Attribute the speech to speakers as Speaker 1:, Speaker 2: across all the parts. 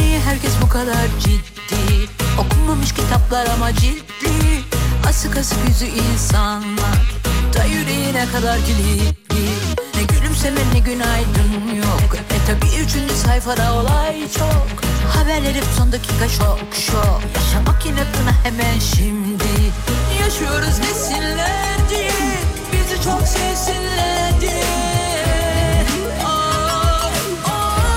Speaker 1: Niye herkes bu kadar ciddi Okunmamış kitaplar ama ciddi Asık asık yüzü insanlar Da yüreğine kadar kilitli Ne gülümseme ne günaydın yok E tabi üçüncü sayfada olay çok Haberler hep son dakika şok şok Yaşamak inatına hemen şimdi Yaşıyoruz desinler diye Bizi çok sevsinler diye Ah, ah.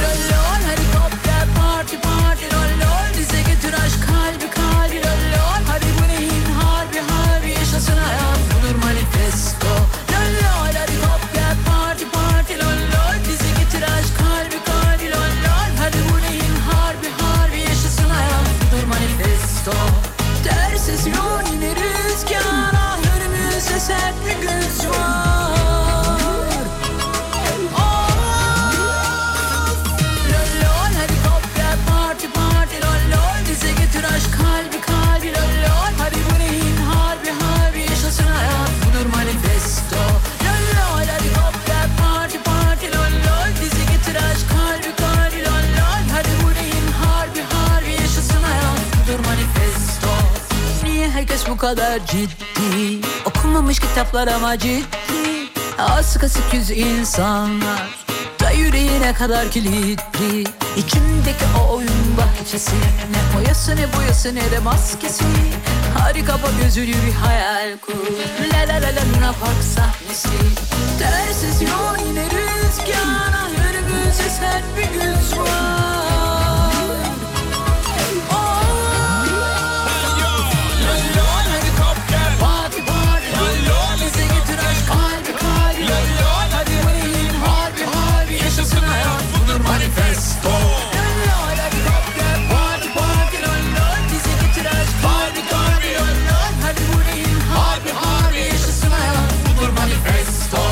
Speaker 1: Lol lol helikopter parti parti lol lol Bize getir aşk kalbi kalbi lol lol Hadi bu neyin harbi harbi yaşasın hayat budur manifesto Lol lol helikopter parti parti lol lol Bize getir aşk kalbi kalbi lol lol Hadi bu neyin harbi harbi yaşasın hayat budur manifesto Ters esiyor yine rüzgar Ah önümüzde sert bir güz var Of! Lol lol hadi kopya parti parti lol lol Bize getir aşk kalbi kalbi lol lol Hadi bu neyin harbi harbi yaşasın hayat budur manifesto Lol lol hadi kopya parti parti lol lol Bize getir aşk kalbi kalbi lol lol Hadi bu neyin harbi harbi yaşasın hayat budur manifesto Niye herkes bu kadar ciddi Okunmamış kitaplar ama ciddi Asık asık yüz insanlar Da yüreğine kadar kilitli İçimdeki o oyun bahçesi Ne boyası ne boyası ne de maskesi Harika bu gözülü bir hayal kur La la la la Luna Park sahnesi Ters esiyor yine rüzgar Ah önümüzde sert bir güz var Oh, Lol helikopter Parti parti Lol lol bize getir aşk Kalbi kalbi Lol lol hadi Beyin harbi harbi Yaşasın hayat budur manifesto Lol lol helikopter Parti parti Lol lol bize getir aşk Kalbi kalbi Lol lol hadi Beyin harbi harbi Yaşasın hayat budur manifesto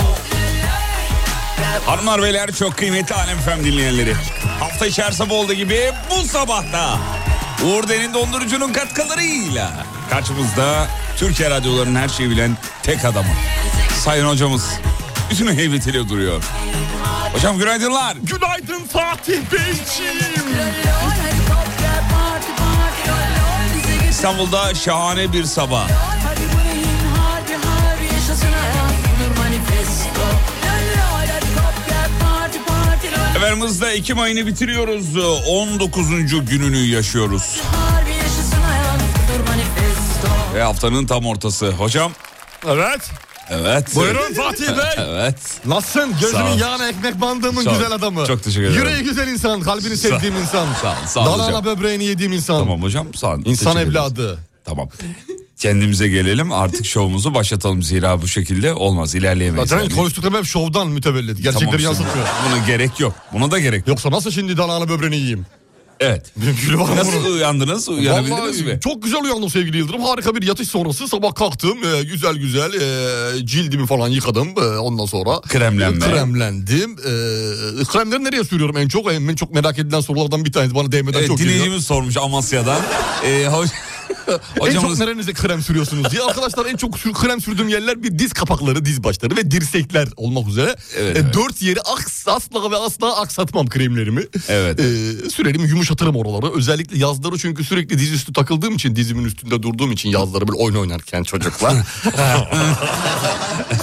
Speaker 2: Hanımlar beyler çok kıymetli Alem Efem dinleyenleri. Hafta içi her sabah olduğu gibi bu sabahta Uğur Derin Dondurucu'nun katkılarıyla karşımızda Türkiye radyolarının her şeyi bilen tek adamı. Sayın hocamız bütün heybetiyle duruyor. Hocam günaydınlar.
Speaker 3: Günaydın Fatih Beyciğim.
Speaker 2: İstanbul'da şahane bir sabah. Efendim hızla Ekim ayını bitiriyoruz. 19. gününü yaşıyoruz. Ve haftanın tam ortası. Hocam
Speaker 3: Evet.
Speaker 2: evet.
Speaker 3: Buyurun Fatih Bey.
Speaker 2: Evet.
Speaker 3: Nasılsın?
Speaker 2: Sağ
Speaker 3: Gözümün
Speaker 2: ol.
Speaker 3: yağına ekmek bandığımın
Speaker 2: Sağ ol.
Speaker 3: güzel adamı.
Speaker 2: Çok teşekkür ederim.
Speaker 3: Yüreği güzel insan, kalbini sevdiğim insan.
Speaker 2: Sağ ol, sağ ol
Speaker 3: Dalağına
Speaker 2: hocam.
Speaker 3: böbreğini yediğim insan.
Speaker 2: Tamam hocam sağ olun.
Speaker 3: İnsan
Speaker 2: Teşekkür ederiz.
Speaker 3: evladı.
Speaker 2: Tamam. Kendimize gelelim artık şovumuzu başlatalım zira bu şekilde olmaz ilerleyemeyiz.
Speaker 3: Zaten
Speaker 2: Yani.
Speaker 3: konuştuklarım hep şovdan mütevellit. Gerçekleri
Speaker 2: Tamam,
Speaker 3: yansıtmıyor.
Speaker 2: Buna gerek yok. Buna da gerek yok.
Speaker 3: Yoksa nasıl şimdi dalağına böbreğini yiyeyim?
Speaker 2: Evet.
Speaker 3: Mümkün var mı bunun?
Speaker 2: Nasıl uyandınız? Uyanabildiniz
Speaker 3: Vallahi
Speaker 2: mi?
Speaker 3: çok güzel uyandım sevgili Yıldırım. Harika bir yatış sonrası sabah kalktım. Ee, güzel güzel e, cildimi falan yıkadım. Ee, ondan sonra
Speaker 2: Kremlenme.
Speaker 3: kremlendim. Ee, kremleri nereye sürüyorum en çok? E, En, en çok merak edilen sorulardan bir tanesi bana değmeden
Speaker 2: Evet,
Speaker 3: çok geliyor.
Speaker 2: dinleyicimiz sormuş Amasya'dan. Ee, hoc-
Speaker 3: En çok
Speaker 2: hocamız
Speaker 3: nerenize krem sürüyorsunuz diye. Arkadaşlar en çok sür- krem sürdüğüm yerler bir diz kapakları, diz başları ve dirsekler olmak üzere.
Speaker 2: Evet,
Speaker 3: Ee,
Speaker 2: evet.
Speaker 3: Dört yeri aks, asla ve asla aksatmam kremlerimi.
Speaker 2: Evet.
Speaker 3: Ee, sürerim yumuşatırım oraları. Özellikle yazları çünkü sürekli diz üstü takıldığım için dizimin üstünde durduğum için yazları böyle oyun oynarken çocuklar.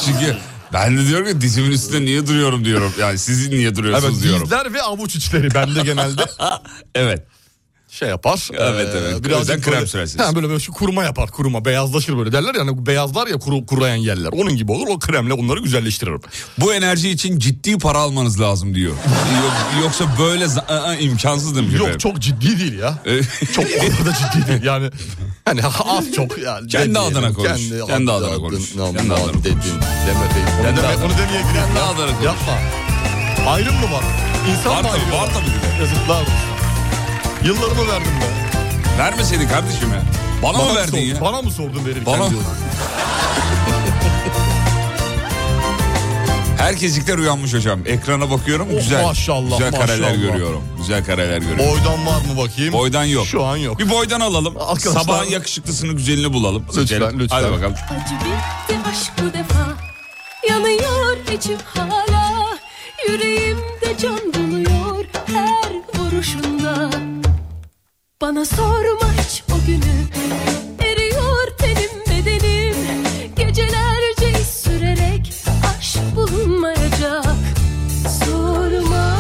Speaker 2: çünkü ben de diyorum ki dizimin üstünde niye duruyorum diyorum. Yani siz niye
Speaker 3: evet,
Speaker 2: duruyorsunuz diyorum.
Speaker 3: dizler ve avuç içleri bende genelde
Speaker 2: Evet.
Speaker 3: şey yapar.
Speaker 2: Evet, evet. O
Speaker 3: birazcık
Speaker 2: yüzden krem
Speaker 3: böyle-
Speaker 2: sürersiniz.
Speaker 3: Ha, böyle, böyle şu kuruma yapar kuruma beyazlaşır böyle derler yani beyazlar ya kuru, kurayan yerler onun gibi olur o kremle onları güzelleştiririm.
Speaker 2: Bu enerji için ciddi para almanız lazım diyor. Yok- yoksa böyle za- ı- ı, imkansız demiş efendim. Ee,
Speaker 3: Yok çok ciddi değil ya. çok o kadar da ciddi değil yani. Hani az çok yani.
Speaker 2: Kendi adına konuş. Kendi adına konuş. Kendi adına konuş.
Speaker 3: Dedin. Deme be. Onu,
Speaker 2: Kendi
Speaker 3: deme,
Speaker 2: adına-
Speaker 3: onu demeye gireyim.
Speaker 2: Kendi
Speaker 3: ya.
Speaker 2: adına konuş.
Speaker 3: Yapma. Ayrım mı var? İnsan
Speaker 2: Var
Speaker 3: mı
Speaker 2: tabii,
Speaker 3: arıyor?
Speaker 2: var tabii bir de.
Speaker 3: Yazıklar olsun. Yıllarımı verdim ben.
Speaker 2: Vermeseydin kardeşim ya. Bana, mı verdin
Speaker 3: sordun-
Speaker 2: ya?
Speaker 3: Bana mı sordun verirken
Speaker 2: Bana-
Speaker 3: diyorsun?
Speaker 2: Herkeslikler uyanmış hocam. Ekrana bakıyorum
Speaker 3: Oh,
Speaker 2: güzel.
Speaker 3: maşallah,
Speaker 2: Güzel kareler
Speaker 3: maşallah.
Speaker 2: görüyorum. Güzel kareler görüyorum.
Speaker 3: Boydan var mı bakayım?
Speaker 2: Boydan yok.
Speaker 3: Şu an yok.
Speaker 2: Bir boydan alalım.
Speaker 3: Arkadaşlar-
Speaker 2: Sabahın yakışıklısını, güzelini bulalım.
Speaker 3: Lütfen,
Speaker 2: Seçelim.
Speaker 3: lütfen.
Speaker 2: Hadi bakalım.
Speaker 1: Acı bitti aşk bu defa Yanıyor içim hala Yüreğimde can buluyor her vuruşunda Bana sorma hiç o günü Eriyor tenim bedenim Gecelerce iz sürerek aşk bulunmayacak Sorma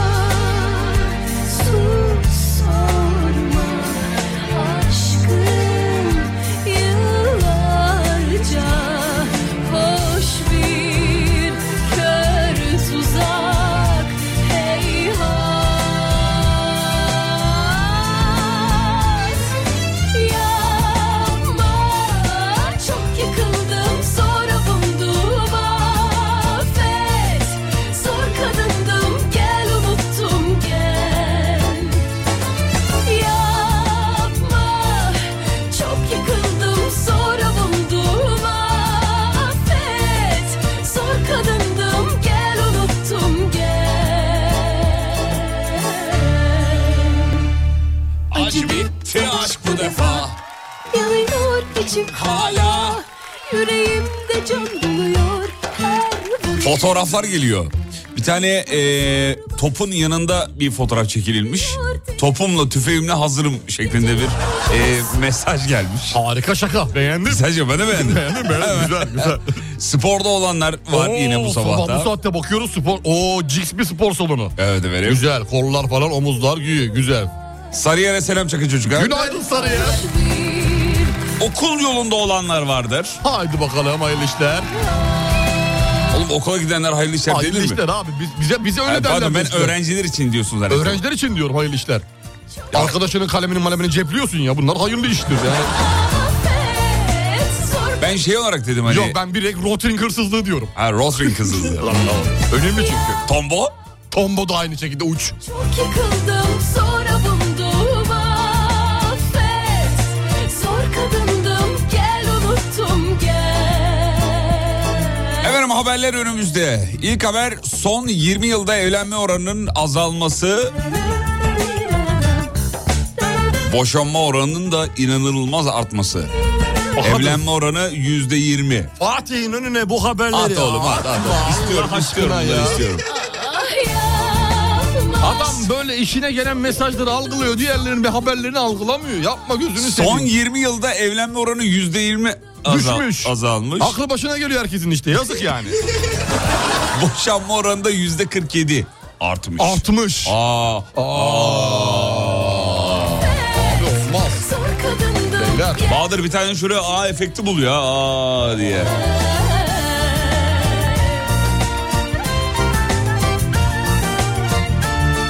Speaker 1: sus sorma Aşkın yıllarca hoş bir kör tuzak heyhat Yapma çok yıkıldım sonra umduğum affet Zor kadındım gel unuttum gel Yapma çok yıkıldım sonra buldum affet Zor kadındım gel unuttum gel
Speaker 2: Acı bitti aşk bu defa.
Speaker 1: Yanıyor içim
Speaker 2: Hala.
Speaker 1: yüreğimde can buluyor her vuruş
Speaker 2: Fotoğraflar geliyor. Bir tane e, topun yanında bir fotoğraf çekililmiş. Topumla tüfeğimle hazırım şeklinde bir e, mesaj gelmiş.
Speaker 3: Harika şaka. Beğendin mi?
Speaker 2: Sence ben de beğendim.
Speaker 3: Beğendim beğendim. güzel güzel.
Speaker 2: Sporda olanlar var
Speaker 3: Oo,
Speaker 2: yine bu
Speaker 3: Sabah bu
Speaker 2: sabahta.
Speaker 3: saatte bakıyoruz spor. Oo ciks bir spor salonu.
Speaker 2: Evet efendim.
Speaker 3: Güzel kollar falan omuzlar güyü güzel.
Speaker 2: Sarıyer'e selam çakın çocuklar.
Speaker 3: Günaydın Sarıya.
Speaker 1: bir
Speaker 2: Okul yolunda olanlar vardır.
Speaker 3: Haydi bakalım hayırlı işler.
Speaker 2: Oğlum okula gidenler hayırlı işler
Speaker 3: Hayırlı
Speaker 2: denir mi?
Speaker 3: işler abi. Biz, bize, bize öyle
Speaker 2: Ha,
Speaker 3: derler.
Speaker 2: pardon ben
Speaker 3: bizde.
Speaker 2: öğrenciler için diyorsunuz herhalde.
Speaker 3: Öğrenciler için diyorum hayırlı işler. Arkadaşının kalemini malemini cepliyorsun ya bunlar hayırlı iştir. Yani.
Speaker 1: affet zor
Speaker 2: Ben şey olarak dedim hani.
Speaker 3: Yok ben direkt rotring hırsızlığı diyorum.
Speaker 2: Ha Rosling kızıldı.
Speaker 3: Önemli çünkü.
Speaker 2: Tombo?
Speaker 3: Tombo da aynı şekilde uç.
Speaker 1: Çok yıkıldım sonra buldum affet Zor kadındım gel unuttum gel
Speaker 2: Efendim haberler önümüzde. İlk haber son 20 yılda evlenme oranının azalması, boşanma oranının da inanılmaz artması. Evlenme oranı yüzde yirmi.
Speaker 3: Fatih'in önüne bu haberleri.
Speaker 2: At oğlum at. at. İstiyorum
Speaker 3: Allah
Speaker 2: istiyorum
Speaker 3: aşkına
Speaker 2: bunları
Speaker 3: ya.
Speaker 2: istiyorum.
Speaker 3: Adam böyle işine gelen mesajları algılıyor. Diğerlerinin bir haberlerini algılamıyor. Yapma gözünü seveyim.
Speaker 2: Son 20 yılda evlenme oranı yüzde yirmi azal-
Speaker 3: Düşmüş.
Speaker 2: azalmış.
Speaker 3: Aklı başına geliyor herkesin işte. Yazık yani.
Speaker 2: Boşanma oranı da yüzde 47 artmış.
Speaker 3: Artmış.
Speaker 2: Aa,
Speaker 3: Abi olmaz.
Speaker 1: Zor kadındım
Speaker 3: Beyler.
Speaker 2: Bahadır bir tane şuraya a efekti bul ya aa diye.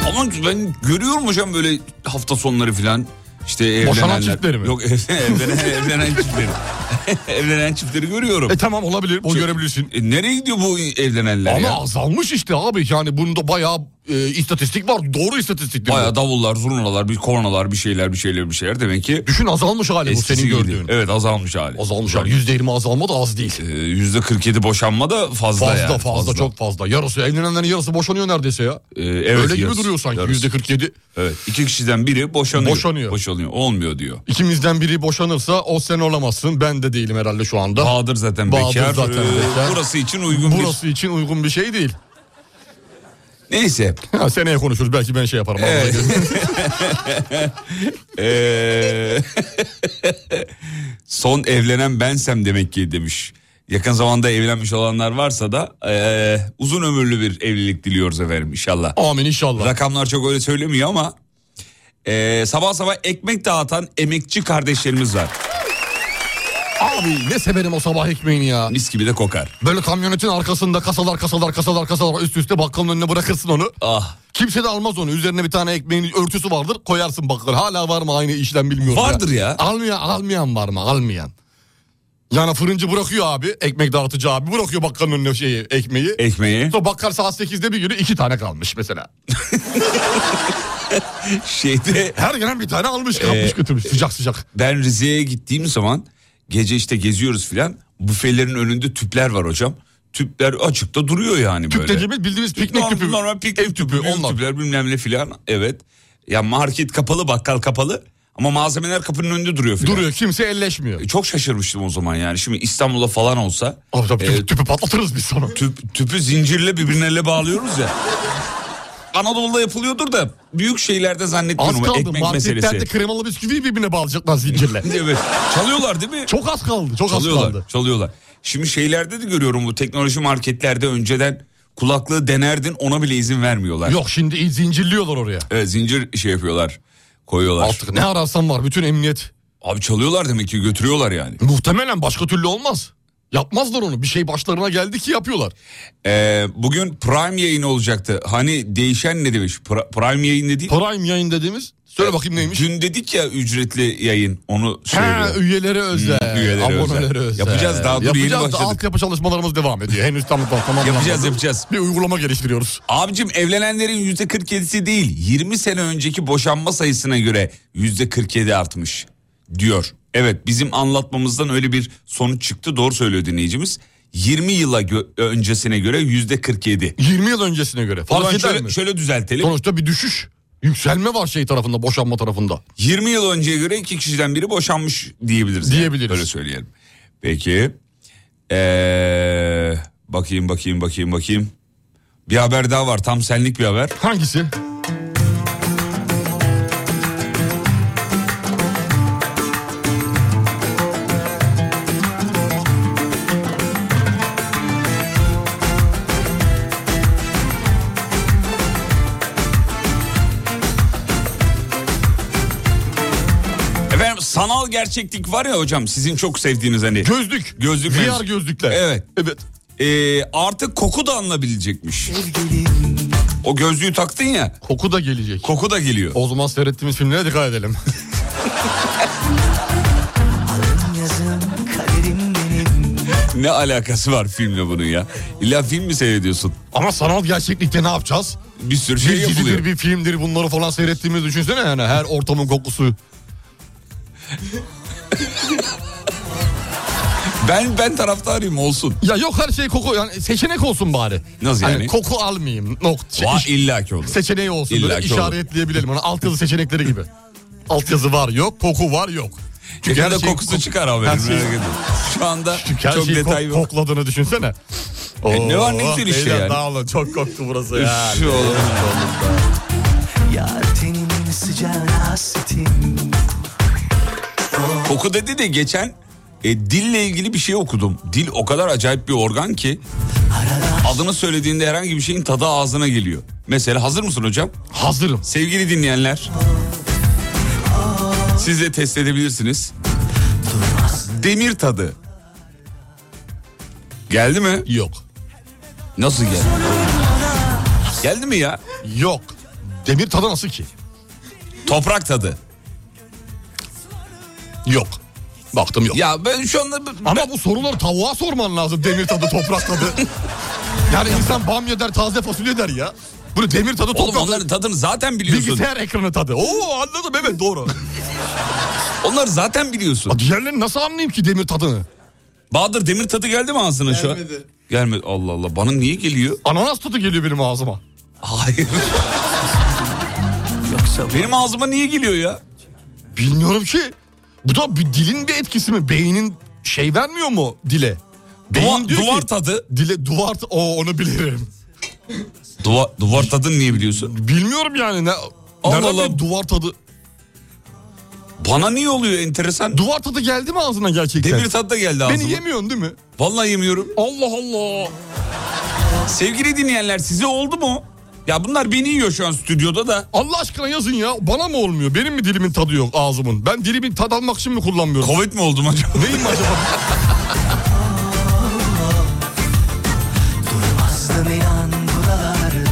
Speaker 2: Ama ben görüyorum hocam böyle hafta sonları filan. işte evlenenler.
Speaker 3: Boşanan çiftleri mi?
Speaker 2: Yok ev- evlenen, evlenen çiftleri. evlenen çiftleri görüyorum.
Speaker 3: E tamam olabilir. O
Speaker 2: Şu-
Speaker 3: görebilirsin.
Speaker 2: E, nereye gidiyor bu evlenenler
Speaker 3: Ama
Speaker 2: ya?
Speaker 3: azalmış işte abi. Yani bunda bayağı e, istatistik var. Doğru istatistik. değil mi?
Speaker 2: Baya davullar, zurnalar, bir kornalar, bir şeyler, bir şeyler, bir şeyler. Demek ki
Speaker 3: Düşün azalmış hali bu
Speaker 2: eskisi
Speaker 3: senin
Speaker 2: gibi.
Speaker 3: gördüğün.
Speaker 2: Evet azalmış hali.
Speaker 3: Azalmış hali. Yüzde yirmi azalma da az değil.
Speaker 2: E, Yüzde 47 boşanma da fazla
Speaker 3: Fazla,
Speaker 2: yani.
Speaker 3: fazla çok fazla. Yarısı evlenenlerin yarısı boşanıyor neredeyse ya.
Speaker 2: E, evet,
Speaker 3: Öyle gibi
Speaker 2: yarısı,
Speaker 3: duruyor sanki.
Speaker 2: yarısı.
Speaker 3: Yüzde kırk yedi.
Speaker 2: Evet. İki kişiden biri boşanıyor.
Speaker 3: Boşanıyor.
Speaker 2: Boşanıyor. Olmuyor diyor.
Speaker 3: İkimizden biri boşanırsa o sen olamazsın. Ben de değilim herhalde şu anda.
Speaker 2: Bahadır zaten
Speaker 3: Bahadır
Speaker 2: bekar. Ee,
Speaker 3: zaten bekar.
Speaker 2: Burası için uygun
Speaker 3: Burası için uygun bir şey değil.
Speaker 2: bir... Neyse.
Speaker 3: Ha, seneye konuşuruz. Belki ben şey yaparım.
Speaker 2: Evet. Ee, Son evlenen bensem demek ki demiş. Yakın zamanda evlenmiş olanlar varsa da ee, uzun ömürlü bir evlilik diliyoruz efendim inşallah.
Speaker 3: Amin inşallah.
Speaker 2: Rakamlar çok öyle söylemiyor ama ee, sabah sabah ekmek dağıtan emekçi kardeşlerimiz var.
Speaker 3: Abi ne severim o sabah ekmeğini ya.
Speaker 2: Mis gibi de kokar.
Speaker 3: Böyle kamyonetin arkasında kasalar kasalar kasalar kasalar üst üste bakkalın önüne bırakırsın onu.
Speaker 2: Ah.
Speaker 3: Kimse de almaz onu. Üzerine bir tane ekmeğin örtüsü vardır. Koyarsın bakkal. Hala var mı aynı işlem bilmiyorum.
Speaker 2: Vardır ya.
Speaker 3: Almayan, almayan var mı? Almayan. Yani fırıncı bırakıyor abi ekmek dağıtıcı abi bırakıyor bakkalın önüne şeyi ekmeği.
Speaker 2: E- Ekmeği.
Speaker 3: Sonra bakkal saat 8'de bir günü iki tane kalmış mesela.
Speaker 2: Şeyde
Speaker 3: Her gelen bir tane almış kalmış
Speaker 2: Ee,
Speaker 3: götürmüş sıcak sıcak.
Speaker 2: ben Rize'ye gittiğim zaman gece işte geziyoruz filan. Büfelerin önünde tüpler var hocam. Tüpler açıkta duruyor yani
Speaker 3: Tüp
Speaker 2: böyle.
Speaker 3: dediğimiz bildiğimiz piknik
Speaker 2: normal,
Speaker 3: tüpü.
Speaker 2: Normal
Speaker 3: Ev
Speaker 2: piknik tüpü,
Speaker 3: tüpü,
Speaker 2: ev
Speaker 3: onlar.
Speaker 2: tüpler bilmem ne filan. Evet. Ya market kapalı, bakkal kapalı. Ama malzemeler kapının önünde duruyor filan.
Speaker 3: Duruyor kimse elleşmiyor.
Speaker 2: E, Çok şaşırmıştım o zaman yani. Şimdi İstanbul'da falan olsa
Speaker 3: Abi tabii tüpü,
Speaker 2: e,
Speaker 3: tüpü patlatırız biz sana.
Speaker 2: tüp, tüpü zincirle birbirine bağlıyoruz ya. Anadolu'da yapılıyordur da büyük şeylerde
Speaker 3: Az
Speaker 2: zannetmiyorum.
Speaker 3: kaldı
Speaker 2: Ekmek meselesi.
Speaker 3: marketlerde kremalı bisküviyi birbirine bağlayacaklar zincirle.
Speaker 2: Evet. Çalıyorlar değil mi?
Speaker 3: Çok az kaldı çok az
Speaker 2: çalıyorlar.
Speaker 3: kaldı.
Speaker 2: Çalıyorlar. Şimdi şeylerde de görüyorum bu teknoloji marketlerde önceden kulaklığı denerdin ona bile izin vermiyorlar.
Speaker 3: Yok şimdi zincirliyorlar oraya.
Speaker 2: Evet, zincir şey yapıyorlar. Koyuyorlar.
Speaker 3: Artık ne ararsan var bütün emniyet.
Speaker 2: Abi çalıyorlar demek ki götürüyorlar yani.
Speaker 3: Muhtemelen başka türlü olmaz. Yapmazlar onu. Bir şey başlarına geldi ki yapıyorlar.
Speaker 2: Ee, bugün Prime yayını olacaktı. Hani değişen ne demiş? Pra- Prime yayını değil.
Speaker 3: Prime yayın dediğimiz.
Speaker 2: E,
Speaker 3: Söyle bakayım neymiş?
Speaker 2: Dün dedik ya ücretli yayın onu
Speaker 3: Ha,
Speaker 2: söylüyorum.
Speaker 3: üyelere özel.
Speaker 2: Hmm, üyelere
Speaker 3: abonelere özel.
Speaker 2: özel. Yapacağız, daha dur, yeni
Speaker 3: Yapacağız da
Speaker 2: başladık.
Speaker 3: altyapı çalışmalarımız devam ediyor. Henüz tam tam tamamlanmadı.
Speaker 2: Yapacağız, yapacağız.
Speaker 3: Bir uygulama geliştiriyoruz.
Speaker 2: Abicim evlenenlerin yüzde 47'si değil 20 sene önceki boşanma sayısına göre yüzde 47 artmış diyor. Evet bizim anlatmamızdan öyle bir sonuç çıktı doğru söylüyor dinleyicimiz. 20 yıla gö- öncesine göre yüzde 47.
Speaker 3: 20 yıl öncesine göre.
Speaker 2: O
Speaker 3: Fark
Speaker 2: zaman
Speaker 3: eder
Speaker 2: şöyle,
Speaker 3: mi?
Speaker 2: şöyle düzeltelim.
Speaker 3: Sonuçta bir düşüş. Yükselme var şey tarafında, boşanma tarafında.
Speaker 2: 20 yıl önceye göre iki kişiden biri boşanmış diyebiliriz. yani.
Speaker 3: Diyebiliriz.
Speaker 2: Öyle söyleyelim. Peki. Ee, bakayım bakayım bakayım bakayım. Bir haber daha var tam senlik bir haber.
Speaker 3: Hangisi?
Speaker 2: Efendim sanal gerçeklik var ya hocam sizin çok sevdiğiniz hani.
Speaker 3: Gözlük.
Speaker 2: Gözlük
Speaker 3: VR
Speaker 2: mevzusu.
Speaker 3: gözlükler.
Speaker 2: Evet.
Speaker 3: Evet.
Speaker 2: Ee, artık koku da alınabilecekmiş. O gözlüğü taktın ya
Speaker 3: Koku da gelecek.
Speaker 2: koku da geliyor.
Speaker 3: O zaman seyrettiğimiz filmlere dikkat edelim.
Speaker 4: Yazım kaderim benim
Speaker 2: Ne alakası var filmle bunun ya? İlla film mi seyrediyorsun?
Speaker 3: Ama sanal gerçeklikte ne yapacağız?
Speaker 2: Bir sürü şey
Speaker 3: Bir dizidir,
Speaker 2: yapılıyor.
Speaker 3: bir filmdir bunları falan seyrettiğimiz düşünsene yani her ortamın kokusu.
Speaker 2: Ben ben taraftarıyım olsun.
Speaker 3: Ya yok her şey koku yani seçenek olsun bari.
Speaker 2: Nasıl
Speaker 3: Hani
Speaker 2: yani?
Speaker 3: koku almayayım. Nokta. Şey,
Speaker 2: Va
Speaker 3: iş-
Speaker 2: illa ki olur.
Speaker 3: seçeneği olsun böyle
Speaker 2: İllaki olur.
Speaker 3: işaretleyebilelim ona altyazı seçenekleri gibi. Altyazı var yok, koku var yok.
Speaker 2: Çünkü
Speaker 3: her
Speaker 2: de
Speaker 3: şeyin
Speaker 2: kokusu
Speaker 3: kok-
Speaker 2: çıkar haberin.
Speaker 3: her
Speaker 2: merak
Speaker 3: şey-
Speaker 2: etme. Şu anda
Speaker 3: Çünkü her
Speaker 2: çok
Speaker 3: şeyi
Speaker 2: detay
Speaker 3: kok-
Speaker 2: yok.
Speaker 3: kokladığını düşünsene.
Speaker 2: E, ne var ne
Speaker 3: Oo,
Speaker 2: güzel işte
Speaker 3: beyler
Speaker 2: yani.
Speaker 3: dağılın, çok koktu burası ya.
Speaker 2: Şu olur.
Speaker 4: Yar tenimin sıcağı hasretim
Speaker 2: Koku dedi de geçen e, dille ilgili bir şey okudum. Dil o kadar acayip bir organ ki adını söylediğinde herhangi bir şeyin tadı ağzına geliyor. Mesela hazır mısın hocam?
Speaker 3: Hazırım.
Speaker 2: Sevgili dinleyenler. Siz de test edebilirsiniz. Demir tadı. Geldi mi?
Speaker 3: Yok.
Speaker 2: Nasıl geldi? Geldi mi ya?
Speaker 3: Yok. Demir tadı nasıl ki?
Speaker 2: Toprak tadı.
Speaker 3: Yok. Baktım yok.
Speaker 2: Ya ben şu anda
Speaker 3: Ama bu soruları tavuğa sorman lazım. Demir tadı, toprak tadı. Yani insan bamya der, taze fasulye der ya. Bunu demir tadı,
Speaker 2: Oğlum
Speaker 3: toprak tadı.
Speaker 2: onların tadını zaten biliyorsun.
Speaker 3: Bilgisayar ekranı tadı. Oo anladım evet doğru.
Speaker 2: Onları zaten biliyorsun.
Speaker 3: Ya Diğerlerini nasıl anlayayım ki demir tadını?
Speaker 2: Bahadır demir tadı geldi mi ağzına şu an?
Speaker 5: Gelmedi.
Speaker 2: Gelmedi. Allah Allah. Bana niye geliyor?
Speaker 3: Ananas tadı geliyor benim ağzıma.
Speaker 2: Hayır. Benim ağzıma niye geliyor ya?
Speaker 3: Bilmiyorum ki. Bu da bir dilin bir etkisi mi? Beynin şey vermiyor mu dile?
Speaker 2: Duvar,
Speaker 3: Beyin diyor
Speaker 2: duvar
Speaker 3: ki,
Speaker 2: tadı.
Speaker 3: Dile duvar... ta- Oo onu bilirim.
Speaker 2: Duvar, duvar tadını niye biliyorsun?
Speaker 3: Bilmiyorum yani. Ne,
Speaker 2: Allah
Speaker 3: nereden
Speaker 2: Allah.
Speaker 3: bileyim duvar tadı...
Speaker 2: Bana niye oluyor enteresan?
Speaker 3: Duvar tadı geldi mi ağzına gerçekten?
Speaker 2: Demir tadı da geldi ağzıma.
Speaker 3: Beni yemiyorsun değil mi?
Speaker 2: Vallahi yemiyorum.
Speaker 3: Allah Allah.
Speaker 2: Sevgili dinleyenler size oldu mu? Ya bunlar beni yiyor şu an stüdyoda da.
Speaker 3: Allah aşkına yazın ya. Bana mı olmuyor? Benim mi dilimin tadı yok ağzımın? Ben dilimin tad almak için mi kullanmıyorum?
Speaker 2: Covid mi oldum acaba?
Speaker 3: Neyim acaba?
Speaker 4: Bastım inan buralarda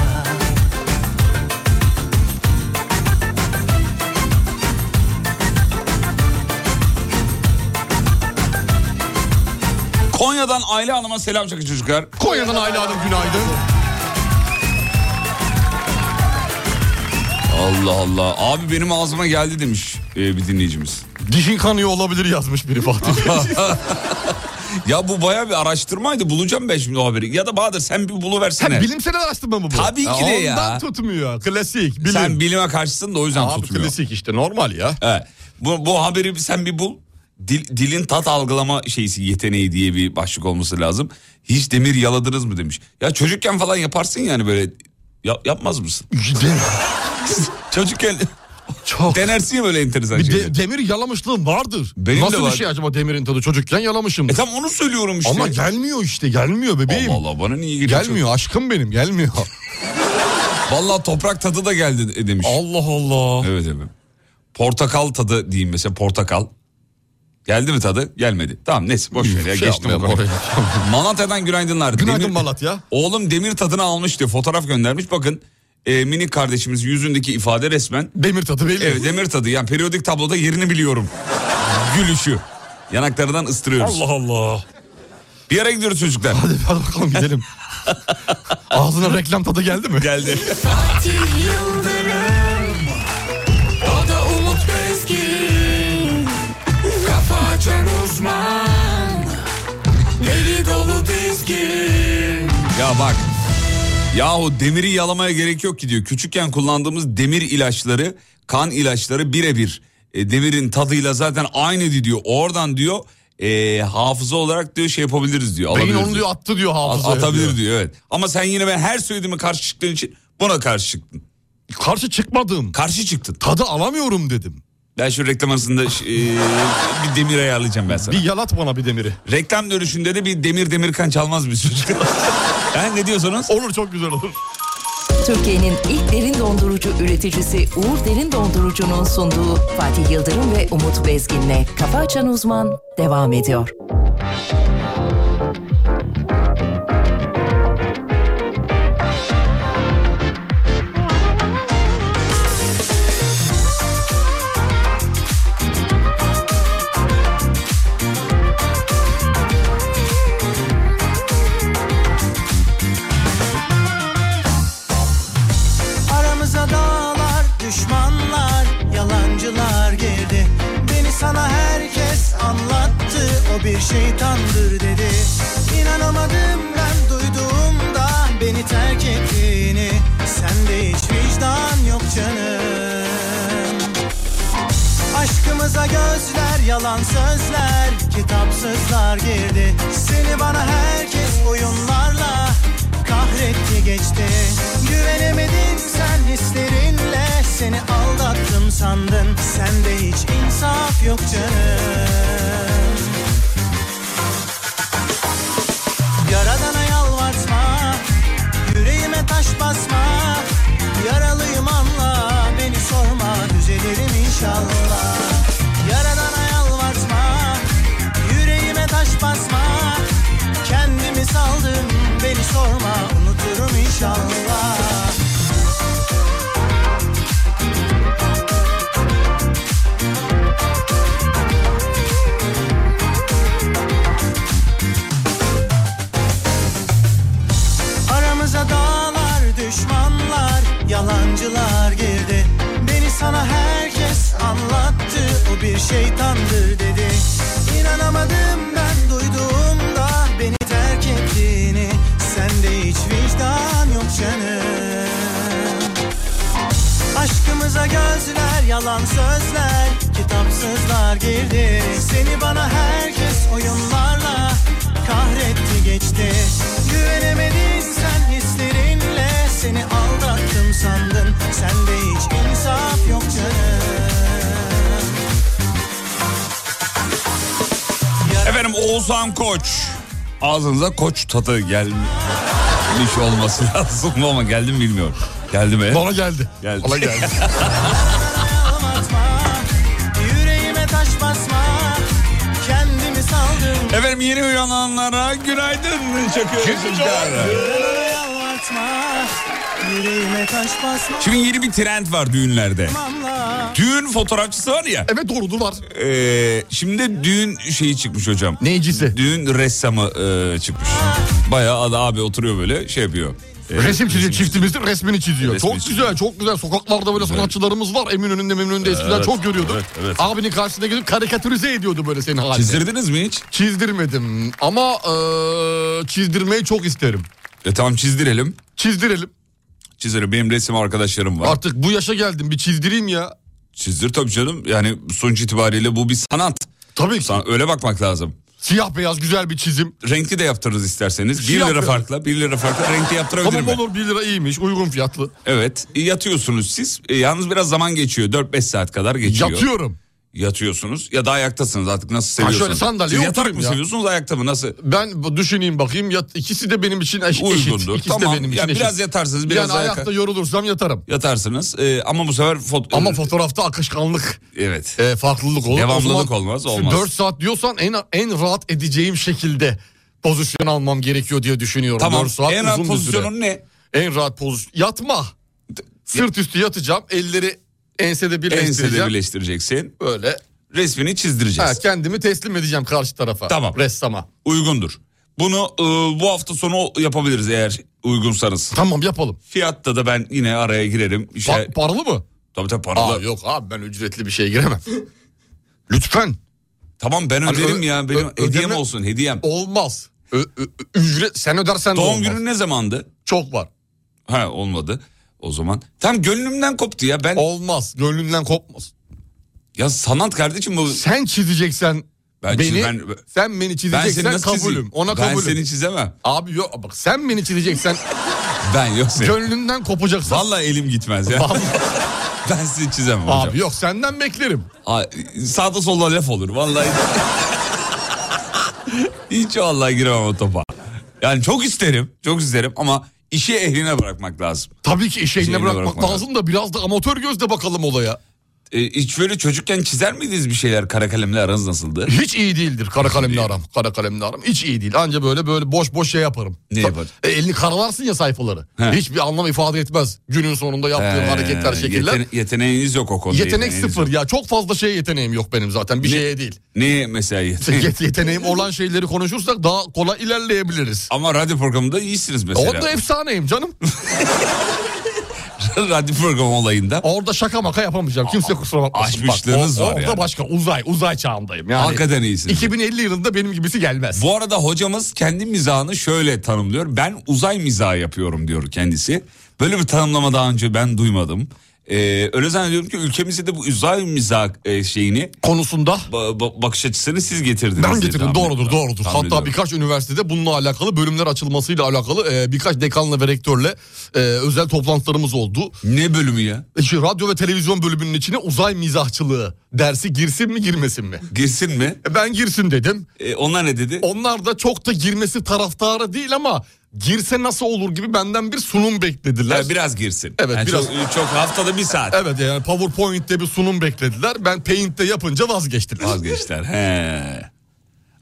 Speaker 2: Konya'dan Ayla Hanım'a selam çakın çocuklar.
Speaker 3: Konya'dan Ayla Hanım günaydın.
Speaker 2: Allah Allah. Abi benim ağzıma geldi demiş e, bir dinleyicimiz.
Speaker 3: Dişin kanıyor olabilir yazmış biri Fatih Bey.
Speaker 2: Ya bu baya bir araştırmaydı. Bulacağım ben şimdi o haberi. Ya da Bahadır sen bir buluversene.
Speaker 3: Ha, bilimsel araştırma mı bu?
Speaker 2: Tabii ki de ya.
Speaker 3: Ondan tutmuyor. Klasik. Bilim.
Speaker 2: Sen bilime karşısın da o yüzden
Speaker 3: Abi
Speaker 2: tutmuyor.
Speaker 3: klasik işte normal ya.
Speaker 2: Evet. Bu, bu haberi bir- sen bir bul. Dil- dilin tat algılama şeysi yeteneği diye bir başlık olması lazım. Hiç demir yaladınız mı demiş. Ya çocukken falan yaparsın yani böyle Ya- yapmaz mısın? çocukken
Speaker 3: Çok.
Speaker 2: denersin ya böyle enteresan
Speaker 3: Bir de-
Speaker 2: şeyleri.
Speaker 3: demir yalamışlığım vardır.
Speaker 2: Benim de
Speaker 3: Nasıl
Speaker 2: var.
Speaker 3: bir şey acaba demirin tadı? Çocukken yalamışım.
Speaker 2: E tam onu söylüyorum işte.
Speaker 3: Ama şey- gelmiyor işte gelmiyor bebeğim.
Speaker 2: Allah Allah bana niye geliyor?
Speaker 3: Gelmiyor aşkım benim gelmiyor.
Speaker 2: Valla toprak tadı da geldi de- demiş.
Speaker 3: Allah Allah.
Speaker 2: Evet evet. Portakal tadı diyeyim mesela portakal. Geldi mi tadı? Gelmedi. Tamam neyse boş ver ya
Speaker 3: Şey
Speaker 2: geçtim o
Speaker 3: yapmayalım
Speaker 2: konuyu.
Speaker 3: oraya.
Speaker 2: Malatya'dan günaydınlar.
Speaker 3: Günaydın Malatya.
Speaker 2: Oğlum demir tadını almış diyor fotoğraf göndermiş. Bakın e, minik kardeşimiz yüzündeki ifade resmen
Speaker 3: Demir tadı belli.
Speaker 2: evet, demir tadı. Yani periyodik tabloda yerini biliyorum. Gülüşü. Yanaklarından ıstırıyoruz.
Speaker 3: Allah Allah.
Speaker 2: Bir yere gidiyoruz çocuklar.
Speaker 3: Hadi, hadi bakalım gidelim. Ağzına reklam tadı geldi mi?
Speaker 2: Geldi.
Speaker 4: Yıldırım O da Umut Bezgin Kafa açan uzman Deli dolu dizgin
Speaker 2: Ya bak. Yahu demiri yalamaya gerek yok ki diyor. Küçükken kullandığımız demir ilaçları, kan ilaçları birebir e, demirin tadıyla zaten aynıydı diyor. Oradan diyor e, hafıza olarak diyor şey yapabiliriz diyor.
Speaker 3: Beyin
Speaker 2: alabiliriz
Speaker 3: onu diyor attı diyor
Speaker 2: At-
Speaker 3: hafızaya.
Speaker 2: atabilir
Speaker 3: diyor.
Speaker 2: diyor. evet. Ama sen yine ben her söylediğime karşı çıktığın için buna karşı çıktın.
Speaker 3: Karşı çıkmadım.
Speaker 2: Karşı çıktın.
Speaker 3: Tadı alamıyorum dedim.
Speaker 2: Ben şu reklam arasında e, bir demir ayarlayacağım ben sana.
Speaker 3: Bir yalat bana bir demiri.
Speaker 2: Reklam dönüşünde de bir demir demir kan çalmaz bir çocuk. Ha, ne diyorsunuz?
Speaker 3: Olur çok güzel olur.
Speaker 6: Türkiye'nin ilk derin dondurucu üreticisi Uğur Derin Dondurucu'nun sunduğu Fatih Yıldırım ve Umut Bezgin'le Kafa Açan Uzman devam ediyor.
Speaker 5: Aramıza dağlar, düşmanlar, yalancılar girdi Beni sana herkes anlattı, o bir şeytandır dedi İnanamadım ben duyduğumda beni terk ettiğini Sende hiç vicdan yok canım Aşkımıza gözler, yalan sözler, kitapsızlar girdi. Seni bana herkes oyunlarla kahretti geçti. Güvenemedin sen hislerinle, seni aldattım sandın. Sende hiç insaf yok canım. Yaradana yalvartma Yüreğime taş basma Yaralıyım anla Beni sorma düzelirim inşallah Yaradana yalvartma Yüreğime taş basma Kendimi saldım Beni sorma unuturum inşallah Aramıza dağlar, düşmanlar, yalancılar girdi. Beni sana herkes anlattı, o bir şeytandır dedi. İnanamadım ben duyduğumda beni terk ettiğini. Sende hiç vicdan yok canım. Aşkımıza gözler, yalan sözler, kitapsızlar girdi. Seni bana herkes oyunlarla kahretti geçti. Güvenemedin sen hislerinle, seni aldattım sandın. Sende hiç insaf yok canım.
Speaker 2: Efendim Oğuzhan Koç. Ağzınıza koç tadı gelmiş olması lazım ama geldi mi bilmiyorum. Geldi mi?
Speaker 3: Bana geldi.
Speaker 2: Geldi.
Speaker 3: Bana geldi.
Speaker 5: Aldatma, yüreğime taş basma, kendimi saldım.
Speaker 2: Efendim yeni uyananlara günaydın çakıyoruz. çocuklar.
Speaker 5: Yalvartma Yüreğime taş basma
Speaker 2: Şimdi yeni bir trend var düğünlerde.
Speaker 5: Mamla
Speaker 2: Düğün fotoğrafçısı var ya.
Speaker 3: Evet doğrudur var.
Speaker 2: Ee, şimdi düğün şeyi çıkmış hocam.
Speaker 3: Neycisi?
Speaker 2: Düğün ressamı e, çıkmış. Bayağı adı abi oturuyor böyle şey yapıyor. Ee,
Speaker 3: Resim çiziyor çiftimizin resmini çiziyor.
Speaker 2: Resmini
Speaker 3: çok
Speaker 2: çiziyor.
Speaker 3: güzel çok güzel. Sokaklarda böyle sanatçılarımız var. Eminönü'nde Memnun'da eskiden
Speaker 2: Evet,
Speaker 3: çok görüyorduk.
Speaker 2: evet, evet.
Speaker 3: Abinin karşısına gelip karikatürize ediyordu böyle senin halini.
Speaker 2: Çizdirdiniz mi hiç?
Speaker 3: Çizdirmedim ama eee, çizdirmeyi çok isterim.
Speaker 2: E tamam çizdirelim.
Speaker 3: Çizdirelim.
Speaker 2: Çizerim. Benim resim arkadaşlarım var.
Speaker 3: Artık bu yaşa geldim bir çizdireyim ya.
Speaker 2: Çizdir tabii canım. Yani sonuç itibariyle bu bir sanat.
Speaker 3: Tabii ki.
Speaker 2: Sana öyle bakmak lazım.
Speaker 3: Siyah beyaz güzel bir çizim.
Speaker 2: Renkli de yaptırırız isterseniz. 1
Speaker 3: Siyah
Speaker 2: lira
Speaker 3: beyaz.
Speaker 2: farkla, 1 lira farkla renkli yaptırabilirim.
Speaker 3: şey tamam
Speaker 2: ben.
Speaker 3: olur 1 lira iyiymiş uygun fiyatlı.
Speaker 2: Evet. E, Yatıyorsunuz siz. E, yalnız biraz zaman geçiyor. 4-5 saat kadar geçiyor.
Speaker 3: Yatıyorum.
Speaker 2: Yatıyorsunuz ya da ayaktasınız artık nasıl seviyorsunuz.
Speaker 3: şöyle sandalyeye
Speaker 2: Siz yatak
Speaker 3: oturayım
Speaker 2: mı
Speaker 3: ya.
Speaker 2: seviyorsunuz ayakta mı nasıl?
Speaker 3: Ben bu- düşüneyim bakayım yat, ikisi de benim için eş, eşit.
Speaker 2: Uygundur.
Speaker 3: İkisi
Speaker 2: tamam.
Speaker 3: de benim
Speaker 2: ya
Speaker 3: için
Speaker 2: biraz
Speaker 3: eşit.
Speaker 2: yatarsınız biraz
Speaker 3: yani
Speaker 2: ayakta.
Speaker 3: ayakta yorulursam yatarım.
Speaker 2: Yatarsınız E, ama bu sefer foto...
Speaker 3: Ama fotoğrafta akışkanlık,
Speaker 2: Evet.
Speaker 3: e, farklılık olur.
Speaker 2: Devamlılık olmaz, olmaz.
Speaker 3: 4 saat diyorsan en en rahat edeceğim şekilde pozisyon almam gerekiyor diye düşünüyorum.
Speaker 2: tamam.
Speaker 3: 4 saat
Speaker 2: En
Speaker 3: uzun
Speaker 2: rahat
Speaker 3: bir süre.
Speaker 2: pozisyonun ne?
Speaker 3: En rahat pozisyon. Yatma. Sırt üstü yatacağım. Elleri ensede birleştireceğim.
Speaker 2: Ensede birleştireceksin.
Speaker 3: Böyle.
Speaker 2: Resmini çizdireceğiz.
Speaker 3: Ha, kendimi teslim edeceğim karşı tarafa.
Speaker 2: Tamam.
Speaker 3: Ressama.
Speaker 2: Uygundur. Bunu e, bu hafta sonu yapabiliriz eğer uygunsanız.
Speaker 3: Tamam yapalım.
Speaker 2: Fiyatta da ben yine araya girerim. İşte,
Speaker 3: Pa- paralı mı?
Speaker 2: tabii tabii paralı.
Speaker 3: Aa, yok abi ben ücretli bir şeye giremem. Lütfen.
Speaker 2: Tamam ben
Speaker 3: Hani
Speaker 2: öderim
Speaker 3: ö-
Speaker 2: ya. Benim
Speaker 3: ö-
Speaker 2: hediyem
Speaker 3: ödeme-
Speaker 2: olsun hediyem.
Speaker 3: Olmaz. Ö- ö- ücret sen ödersen de
Speaker 2: Doğum
Speaker 3: olmaz.
Speaker 2: günü ne zamandı?
Speaker 3: Çok var.
Speaker 2: Ha olmadı o zaman. Tam gönlümden koptu ya ben.
Speaker 3: Olmaz. Gönlünden kopmaz.
Speaker 2: Ya sanat kardeşim bu.
Speaker 3: Sen çizeceksen
Speaker 2: Ben
Speaker 3: beni,
Speaker 2: çiz- ben-
Speaker 3: sen beni
Speaker 2: Ben seni
Speaker 3: çizeceksen
Speaker 2: nasıl
Speaker 3: kabulüm.
Speaker 2: çizeyim?
Speaker 3: Ona
Speaker 2: ben
Speaker 3: kabulüm.
Speaker 2: seni çizemem.
Speaker 3: Abi yok bak sen beni çizeceksen
Speaker 2: Ben yok seni.
Speaker 3: gönlünden kopacaksın.
Speaker 2: Vallahi elim gitmez ya.
Speaker 3: Vallahi-
Speaker 2: ben seni çizemem hocam.
Speaker 3: Abi yok senden beklerim.
Speaker 2: Aa, Sağda solda laf olur vallahi. Hiç vallahi giremem o topa. Yani çok isterim, çok isterim ama işi ehline bırakmak lazım.
Speaker 3: Tabii ki iş
Speaker 2: eline
Speaker 3: eline bırakmak
Speaker 2: bırakmadan.
Speaker 3: lazım da biraz da amatör gözle bakalım olaya.
Speaker 2: Ee, hiç böyle çocukken çizer miydiniz bir şeyler? Kara kalemle aranız nasıldı?
Speaker 3: Hiç iyi değildir kara kalemle aram. Kara kalemle aram hiç iyi değil. Anca böyle böyle boş boş şey yaparım.
Speaker 2: Ne
Speaker 3: Ta-
Speaker 2: yapar?
Speaker 3: E, elini karalarsın ya sayfaları.
Speaker 2: He.
Speaker 3: Hiçbir anlam ifade etmez. Günün sonunda yaptığın
Speaker 2: Ee,
Speaker 3: hareketler, şekiller.
Speaker 2: yetene- yeteneğiniz yok o konuda.
Speaker 3: Yetenek
Speaker 2: yeteneğiniz
Speaker 3: sıfır
Speaker 2: yok.
Speaker 3: ya. Çok fazla şeye yeteneğim yok benim zaten. Bir
Speaker 2: Ne-
Speaker 3: şeye değil.
Speaker 2: Ne mesela yetenek?
Speaker 3: Yet- yeteneğim olan şeyleri konuşursak daha kolay ilerleyebiliriz.
Speaker 2: Ama radyo programında iyisiniz mesela.
Speaker 3: Orada efsaneyim canım.
Speaker 2: radyo programı olayında.
Speaker 3: Orada şaka maka yapamayacağım. Kimse kusura bakmasın. Bak,
Speaker 2: Aşmışlığınız
Speaker 3: o-
Speaker 2: var
Speaker 3: Orada
Speaker 2: yani.
Speaker 3: başka uzay, uzay çağındayım. Yani
Speaker 2: Hakikaten iyisiniz.
Speaker 3: 2050 yılında benim gibisi gelmez.
Speaker 2: Bu arada hocamız kendi mizahını şöyle tanımlıyor. Ben uzay mizahı yapıyorum diyor kendisi. Böyle bir tanımlama daha önce ben duymadım. Ee, öyle zannediyorum ki ülkemizde de bu uzay mizah e, şeyini
Speaker 3: Konusunda
Speaker 2: ba- ba- bakış açısını siz getirdiniz.
Speaker 3: Ben
Speaker 2: diye
Speaker 3: getirdim
Speaker 2: tahmin
Speaker 3: doğrudur
Speaker 2: ediyorum.
Speaker 3: doğrudur.
Speaker 2: Tahmin
Speaker 3: Hatta
Speaker 2: ediyorum.
Speaker 3: birkaç üniversitede bununla alakalı bölümler açılmasıyla alakalı e, birkaç dekanla ve rektörle e, özel toplantılarımız oldu.
Speaker 2: Ne bölümü ya?
Speaker 3: İşte radyo ve televizyon bölümünün içine uzay mizahçılığı dersi girsin mi girmesin mi?
Speaker 2: Girsin mi?
Speaker 3: E, Ben girsin dedim.
Speaker 2: Ee, onlar ne dedi?
Speaker 3: Onlar da çok da girmesi taraftarı değil ama girse nasıl olur gibi benden bir sunum beklediler.
Speaker 2: Ha, biraz girsin.
Speaker 3: Evet,
Speaker 2: Yani
Speaker 3: biraz.
Speaker 2: Çok, çok haftada bir saat.
Speaker 3: Evet yani PowerPoint'te bir sunum beklediler. Ben Paint'te yapınca vazgeçtiler.
Speaker 2: Vazgeçtiler. He.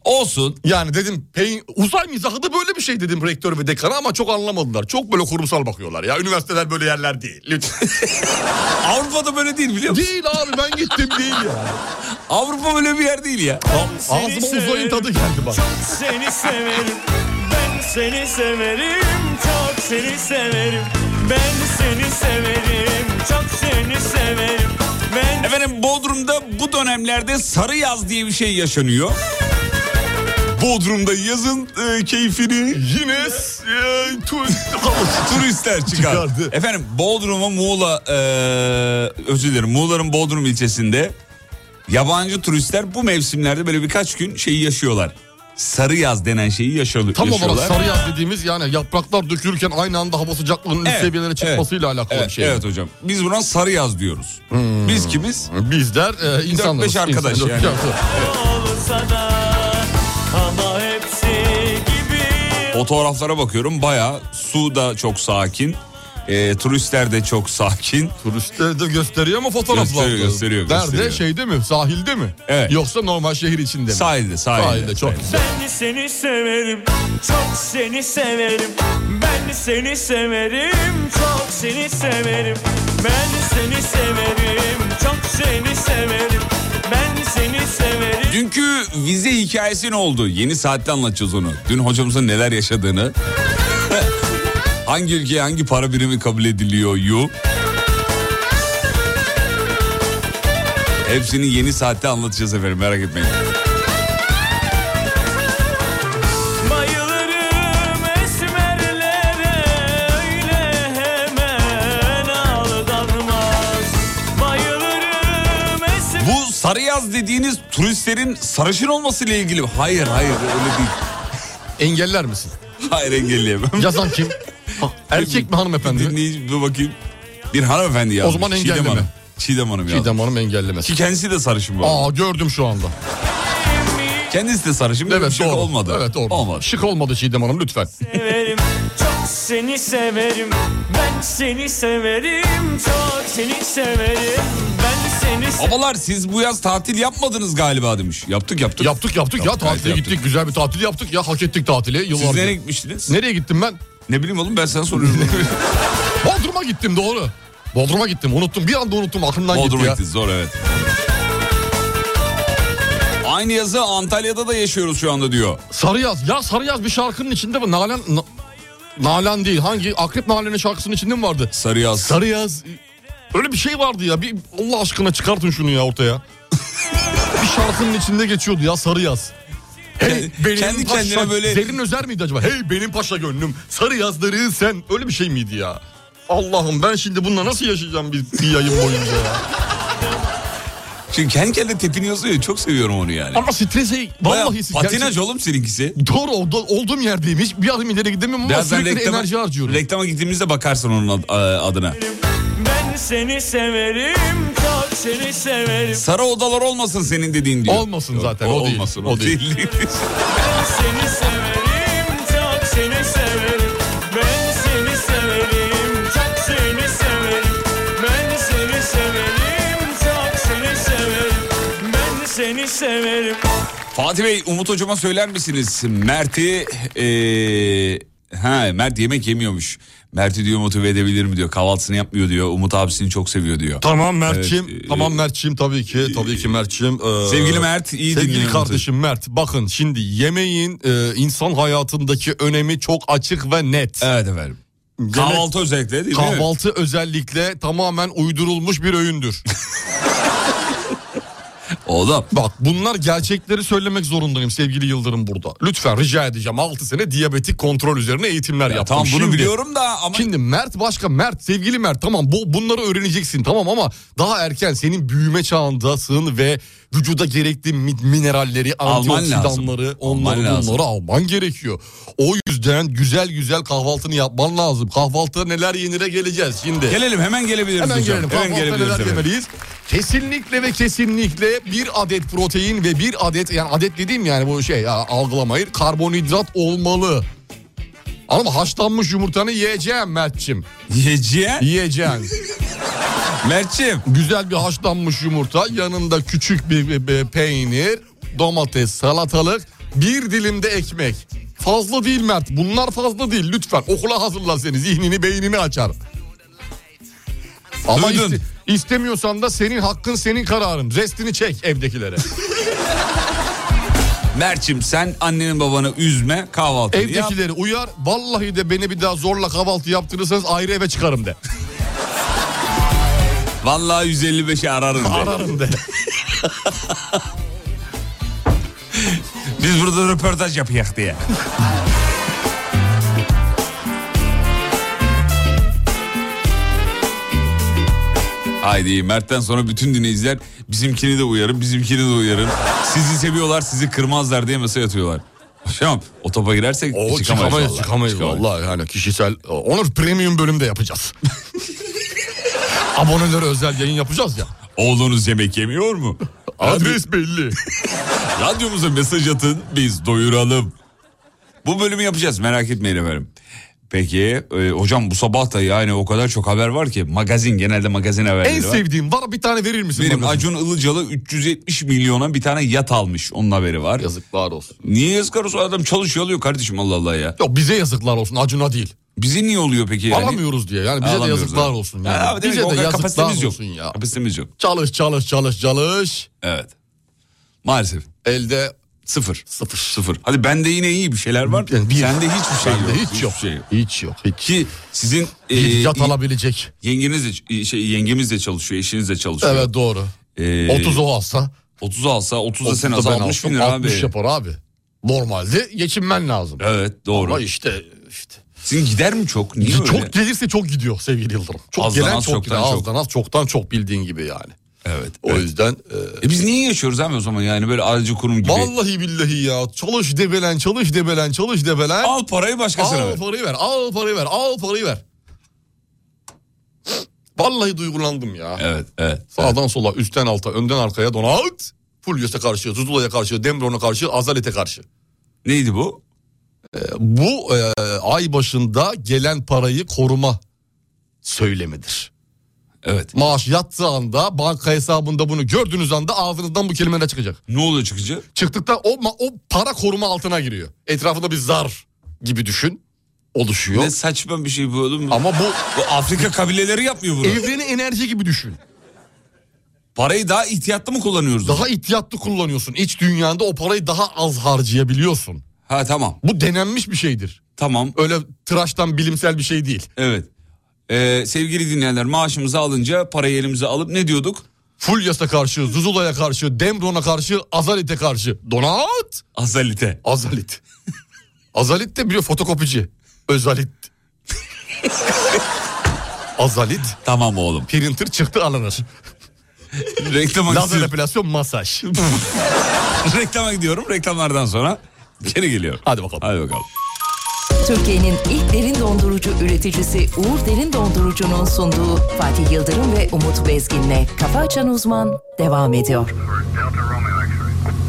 Speaker 2: Olsun.
Speaker 3: Yani dedim peyn- uzay mizahı da böyle bir şey dedim rektör ve dekana ama çok anlamadılar. Çok böyle kurumsal bakıyorlar ya. Üniversiteler böyle yerler değil. Lütfen.
Speaker 2: Avrupa'da böyle değil biliyor musun?
Speaker 3: değil abi ben gittim değil ya.
Speaker 2: Avrupa böyle bir yer değil ya.
Speaker 3: Ağzıma uzayın tadı geldi bak.
Speaker 7: Seni severim, ben seni severim, çok seni severim. Ben seni severim, çok seni severim. Ben
Speaker 2: Efendim Bodrum'da bu dönemlerde sarı yaz diye bir şey yaşanıyor. Bodrum'da yazın e, keyfini
Speaker 3: Yine s- e, tu-
Speaker 2: turistler çıkar.
Speaker 3: Çıkardı.
Speaker 2: Efendim Bodrum'a Muğla e, özür dilerim Muğla'nın Bodrum ilçesinde yabancı turistler bu mevsimlerde böyle birkaç gün şeyi yaşıyorlar. Sarı yaz denen şeyi yaşalı-
Speaker 3: Tam olarak
Speaker 2: yaşıyorlar.
Speaker 3: sarı yaz dediğimiz yani yapraklar dökülürken aynı anda hava sıcaklığının üst
Speaker 2: Evet,
Speaker 3: seviyelere çıkmasıyla
Speaker 2: evet,
Speaker 3: alakalı
Speaker 2: evet,
Speaker 3: bir şey.
Speaker 2: Evet hocam. Biz buna sarı yaz diyoruz.
Speaker 3: Hmm.
Speaker 2: Biz kimiz?
Speaker 3: Bizler e, insanlarız.
Speaker 2: beş arkadaş
Speaker 3: İnsan-
Speaker 2: yani.
Speaker 3: dört- dört-
Speaker 7: olsa da ama hepsi gibi
Speaker 2: Fotoğraflara bakıyorum baya su da çok sakin. e, turistler de çok sakin.
Speaker 3: Turistleri de gösteriyor ama fotoğraflarda.
Speaker 2: Gösteriyor, gösteriyor,
Speaker 3: Nerede?
Speaker 2: gösteriyor.
Speaker 3: Şeyde mi? Sahilde mi?
Speaker 2: Evet.
Speaker 3: Yoksa normal şehir içinde mi?
Speaker 2: Sahilde, sahilde.
Speaker 3: Sahilde çok güzel.
Speaker 7: Ben seni severim, çok seni severim. Ben seni severim, çok
Speaker 8: seni severim Ben seni severim Çok seni severim Ben seni severim
Speaker 2: Dünkü vize hikayesi ne oldu? Yeni saatte anlatacağız onu. Dün hocamızın neler yaşadığını. hangi ülkeye hangi para birimi kabul ediliyor yu? Hepsini yeni saatte anlatacağız efendim merak etmeyin.
Speaker 8: Bayılırım esmerlere öyle hemen aldanmaz Bayılırım esmerlere
Speaker 2: Bu sarı yaz dediğiniz turistlerin sarışın olması ile ilgili mi? Hayır hayır öyle değil.
Speaker 3: Engeller misin?
Speaker 2: Hayır engelleyemem.
Speaker 3: Yazan kim? Ha, Erkek mi hanımefendi? mi?
Speaker 2: Dinleyici bir bakayım. Bir hanımefendi yazmış.
Speaker 3: zaman
Speaker 2: Çiğdem
Speaker 3: engelleme.
Speaker 2: Hanım. Çiğdem Hanım yazmış.
Speaker 3: Çiğdem Hanım engellemez.
Speaker 2: Ki kendisi de sarışın bu. arada.
Speaker 3: Aa gördüm şu anda.
Speaker 2: Kendisi de sarışın. Evet, bir
Speaker 3: Evet
Speaker 2: şey
Speaker 3: doğru.
Speaker 2: olmadı.
Speaker 3: Evet doğru.
Speaker 2: Olmadı.
Speaker 3: Şık olmadı Çiğdem Hanım lütfen.
Speaker 8: severim Çok seni severim Ben seni severim Çok seni severim Ben seni severim
Speaker 2: Babalar siz bu yaz tatil yapmadınız gayba demiş. Yaptık yaptık.
Speaker 3: Yaptık yaptık ya
Speaker 2: Yaptık,
Speaker 3: tatile
Speaker 2: yaptık.
Speaker 3: gittik güzel bir tatil yaptık ya hak ettik tatili yıllardır.
Speaker 2: Siz nereye gitmiştiniz?
Speaker 3: Nereye gittim ben?
Speaker 2: Ne bileyim oğlum ben sana soruyorum.
Speaker 3: Bodrum'a gittim doğru. Bodrum'a gittim unuttum bir anda unuttum aklımdan gitti
Speaker 2: Bodrum'a
Speaker 3: ya.
Speaker 2: gittiniz doğru evet. Aynı yazı Antalya'da da yaşıyoruz şu anda diyor.
Speaker 3: Sarıyaz ya Sarıyaz bir şarkının içinde mi? Nalan... Na- Nalan değil hangi Akrep Nalan'ın şarkısının içinde mi vardı?
Speaker 2: Sarı yaz.
Speaker 3: Sarıyaz öyle bir şey vardı ya bir Allah aşkına çıkartın şunu ya ortaya. bir şarkının içinde geçiyordu ya Sarıyaz. Hey
Speaker 2: Kendi-
Speaker 3: benim
Speaker 2: kendi
Speaker 3: paşa,
Speaker 2: kendine böyle-
Speaker 3: Zerrin Özer miydi acaba? Hey benim paşa gönlüm sarı yazları sen. Öyle bir şey miydi ya? Allah'ım ben şimdi bununla nasıl yaşayacağım bir, bir yayın boyunca ya?
Speaker 2: Çünkü kendi kendine tepiniyorsun ya çok seviyorum onu yani.
Speaker 3: Ama strese
Speaker 2: Baya
Speaker 3: vallahi
Speaker 2: patinaj
Speaker 3: gerçek-
Speaker 2: oğlum seninkisi.
Speaker 3: Doğru oldu, olduğum yerdeyim. Hiç bir adım ileri gidemiyorum ama
Speaker 2: Birazdan
Speaker 3: sürekli enerji harcıyorum.
Speaker 2: reklama gittiğimizde bakarsın onun ad- a- adına.
Speaker 8: Ben seni severim Çok seni severim
Speaker 2: Sarı odalar olmasın senin dediğin diyor.
Speaker 3: Olmasın zaten, o değil,
Speaker 2: olmasın,
Speaker 3: o değil.
Speaker 8: Ben seni severim Çok seni severim Ben seni severim Çok seni severim Ben seni severim Çok seni severim Ben seni severim
Speaker 2: Fatih Bey Umut hocama söyler misiniz? Mert'i eee ha Mert yemek yemiyormuş. Mert'i diyor motive edebilir mi diyor. Kahvaltısını yapmıyor diyor. Umut abisini çok seviyor diyor.
Speaker 3: Tamam Mert'ciğim.
Speaker 2: Evet, e,
Speaker 3: tamam Mert'ciğim tabii ki. Tabii ki Mert'ciğim. Ee,
Speaker 2: Sevgili Mert, iyi dinleyin
Speaker 3: Sevgili
Speaker 2: Umut'u.
Speaker 3: kardeşim Mert. Bakın şimdi yemeğin e, insan hayatındaki önemi çok açık ve net.
Speaker 2: Evet efendim.
Speaker 3: Yemek-
Speaker 2: Kahvaltı özellikle değil mi?
Speaker 3: Kahvaltı özellikle tamamen uydurulmuş bir öğündür.
Speaker 2: Oğlum
Speaker 3: Bak bunlar gerçekleri söylemek zorundayım sevgili Yıldırım burada. Lütfen rica edeceğim 6 sene diyabetik kontrol üzerine eğitimler
Speaker 2: ya
Speaker 3: yaptım.
Speaker 2: tamam bunu
Speaker 3: Şimdi-
Speaker 2: biliyorum da ama
Speaker 3: Şimdi Mert başka Mert sevgili Mert tamam bu bunları öğreneceksin tamam ama daha erken senin büyüme çağındasın ve vücuda gerekli mi- mineralleri,
Speaker 2: Alman lazım.
Speaker 3: antioksidanları onları
Speaker 2: Alman lazım.
Speaker 3: bunları alman gerekiyor. O yüzden güzel güzel kahvaltını yapman lazım. Kahvaltıda neler yenire geleceğiz şimdi.
Speaker 2: gelelim hemen gelebiliriz
Speaker 3: Hemen
Speaker 2: hocam.
Speaker 3: gelelim.
Speaker 2: Hemen
Speaker 3: Kahvaltıda
Speaker 2: gelebiliriz.
Speaker 3: neler
Speaker 2: efendim.
Speaker 3: yemeliyiz? Kesinlikle ve kesinlikle bir adet protein ve bir adet yani adet dediğim yani bu şey ya, algılamayı karbonhidrat olmalı. Ama haşlanmış yumurtanı yiyeceğim Mert'cim.
Speaker 2: Yiyeceğim.
Speaker 3: Yiyeceğim.
Speaker 2: Mert'ciğim
Speaker 3: Güzel bir haşlanmış yumurta, yanında küçük bir, bir- bir peynir, domates, salatalık, bir dilim de ekmek. Fazla değil Mert. Bunlar fazla değil. Lütfen okula hazırla seni. Zihnini, beynini açar. Ama
Speaker 2: Duydun.
Speaker 3: iste- istemiyorsan da senin hakkın, senin kararın. Restini çek evdekilere.
Speaker 2: Mert'ciğim sen annenin babanı üzme kahvaltı yap.
Speaker 3: Evdekileri uyar. Vallahi de beni bir daha zorla kahvaltı yaptırırsanız ayrı eve çıkarım de.
Speaker 2: Vallahi 155'i ararım. de.
Speaker 3: Ararım de.
Speaker 2: Biz burada röportaj yapıyak diye. Haydi Mert'ten sonra bütün dinleyiciler bizimkini de uyarın, bizimkini de uyarın. Sizi seviyorlar, sizi kırmazlar diye mesaj atıyorlar. Hocam o topa girersek
Speaker 3: O
Speaker 2: çıkamayız.
Speaker 3: çıkamayız
Speaker 2: vallahi.
Speaker 3: çıkamayız vallahi yani kişisel e, onur premium bölümde yapacağız. Abonelere özel yayın yapacağız ya.
Speaker 2: Oğlunuz yemek yemiyor mu?
Speaker 3: Adres belli.
Speaker 2: Radyomuza mesaj atın biz doyuralım. Bu bölümü yapacağız merak etmeyin efendim. Peki e, hocam bu sabah da yani o kadar çok haber var ki magazin genelde magazin haberleri
Speaker 3: en
Speaker 2: var.
Speaker 3: sevdiğim var bir tane verir misin?
Speaker 2: Benim
Speaker 3: bana?
Speaker 2: Acun Ilıcalı 370 milyona bir tane yat almış onun haberi var.
Speaker 3: yazıklar olsun.
Speaker 2: Niye yazık arası? adam çalışıyor alıyor kardeşim Allah Allah ya.
Speaker 3: Yok bize yazıklar olsun Acun'a değil.
Speaker 2: Bize niye oluyor peki yani?
Speaker 3: Alamıyoruz diye. Yani bize de
Speaker 2: Alamıyoruz
Speaker 3: yazıklar
Speaker 2: da.
Speaker 3: olsun. Yani.
Speaker 2: Ha, abi demek
Speaker 3: bize
Speaker 2: ki o
Speaker 3: de
Speaker 2: kadar
Speaker 3: yazıklar
Speaker 2: kapasitemiz yok.
Speaker 3: olsun ya.
Speaker 2: Kapasitemiz yok.
Speaker 3: Çalış çalış çalış çalış.
Speaker 2: Evet. Maalesef.
Speaker 3: Elde
Speaker 2: Sıfır.
Speaker 3: Sıfır.
Speaker 2: Sıfır. Hadi bende yine iyi bir şeyler var.
Speaker 3: Yani bir-
Speaker 2: Sende hiçbir şey
Speaker 3: bende
Speaker 2: yok.
Speaker 3: hiç yok.
Speaker 2: Hiçbir şey yok.
Speaker 3: Hiç yok. Hiç.
Speaker 2: Ki sizin e,
Speaker 3: Bir yat alabilecek.
Speaker 2: yengeniz de, şey, yengemiz de çalışıyor, eşiniz de çalışıyor.
Speaker 3: Evet doğru.
Speaker 2: Ee,
Speaker 3: 30 o alsa.
Speaker 2: 30 alsa 30 da sen
Speaker 3: 30 da
Speaker 2: alsa
Speaker 3: ben
Speaker 2: 60 bin
Speaker 3: alsam,
Speaker 2: lira
Speaker 3: 60
Speaker 2: abi.
Speaker 3: yapar abi. Normalde geçinmen lazım.
Speaker 2: Evet doğru.
Speaker 3: Ama işte işte.
Speaker 2: Sizin gider mi çok? Niye öyle?
Speaker 3: Çok gelirse çok gidiyor sevgili Yıldırım. Çok
Speaker 2: Azdan
Speaker 3: gelen
Speaker 2: az,
Speaker 3: çok
Speaker 2: çoktan
Speaker 3: gider.
Speaker 2: çok.
Speaker 3: Azdan az çoktan çok bildiğin gibi yani.
Speaker 2: Evet.
Speaker 3: O
Speaker 2: evet.
Speaker 3: yüzden e,
Speaker 2: E biz niye yaşıyoruz abi o zaman yani böyle ayrıcı kurum gibi?
Speaker 3: vallahi billahi ya çalış debelen çalış debelen çalış debelen.
Speaker 2: Al parayı başkasına
Speaker 3: al
Speaker 2: ver.
Speaker 3: parayı ver al parayı ver al parayı ver. Vallahi duygulandım ya.
Speaker 2: Evet evet.
Speaker 3: Sağdan sola, üstten alta, önden arkaya Donald. Fulyos'a karşı, Zuzula'ya karşı, Demron'a karşı, Azalet'e karşı.
Speaker 2: Neydi bu?
Speaker 3: Bu e, ay başında gelen parayı koruma söylemidir.
Speaker 2: Evet.
Speaker 3: Maaş yattığı anda banka hesabında bunu gördüğünüz anda ağzınızdan bu kelimeler çıkacak.
Speaker 2: Ne oluyor çıkıcı?
Speaker 3: Çıktıktan o, ma- o para koruma altına giriyor. Etrafında bir zar gibi düşün oluşuyor.
Speaker 2: Ne saçma bir şey bu oğlum.
Speaker 3: Ama bu
Speaker 2: Bu Afrika kabileleri yapmıyor bunu.
Speaker 3: evreni enerji gibi düşün.
Speaker 2: Parayı daha ihtiyatlı mı kullanıyoruz?
Speaker 3: Daha ihtiyatlı kullanıyorsun. İç dünyanda o parayı daha az harcayabiliyorsun.
Speaker 2: Ha tamam.
Speaker 3: Bu denenmiş bir şeydir.
Speaker 2: Tamam.
Speaker 3: öyle tıraştan bilimsel bir şey değil.
Speaker 2: Evet. Ee, sevgili dinleyenler maaşımızı alınca parayı elimize alıp ne diyorduk?
Speaker 3: Fulyas'a karşı, Zuzula'ya karşı, Demron'a karşı, Azalit'e karşı. Donat!
Speaker 2: Azalite.
Speaker 3: Azalit. Azalit de biliyor fotokopici. Özalit. Azalit.
Speaker 2: Tamam oğlum.
Speaker 3: Printer çıktı alınır.
Speaker 2: Reklama,
Speaker 3: Lazer
Speaker 2: gidiyorum.
Speaker 3: epilasyon masaj.
Speaker 2: reklama gidiyorum. Reklamlardan sonra geri geliyorum.
Speaker 3: Hadi bakalım.
Speaker 2: Hadi bakalım.
Speaker 6: Türkiye'nin ilk derin dondurucu üreticisi Uğur Derin Dondurucu'nun sunduğu Fatih Yıldırım ve Umut Bezgin'le Kafa Açan Uzman devam ediyor.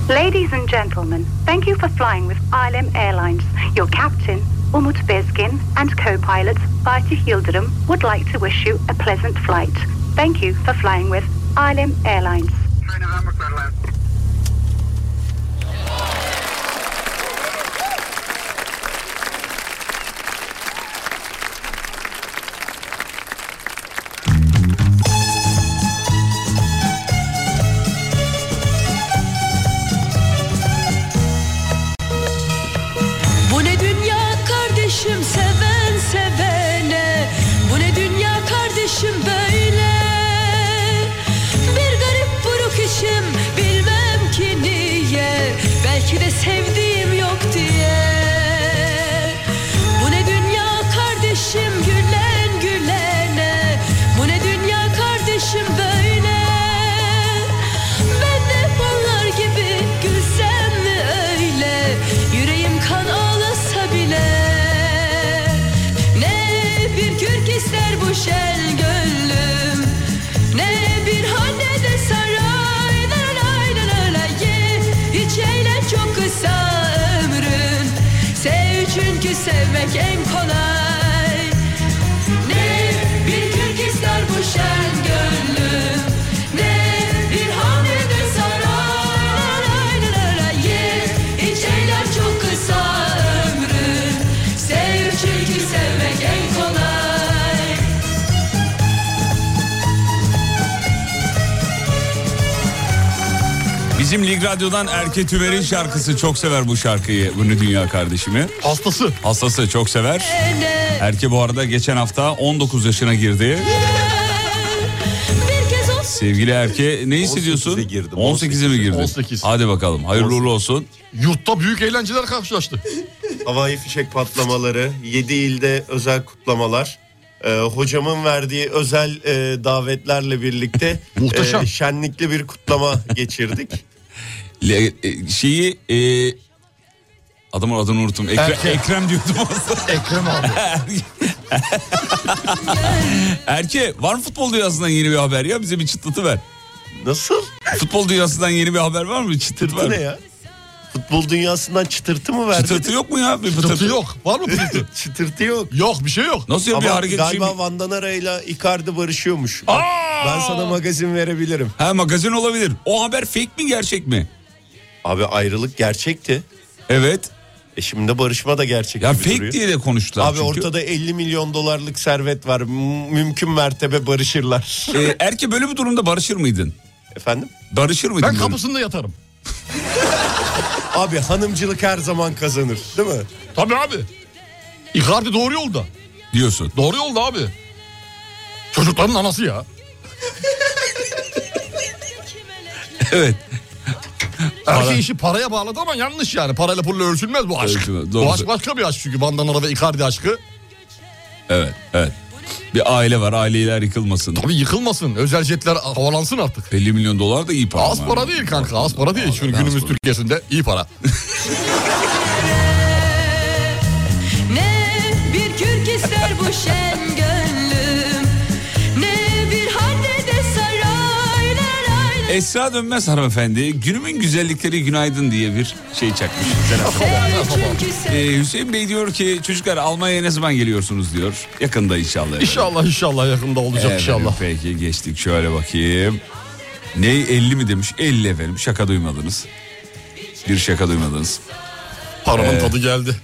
Speaker 9: Ladies and gentlemen, thank you for flying with ILM Airlines. Your captain, Umut Bezgin, and co-pilot Fatih Yıldırım would like to wish you a pleasant flight. Thank you for flying with ILM Airlines.
Speaker 1: Bu ne dünya kardeşim seven sevene Bu ne dünya kardeşim böyle Bir garip buruk içim bilmem ki niye Belki de sevdiğim yok diye Bu ne dünya kardeşim gülen gülene Bu ne dünya kardeşim böyle Ben de onlar gibi gülsem mi öyle Yüreğim kan ağlasa bile Ne bir kürk ister bu şel gönlüm Ne bir hanede saray La la la la la ye Hiç eğlen çok kısa ömrün Sev çünkü sevmek en kolay ne bir kürk ister bu şen gönlüm Ne bir hamlede saray La la la ye Hiç eyler çok kısa ömrüm Sev çünkü sevmek en kolay
Speaker 2: Bizim Lig Radyo'dan Erke Tümer'in şarkısı çok sever bu şarkıyı. Ünlü dünya kardeşimi.
Speaker 3: Hastası.
Speaker 2: Hastası çok sever. Erke bu arada geçen hafta 19 yaşına girdi.
Speaker 1: Bir kez olsun
Speaker 2: Sevgili Erke ne hissediyorsun?
Speaker 10: 18'e girdim.
Speaker 2: 18'e mi girdin?
Speaker 3: 18.
Speaker 2: Hadi bakalım hayırlı uğurlu olsun.
Speaker 3: Yurtta büyük eğlenceler karşılaştı.
Speaker 10: Havai fişek patlamaları, 7 ilde özel kutlamalar, e, hocamın verdiği özel e, davetlerle birlikte
Speaker 3: Muhteşem.
Speaker 10: e, şenlikli bir kutlama geçirdik.
Speaker 2: Le- e, şeyi e, adamın adını unuttum. Ekre-
Speaker 3: Erke.
Speaker 2: Ekrem diyordum aslında.
Speaker 3: Ekrem abi.
Speaker 2: Erke var mı futbol dünyasından yeni bir haber ya? Bize bir çıtlatı ver.
Speaker 10: Nasıl?
Speaker 2: Futbol dünyasından yeni bir haber var mı? Bir Çıtlat var
Speaker 10: Çıtırtı
Speaker 2: mı?
Speaker 10: ne ya? Futbol dünyasından çıtırtı mı verdi?
Speaker 2: Çıtırtı yok mu ya? Bir
Speaker 3: Pıtırtı yok. Var mı pıtırtı?
Speaker 10: çıtırtı yok.
Speaker 3: yok bir şey yok.
Speaker 2: Nasıl ya bir
Speaker 10: Ama
Speaker 2: hareket şey mi?
Speaker 10: galiba Van Danara ile Icardi barışıyormuş. Bak, Ben sana magazin verebilirim.
Speaker 2: Ha magazin olabilir. O haber fake mi gerçek mi?
Speaker 10: Abi ayrılık gerçekti.
Speaker 2: Evet.
Speaker 10: E şimdi barışma da gerçek
Speaker 2: Ya
Speaker 10: gibi
Speaker 2: fake
Speaker 10: duruyor.
Speaker 2: diye de konuştular.
Speaker 10: Abi
Speaker 2: çünkü.
Speaker 10: ortada 50 milyon dolarlık servet var. M- mümkün mertebe barışırlar.
Speaker 2: E, erke böyle bir durumda barışır mıydın?
Speaker 10: Efendim?
Speaker 2: Barışır mıydın?
Speaker 3: Ben
Speaker 2: böyle?
Speaker 3: kapısında yatarım.
Speaker 10: Abi hanımcılık her zaman kazanır değil mi?
Speaker 3: Tabii abi. Icardi doğru yolda.
Speaker 2: diyorsun.
Speaker 3: Doğru yolda abi. Çocukların anası ya.
Speaker 2: Evet.
Speaker 3: Her şey işi paraya bağladı ama yanlış yani. Parayla pulla ölçülmez bu aşk.
Speaker 2: Ölçülmez, doğru.
Speaker 3: bu aşk başka bir aşk çünkü. Bandana ve Icardi aşkı.
Speaker 2: Evet, evet. Bir aile var, aileler yıkılmasın.
Speaker 3: Tabii yıkılmasın. Özel jetler havalansın artık.
Speaker 2: 50 milyon dolar da iyi para.
Speaker 3: Az
Speaker 2: ama.
Speaker 3: para değil kanka az para değil. Şimdi günümüz Türkiye'sinde iyi para.
Speaker 1: Ne bir kürk ister bu şen gönlüm Ne bir halde de saray lay lay lay.
Speaker 2: Esra Dönmez hanımefendi günümün güzellikleri günaydın diye bir şey çakmış.
Speaker 1: Sev çünkü sev
Speaker 2: Ee, Hüseyin Bey diyor ki çocuklar Almanya'ya ne zaman geliyorsunuz diyor. Yakında inşallah. efendim.
Speaker 3: İnşallah inşallah yakında olacak
Speaker 2: Evet,
Speaker 3: inşallah.
Speaker 2: Peki geçtik şöyle bakayım. Ne 50 mi demiş? 50 efendim şaka duymadınız. Bir şaka duymadınız.
Speaker 3: Paranın
Speaker 11: Ee,
Speaker 3: tadı geldi.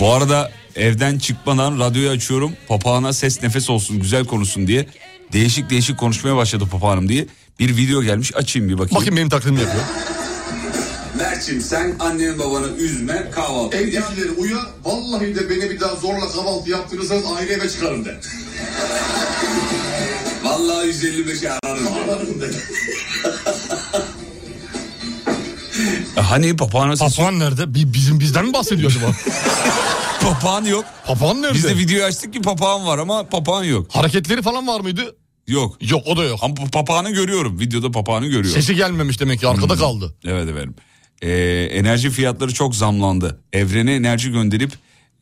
Speaker 2: Bu arada evden çıkmadan radyoyu açıyorum. Papağana ses nefes olsun güzel konuşsun diye. Değişik değişik konuşmaya başladı papağanım diye. Bir video gelmiş açayım bir bakayım.
Speaker 3: Bakın benim taklidimi yapıyor.
Speaker 12: Mert'cim sen anneni babanı üzme kahvaltı.
Speaker 11: Evdekileri uya, vallahi de beni bir daha zorla kahvaltı yaptırırsanız aile eve çıkarım de.
Speaker 12: Vallahi 155 ararım.
Speaker 11: Ararım de.
Speaker 2: Hani papağana ses
Speaker 3: Papağan nerede? Bi- Bizim bizden mi bahsediyor acaba?
Speaker 2: Papağan yok.
Speaker 3: Papağan nerede?
Speaker 2: Biz de videoyu açtık ki papağan var ama papağan yok.
Speaker 3: Hareketleri falan var mıydı?
Speaker 2: Yok.
Speaker 3: Yok o da yok.
Speaker 2: Ama pa- papağanı görüyorum. Videoda papağanı görüyorum.
Speaker 3: Sesi gelmemiş demek ki
Speaker 2: Hmm.
Speaker 3: arkada kaldı.
Speaker 2: Evet efendim. Ee, enerji fiyatları çok zamlandı. Evrene enerji gönderip...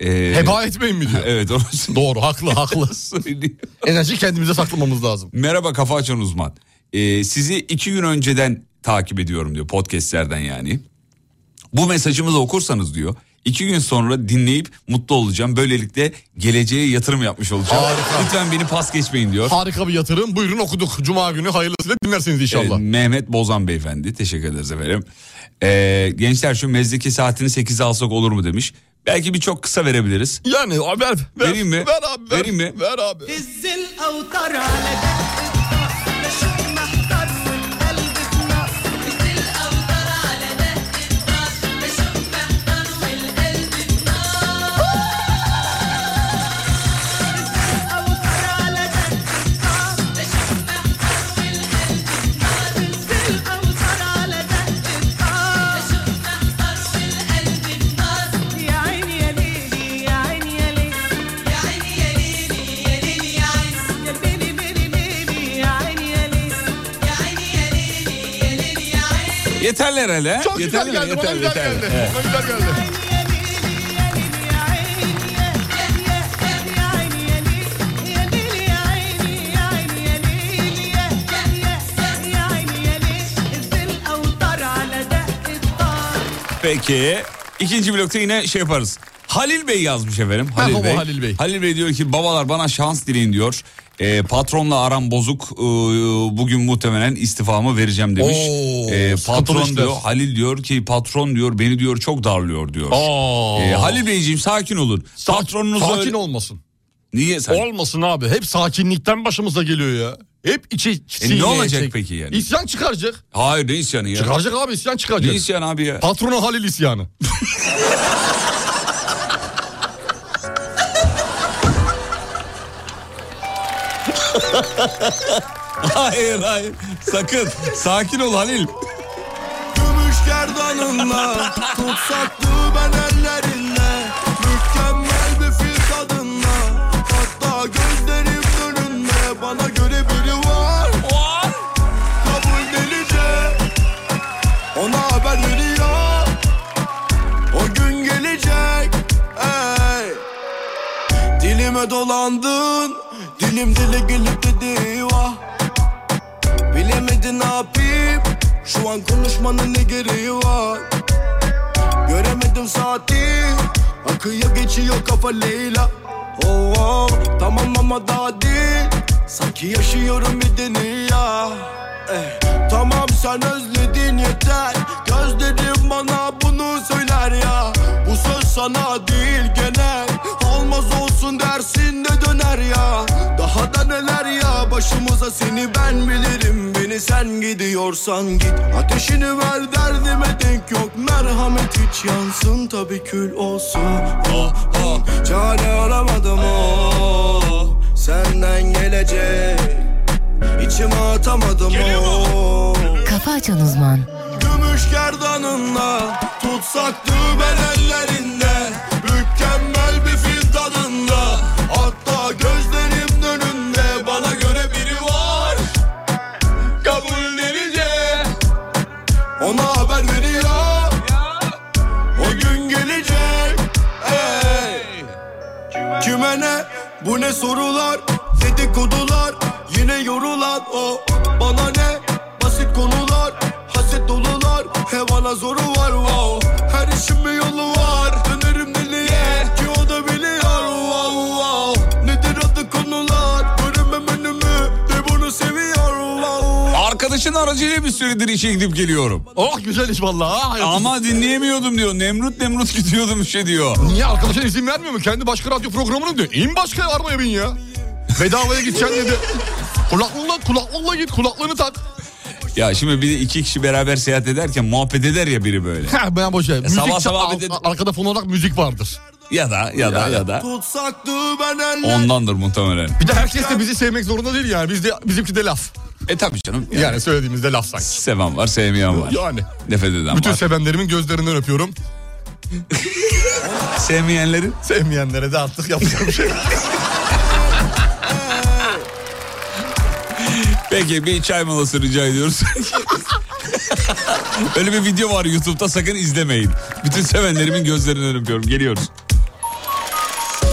Speaker 2: ee,
Speaker 3: Heba etmeyin mi diyor.
Speaker 2: Evet orası
Speaker 3: Doğru haklı haklı.
Speaker 2: söylüyor.
Speaker 3: Enerji kendimize saklamamız lazım.
Speaker 2: Merhaba kafa açan uzman. Ee, sizi iki gün önceden takip ediyorum diyor podcastlerden yani. Bu mesajımızı okursanız diyor. iki gün sonra dinleyip mutlu olacağım. Böylelikle geleceğe yatırım yapmış olacağım.
Speaker 3: Harika.
Speaker 2: Lütfen beni pas geçmeyin diyor.
Speaker 3: Harika bir yatırım. Buyurun okuduk. Cuma günü hayırlısıyla dinlersiniz inşallah.
Speaker 2: Ee, Mehmet Bozan beyefendi teşekkür ederiz efendim. Ee, gençler şu mezdeki saatini 8'e alsak olur mu demiş. Belki bir çok kısa verebiliriz.
Speaker 3: Yani ver, ver,
Speaker 2: Vereyim mi?
Speaker 3: Ver abi. Ver,
Speaker 2: Vereyim mi?
Speaker 3: Ver abi.
Speaker 2: Yeterli herhalde. he?
Speaker 3: Çok
Speaker 2: Yeterli mi?
Speaker 3: güzel geldi. Bana
Speaker 2: Yeterli,
Speaker 3: güzel
Speaker 2: yeterli.
Speaker 3: geldi.
Speaker 2: Evet.
Speaker 3: Bana güzel geldi.
Speaker 2: Peki. ikinci blokta yine şey yaparız. Halil Bey yazmış efendim. Halil
Speaker 3: Merhaba
Speaker 2: Bey.
Speaker 3: Halil Bey.
Speaker 2: diyor ki babalar bana şans dileyin diyor. Ee, patronla aram bozuk Ee, bugün muhtemelen istifamı vereceğim demiş.
Speaker 3: Oo,
Speaker 2: Ee,
Speaker 3: sıkıntılı
Speaker 2: patron
Speaker 3: işler.
Speaker 2: diyor Halil diyor ki patron diyor beni diyor çok darlıyor diyor.
Speaker 3: Aa.
Speaker 2: Ee, Halil Beyciğim sakin olun. Patronunuz
Speaker 3: sakin
Speaker 2: öyle-
Speaker 3: olmasın.
Speaker 2: Niye sen?
Speaker 3: Olmasın abi. Hep sakinlikten başımıza geliyor ya. Hep içi sineye
Speaker 2: E, ne olacak
Speaker 3: çek.
Speaker 2: peki yani?
Speaker 3: İsyan çıkaracak.
Speaker 2: Hayır ne isyanı ya?
Speaker 3: Çıkaracak abi isyan
Speaker 2: Ne
Speaker 3: çıkaracak.
Speaker 2: isyan abi ya?
Speaker 3: Patronu Halil isyanı.
Speaker 2: hayır hayır. Sakın. sakin ol Halil.
Speaker 13: Gümüş gerdanınla Tutsattı ben ellerinle Mükemmel bir fil kadınla Hatta gözlerim önünde Bana göre biri var Kabul delice Ona haber veriyor O gün gelecek Ey Dilime dolandın Dilim dile gelip dedi vah Bilemedin ne yapayım Şu an konuşmanın ne gereği var Göremedim saati Akıyor geçiyor kafa Leyla oh, oh, Tamam ama daha değil Sanki yaşıyorum bir dünya eh. Tamam sen özledin Daha da neler ya başımıza seni ben bilirim Beni sen gidiyorsan git Ateşini ver derdime denk yok Merhamet hiç yansın tabi kül olsun Oh oh çare aramadım oh Senden gelecek İçime atamadım oh
Speaker 6: Kafa Açan Uzman
Speaker 13: Gümüş gerdanında Tutsak düğmen ellerinde Mükemmel bir fil tadında Hatta gözlerim önünde Bana göre biri var Kabullerince Ona haber veriyor O gün gelecek Ey! Kime ne? Bu ne sorular? Dedikodular Yine yorulan o Bana ne? Basit konular Haset dolular Hevana zoru var wow Her işin bir yolu var Dönerim deliye Ki o da biliyor wow wow Nedir adı konular Görünmem önümü De bunu seviyor wow
Speaker 2: Arkadaşın aracıyla bir süredir işe gidip geliyorum.
Speaker 3: Oh güzel iş vallahi.
Speaker 2: Ama dinleyemiyordum diyor. Nemrut Nemrut gidiyordum şey diyor.
Speaker 3: Niye arkadaşına izin vermiyor mu? Kendi başka radyo programını diyor. İn başka arabaya bin ya. Bedavaya gideceksin dedi. Kulaklığınla, kulaklığınla git kulaklığını tak.
Speaker 2: Ya şimdi bir de iki kişi beraber seyahat ederken muhabbet eder ya biri böyle.
Speaker 3: Ha, ben boş ver. Müzik
Speaker 2: E, sabah
Speaker 3: çal-
Speaker 2: sabah
Speaker 3: al- arkada fon olarak müzik vardır.
Speaker 2: Ya da ya da ya da.
Speaker 13: Tutsak düğmen eller
Speaker 2: Ondandır muhtemelen.
Speaker 3: Bir de herkes de bizi sevmek zorunda değil yani. Bizde bizimki de laf.
Speaker 2: E tabii canım.
Speaker 3: Yani, söylediğimizde laf sanki.
Speaker 2: Seven var sevmeyen var.
Speaker 3: Yani.
Speaker 2: Nefret eden
Speaker 3: Bütün
Speaker 2: var.
Speaker 3: sevenlerimin gözlerinden öpüyorum.
Speaker 2: Sevmeyenlerin?
Speaker 3: Sevmeyenlere de artık yapacağım bir şey. yok.
Speaker 2: Peki bir çay molası rica ediyoruz. Öyle bir video var YouTube'da sakın izlemeyin. Bütün sevenlerimin gözlerinden öpüyorum. Geliyoruz.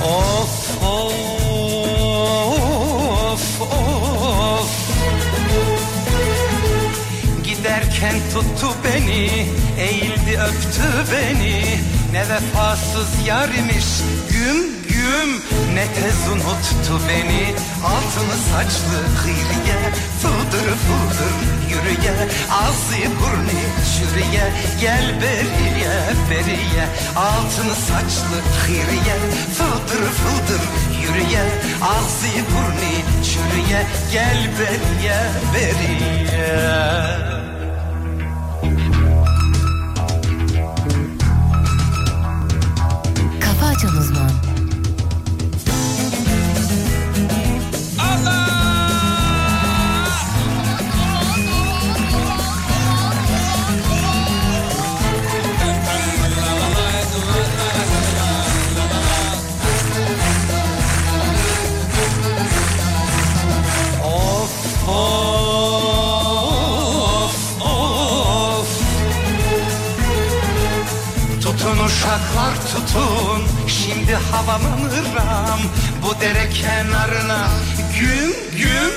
Speaker 7: Of of of Giderken tuttu beni Eğildi öptü beni Ne vefasız yarimiş Güm güm Ne tez unuttu beni Altını saçlı kıyriye Fıldır fıldır yürüye Ağzı burnu şürüye Gel beriye beriye Altını saçlı hıyriye Fıldır fıldır yürüye Ağzı burnu çürüye Gel beriye beriye
Speaker 6: Kafa Açan Uzman
Speaker 7: Of of of Tutun uşaklar tutun Şimdi havama mıram Bu dere kenarına Güm güm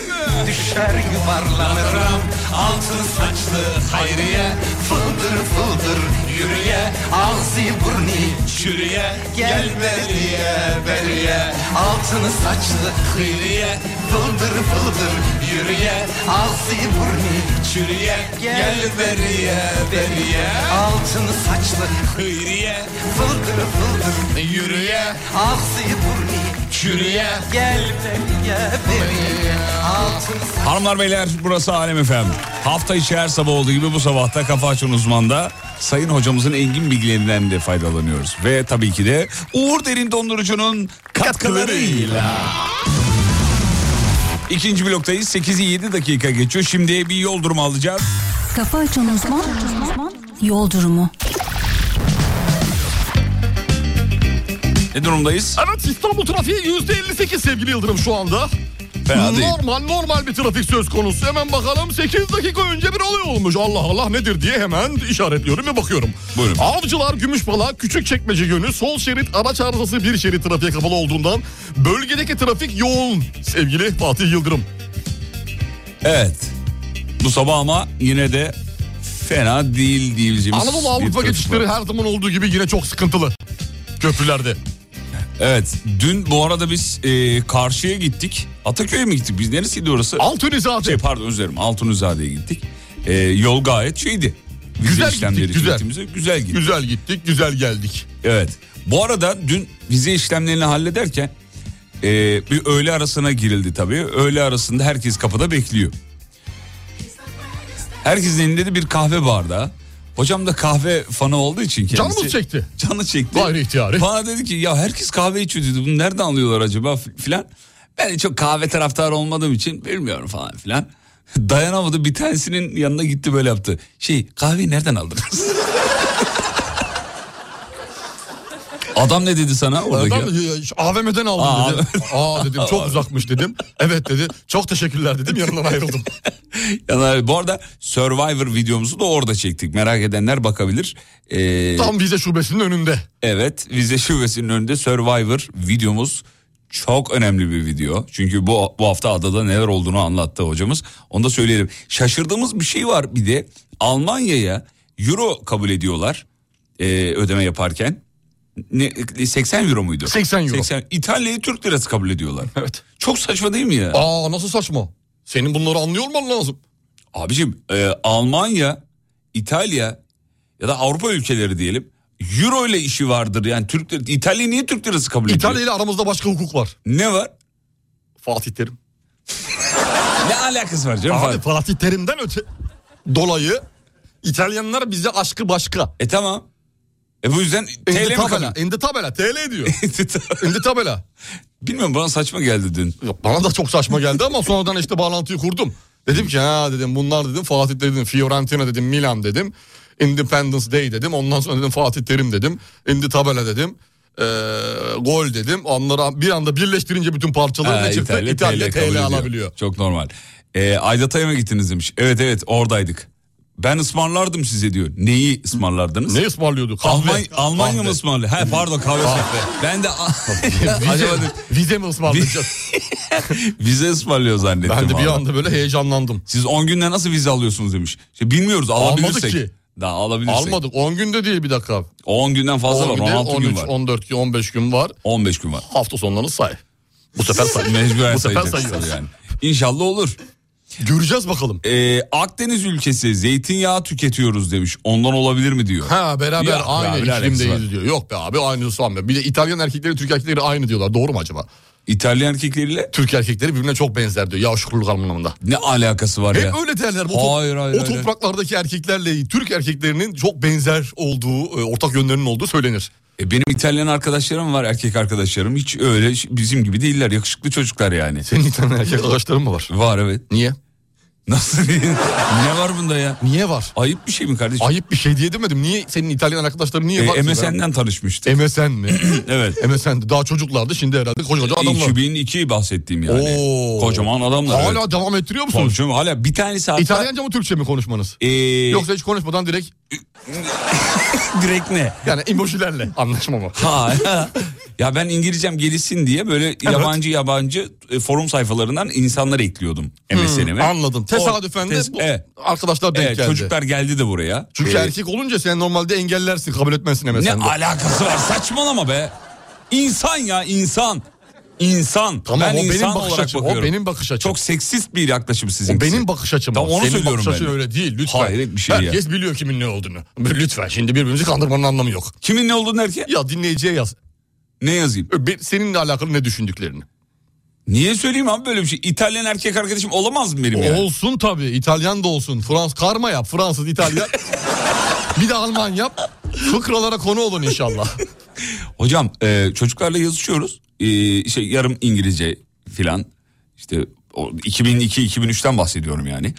Speaker 7: Düşer yuvarlanırım Altın saçlı hayriye Fıldır fıldır yürüye Ağzı burnu çürüye Gel beriye beriye Altını saçlı hıyriye Fıldır fıldır yürüye Ağzı burnu çürüye Gel beriye beriye Altını saçlı hıyriye Fıldır fıldır yürüye Ağzı burnu çürüye Gel beriye beriye Altını
Speaker 2: Hanımlar beyler burası Alem Efem. Hafta içi her sabah olduğu gibi bu sabahta Kafa Açan Uzman'da Sayın hocamızın engin bilgilerinden de faydalanıyoruz. Ve tabii ki de Uğur Derin Dondurucu'nun katkılarıyla. İkinci bloktayız. 8'i 7 dakika geçiyor. Şimdi bir yol durumu alacağız.
Speaker 14: Kafa açan uzman, yol durumu.
Speaker 2: Ne durumdayız?
Speaker 3: Evet İstanbul trafiği %58 sevgili Yıldırım şu anda.
Speaker 2: fena değil.
Speaker 3: Normal normal bir trafik söz konusu. Hemen bakalım 8 dakika önce bir olay olmuş. Allah Allah nedir diye hemen işaretliyorum ve bakıyorum.
Speaker 2: Buyurun.
Speaker 3: Avcılar Gümüşbala Küçükçekmece yönü sol şerit araç arızası bir şerit trafiğe kapalı olduğundan bölgedeki trafik yoğun sevgili Fatih Yıldırım.
Speaker 2: Evet. Bu sabah ama yine de fena değil diyebileceğimiz.
Speaker 3: Anadolu
Speaker 2: bir
Speaker 3: Avrupa
Speaker 2: trafik
Speaker 3: geçişleri
Speaker 2: var.
Speaker 3: her zaman olduğu gibi yine çok sıkıntılı. Köprülerde.
Speaker 2: Evet. Dün bu arada biz e, karşıya gittik. Ataköy'e mi gittik? Biz neresiydi orası?
Speaker 3: Altunizade.
Speaker 2: Şey pardon üzerim. Altunizade'ye gittik. E, yol gayet şeydi. Vize
Speaker 3: Güzel
Speaker 2: işlemleri
Speaker 3: gittik,
Speaker 2: için
Speaker 3: güzel.
Speaker 2: gittiğimizde Güzel gittik.
Speaker 3: Güzel gittik, güzel geldik.
Speaker 2: Evet. Bu arada dün vize işlemlerini hallederken e, bir öğle arasına girildi tabii. Öğle arasında herkes kapıda bekliyor. Herkesin elinde de bir kahve bardağı. Hocam da kahve fanı olduğu için kendisi.
Speaker 3: Canımız çekti.
Speaker 2: Canı çekti.
Speaker 3: Gayri ihtiyari.
Speaker 2: Bana dedi ki ya herkes kahve içiyor dedi. Bunu nereden alıyorlar acaba f- filan. Ben de çok kahve taraftarı olmadığım için bilmiyorum falan filan. Dayanamadı bir tanesinin yanına gitti böyle yaptı. Şey kahveyi nereden aldınız? Adam ne dedi sana oradaki?
Speaker 3: Adam, "Ya, ya, AVM'den aldım
Speaker 2: Aa,
Speaker 3: dedi. Aa dedim çok uzakmış dedim. Evet dedi. Çok teşekkürler dedim yanından ayrıldım.
Speaker 2: Yani bu arada Survivor videomuzu da orada çektik. Merak edenler bakabilir. Ee,
Speaker 3: Tam vize şubesinin önünde.
Speaker 2: Evet vize şubesinin önünde Survivor videomuz çok önemli bir video. Çünkü bu, bu hafta adada neler olduğunu anlattı hocamız. Onu da söyleyelim. Şaşırdığımız bir şey var bir de Almanya'ya euro kabul ediyorlar ee, ödeme yaparken. Ne, 80 euro muydu?
Speaker 3: 80 euro.
Speaker 2: İtalya'yı Türk lirası kabul ediyorlar. Evet. Çok saçma değil mi ya?
Speaker 3: Aa nasıl saçma? Senin bunları anlıyor olman lazım.
Speaker 2: Abicim e, Almanya, İtalya ya da Avrupa ülkeleri diyelim. Euro ile işi vardır yani Türk lirası. İtalya niye Türk lirası kabul ediyor?
Speaker 3: İtalya ile aramızda başka hukuk var.
Speaker 2: Ne var?
Speaker 3: Fatih Terim.
Speaker 2: ne alakası var canım?
Speaker 3: Abi Fatih Terim'den öte dolayı İtalyanlar bize aşkı başka.
Speaker 2: E tamam. E bu yüzden TL mi
Speaker 3: tabela.
Speaker 2: kalıyor?
Speaker 3: Endi tabela. TL diyor.
Speaker 2: Endi
Speaker 3: tabela.
Speaker 2: Bilmiyorum bana saçma geldi dün.
Speaker 3: Bana da çok saçma geldi ama sonradan işte bağlantıyı kurdum. Dedim ki ha dedim bunlar dedim Fatih dedim Fiorentina dedim Milan dedim. Independence Day dedim. Ondan sonra dedim Fatih Terim dedim. Endi tabela dedim. Ee, gol dedim. Onları bir anda birleştirince bütün parçaları
Speaker 2: Ha,
Speaker 3: ne çıktı? İtalya, TL,
Speaker 2: kabul ediyor.
Speaker 3: alabiliyor.
Speaker 2: Çok normal. E, Aydatay'a mı gittiniz demiş. Evet evet oradaydık. Ben ısmarlardım size diyor. Neyi ısmarlardınız?
Speaker 3: Ne ısmarlıyordu? Kahve.
Speaker 2: Almanya, Almanya
Speaker 3: Kahve.
Speaker 2: mı ısmarladı? He pardon kahve.
Speaker 3: Kahve.
Speaker 2: Ben de
Speaker 3: vize,
Speaker 2: acaba
Speaker 3: vize mi ısmarlayacağız?
Speaker 2: Vize ısmarlıyor zannettim.
Speaker 3: Ben de bir
Speaker 2: valla.
Speaker 3: anda böyle heyecanlandım.
Speaker 2: Siz 10 günde nasıl vize alıyorsunuz demiş. İşte bilmiyoruz alabilirsek.
Speaker 3: Almadık ki.
Speaker 2: Daha alabilirsek.
Speaker 3: Almadık. 10 günde değil bir dakika.
Speaker 2: 10 günden fazla
Speaker 3: 10
Speaker 2: var.
Speaker 3: günde,
Speaker 2: 16 gün
Speaker 3: 13,
Speaker 2: var.
Speaker 3: 14 gün, 15 gün var.
Speaker 2: 15 gün var.
Speaker 3: Hafta sonlarını say. Bu sefer say.
Speaker 2: Mecburen
Speaker 3: Bu sefer
Speaker 2: sayacaksın
Speaker 3: sayıyoruz.
Speaker 2: yani. İnşallah olur.
Speaker 3: Göreceğiz bakalım.
Speaker 2: Ee, Akdeniz ülkesi zeytinyağı tüketiyoruz demiş. Ondan olabilir mi diyor.
Speaker 3: Ha beraber
Speaker 2: Yok be
Speaker 3: aynı
Speaker 2: abi, ne alakası var?
Speaker 3: iklimdeyiz diyor. Yok be abi aynı sanmıyorum. Bir de İtalyan erkekleri Türk erkekleri aynı diyorlar. Doğru mu acaba?
Speaker 2: İtalyan erkekleriyle?
Speaker 3: Türk erkekleri birbirine çok benzer diyor. Yavşukluluk anlamında.
Speaker 2: Ne alakası var
Speaker 3: Hep
Speaker 2: ya?
Speaker 3: öyle derler. Bu top-
Speaker 2: Hayır, hayır,
Speaker 3: o
Speaker 2: hayır.
Speaker 3: topraklardaki erkeklerle Türk erkeklerinin çok benzer olduğu, e, ortak yönlerinin olduğu söylenir.
Speaker 2: E, benim İtalyan arkadaşlarım var erkek arkadaşlarım. Hiç öyle ş- bizim gibi değiller. Yakışıklı çocuklar yani.
Speaker 3: Senin İtalyan erkek arkadaşların mı var?
Speaker 2: Var evet.
Speaker 3: Niye?
Speaker 2: Nasıl? ne var bunda ya?
Speaker 3: Niye var?
Speaker 2: Ayıp bir şey mi kardeşim?
Speaker 3: Ayıp şey bir şey diye demedim. Niye senin İtalyan arkadaşların niye
Speaker 2: E,
Speaker 3: var? ki
Speaker 2: MSN'den
Speaker 3: beraber?
Speaker 2: tanışmıştık.
Speaker 3: MSN mi?
Speaker 2: evet.
Speaker 3: MSN'de daha çocuklardı şimdi herhalde koca koca adamlar.
Speaker 2: 2002 bahsettiğim yani.
Speaker 3: Oo.
Speaker 2: Kocaman adamlar.
Speaker 3: Hala
Speaker 2: evet.
Speaker 3: devam ettiriyor musunuz?
Speaker 2: Konuşuyorum, hala bir tanesi hatta
Speaker 3: İtalyanca mı Türkçe mi konuşmanız?
Speaker 2: Ee,
Speaker 3: Yoksa hiç konuşmadan direkt
Speaker 2: direkt ne?
Speaker 3: yani emojilerle anlaşma mı?
Speaker 2: Ha, ya ben İngilizcem gelişsin diye böyle yabancı yabancı e, forum sayfalarından insanlar ekliyordum MSN'ime.
Speaker 3: Hmm, anladım. Tesadüfen de bu arkadaşlar denk
Speaker 2: Evet,
Speaker 3: geldi.
Speaker 2: e, Çocuklar geldi de buraya.
Speaker 3: Çünkü
Speaker 2: Ee,
Speaker 3: erkek olunca sen normalde engellersin kabul etmezsin
Speaker 2: ne
Speaker 3: MSN'de.
Speaker 2: alakası var saçmalama be. İnsan ya insan. İnsan.
Speaker 3: Tamam
Speaker 2: ben
Speaker 3: o benim
Speaker 2: insan
Speaker 3: bakış
Speaker 2: olarak
Speaker 3: açım.
Speaker 2: bakıyorum.
Speaker 3: O benim bakış açım.
Speaker 2: Çok seksist bir yaklaşım sizin.
Speaker 3: o benim bakış açım.
Speaker 2: Tamam
Speaker 3: o.
Speaker 2: onu
Speaker 3: Senin
Speaker 2: söylüyorum
Speaker 3: bakış
Speaker 2: ben.
Speaker 3: açın
Speaker 2: de.
Speaker 3: öyle değil lütfen.
Speaker 2: Hayret bir şey ya.
Speaker 3: Herkes biliyor kimin ne olduğunu. Lütfen şimdi birbirimizi kandırmanın anlamı yok.
Speaker 2: Kimin ne olduğunu erken?
Speaker 3: Ya dinleyiciye yaz.
Speaker 2: Ne yazayım?
Speaker 3: Ben- Seninle alakalı ne düşündüklerini.
Speaker 2: Niye söyleyeyim abi böyle bir şey? İtalyan erkek arkadaşım olamaz mı benim yani?
Speaker 3: Olsun tabii. İtalyan da olsun. Frans karma yap. Fransız, İtalyan. bir de Alman yap. Fıkralara konu olun inşallah.
Speaker 2: Hocam e, çocuklarla yazışıyoruz. E, şey yarım İngilizce filan. İşte o 2002-2003'ten bahsediyorum yani.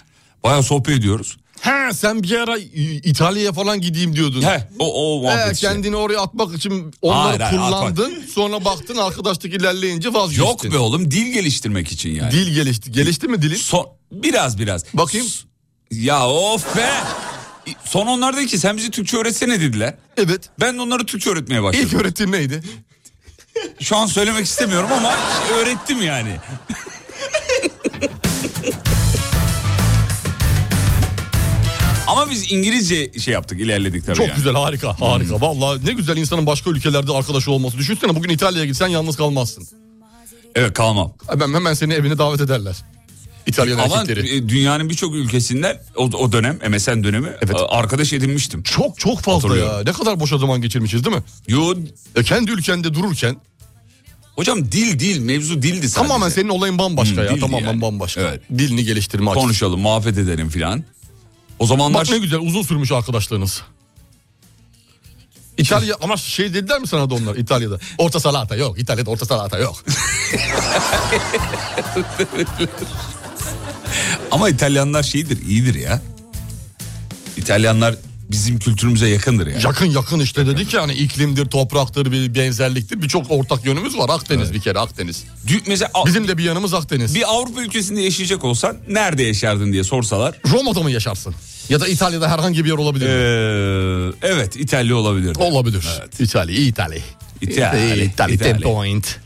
Speaker 2: Bayağı sohbet ediyoruz.
Speaker 3: He sen bir ara İ- İtalya'ya falan gideyim diyordun. He şey.
Speaker 2: o, o muhabbet işte.
Speaker 3: kendini oraya atmak için onları
Speaker 2: Hayır, hayır,
Speaker 3: kullandın. Sonra baktın arkadaşlık ilerleyince vazgeçtin.
Speaker 2: Yok be oğlum dil geliştirmek için yani.
Speaker 3: Dil gelişti. Gelişti mi dilin?
Speaker 2: Son, biraz biraz. Bakayım. Ya of be. Son onlardaki ki sen bizi Türkçe öğretsene dediler.
Speaker 3: Evet.
Speaker 2: Ben de onlara Türkçe öğretmeye başladım.
Speaker 3: İlk öğretim neydi?
Speaker 2: Şu an söylemek istemiyorum ama öğrettim yani. ama biz İngilizce şey yaptık ilerledik tabii
Speaker 3: Çok
Speaker 2: yani.
Speaker 3: güzel harika harika. Vallahi ne güzel insanın başka ülkelerde arkadaşı olması. Düşünsene bugün İtalya'ya gitsen yalnız kalmazsın.
Speaker 2: Evet kalmam.
Speaker 3: Hemen, hemen seni evine davet ederler. İtalyan
Speaker 2: Ama
Speaker 3: erkekleri.
Speaker 2: e, dünyanın birçok ülkesinden o, o dönem MSN dönemi e, arkadaş edinmiştim.
Speaker 3: Çok çok fazla
Speaker 2: Hatırlıyorum.
Speaker 3: ya. Ne kadar boşa zaman geçirmişiz değil mi? E,
Speaker 2: Yo.
Speaker 3: kendi ülkende dururken.
Speaker 2: Hocam dil dil mevzu dildi sadece.
Speaker 3: Tamamen senin olayın bambaşka
Speaker 2: Hı,
Speaker 3: ya.
Speaker 2: dildi
Speaker 3: Tamamen
Speaker 2: yani.
Speaker 3: bambaşka.
Speaker 2: Evet.
Speaker 3: Dilini geliştirme açısından.
Speaker 2: Konuşalım muhabbet edelim filan. O zamanlar
Speaker 3: Bak ne güzel uzun sürmüş arkadaşlarınız. İtalya ama şey dediler mi sana da onlar İtalya'da? Orta salata yok. İtalya'da orta salata yok.
Speaker 2: ama İtalyanlar şeydir iyidir ya. İtalyanlar bizim kültürümüze yakındır yani.
Speaker 3: yakın yakın işte dedik yani iklimdir, topraktır, bir benzerliktir. Birçok ortak yönümüz var. Akdeniz bir kere Akdeniz. Bizim de bir yanımız Akdeniz.
Speaker 2: Bir Avrupa ülkesinde yaşayacak olsan nerede yaşardın diye sorsalar.
Speaker 3: Roma'da mı yaşarsın? Ya da İtalya'da herhangi bir yer olabilir. mi?
Speaker 2: Ee, evet İtalya olabilir.
Speaker 3: Olabilir. İtalya, İtalya.
Speaker 2: İtalya.
Speaker 3: İtalya,
Speaker 2: İtalya.
Speaker 3: the point.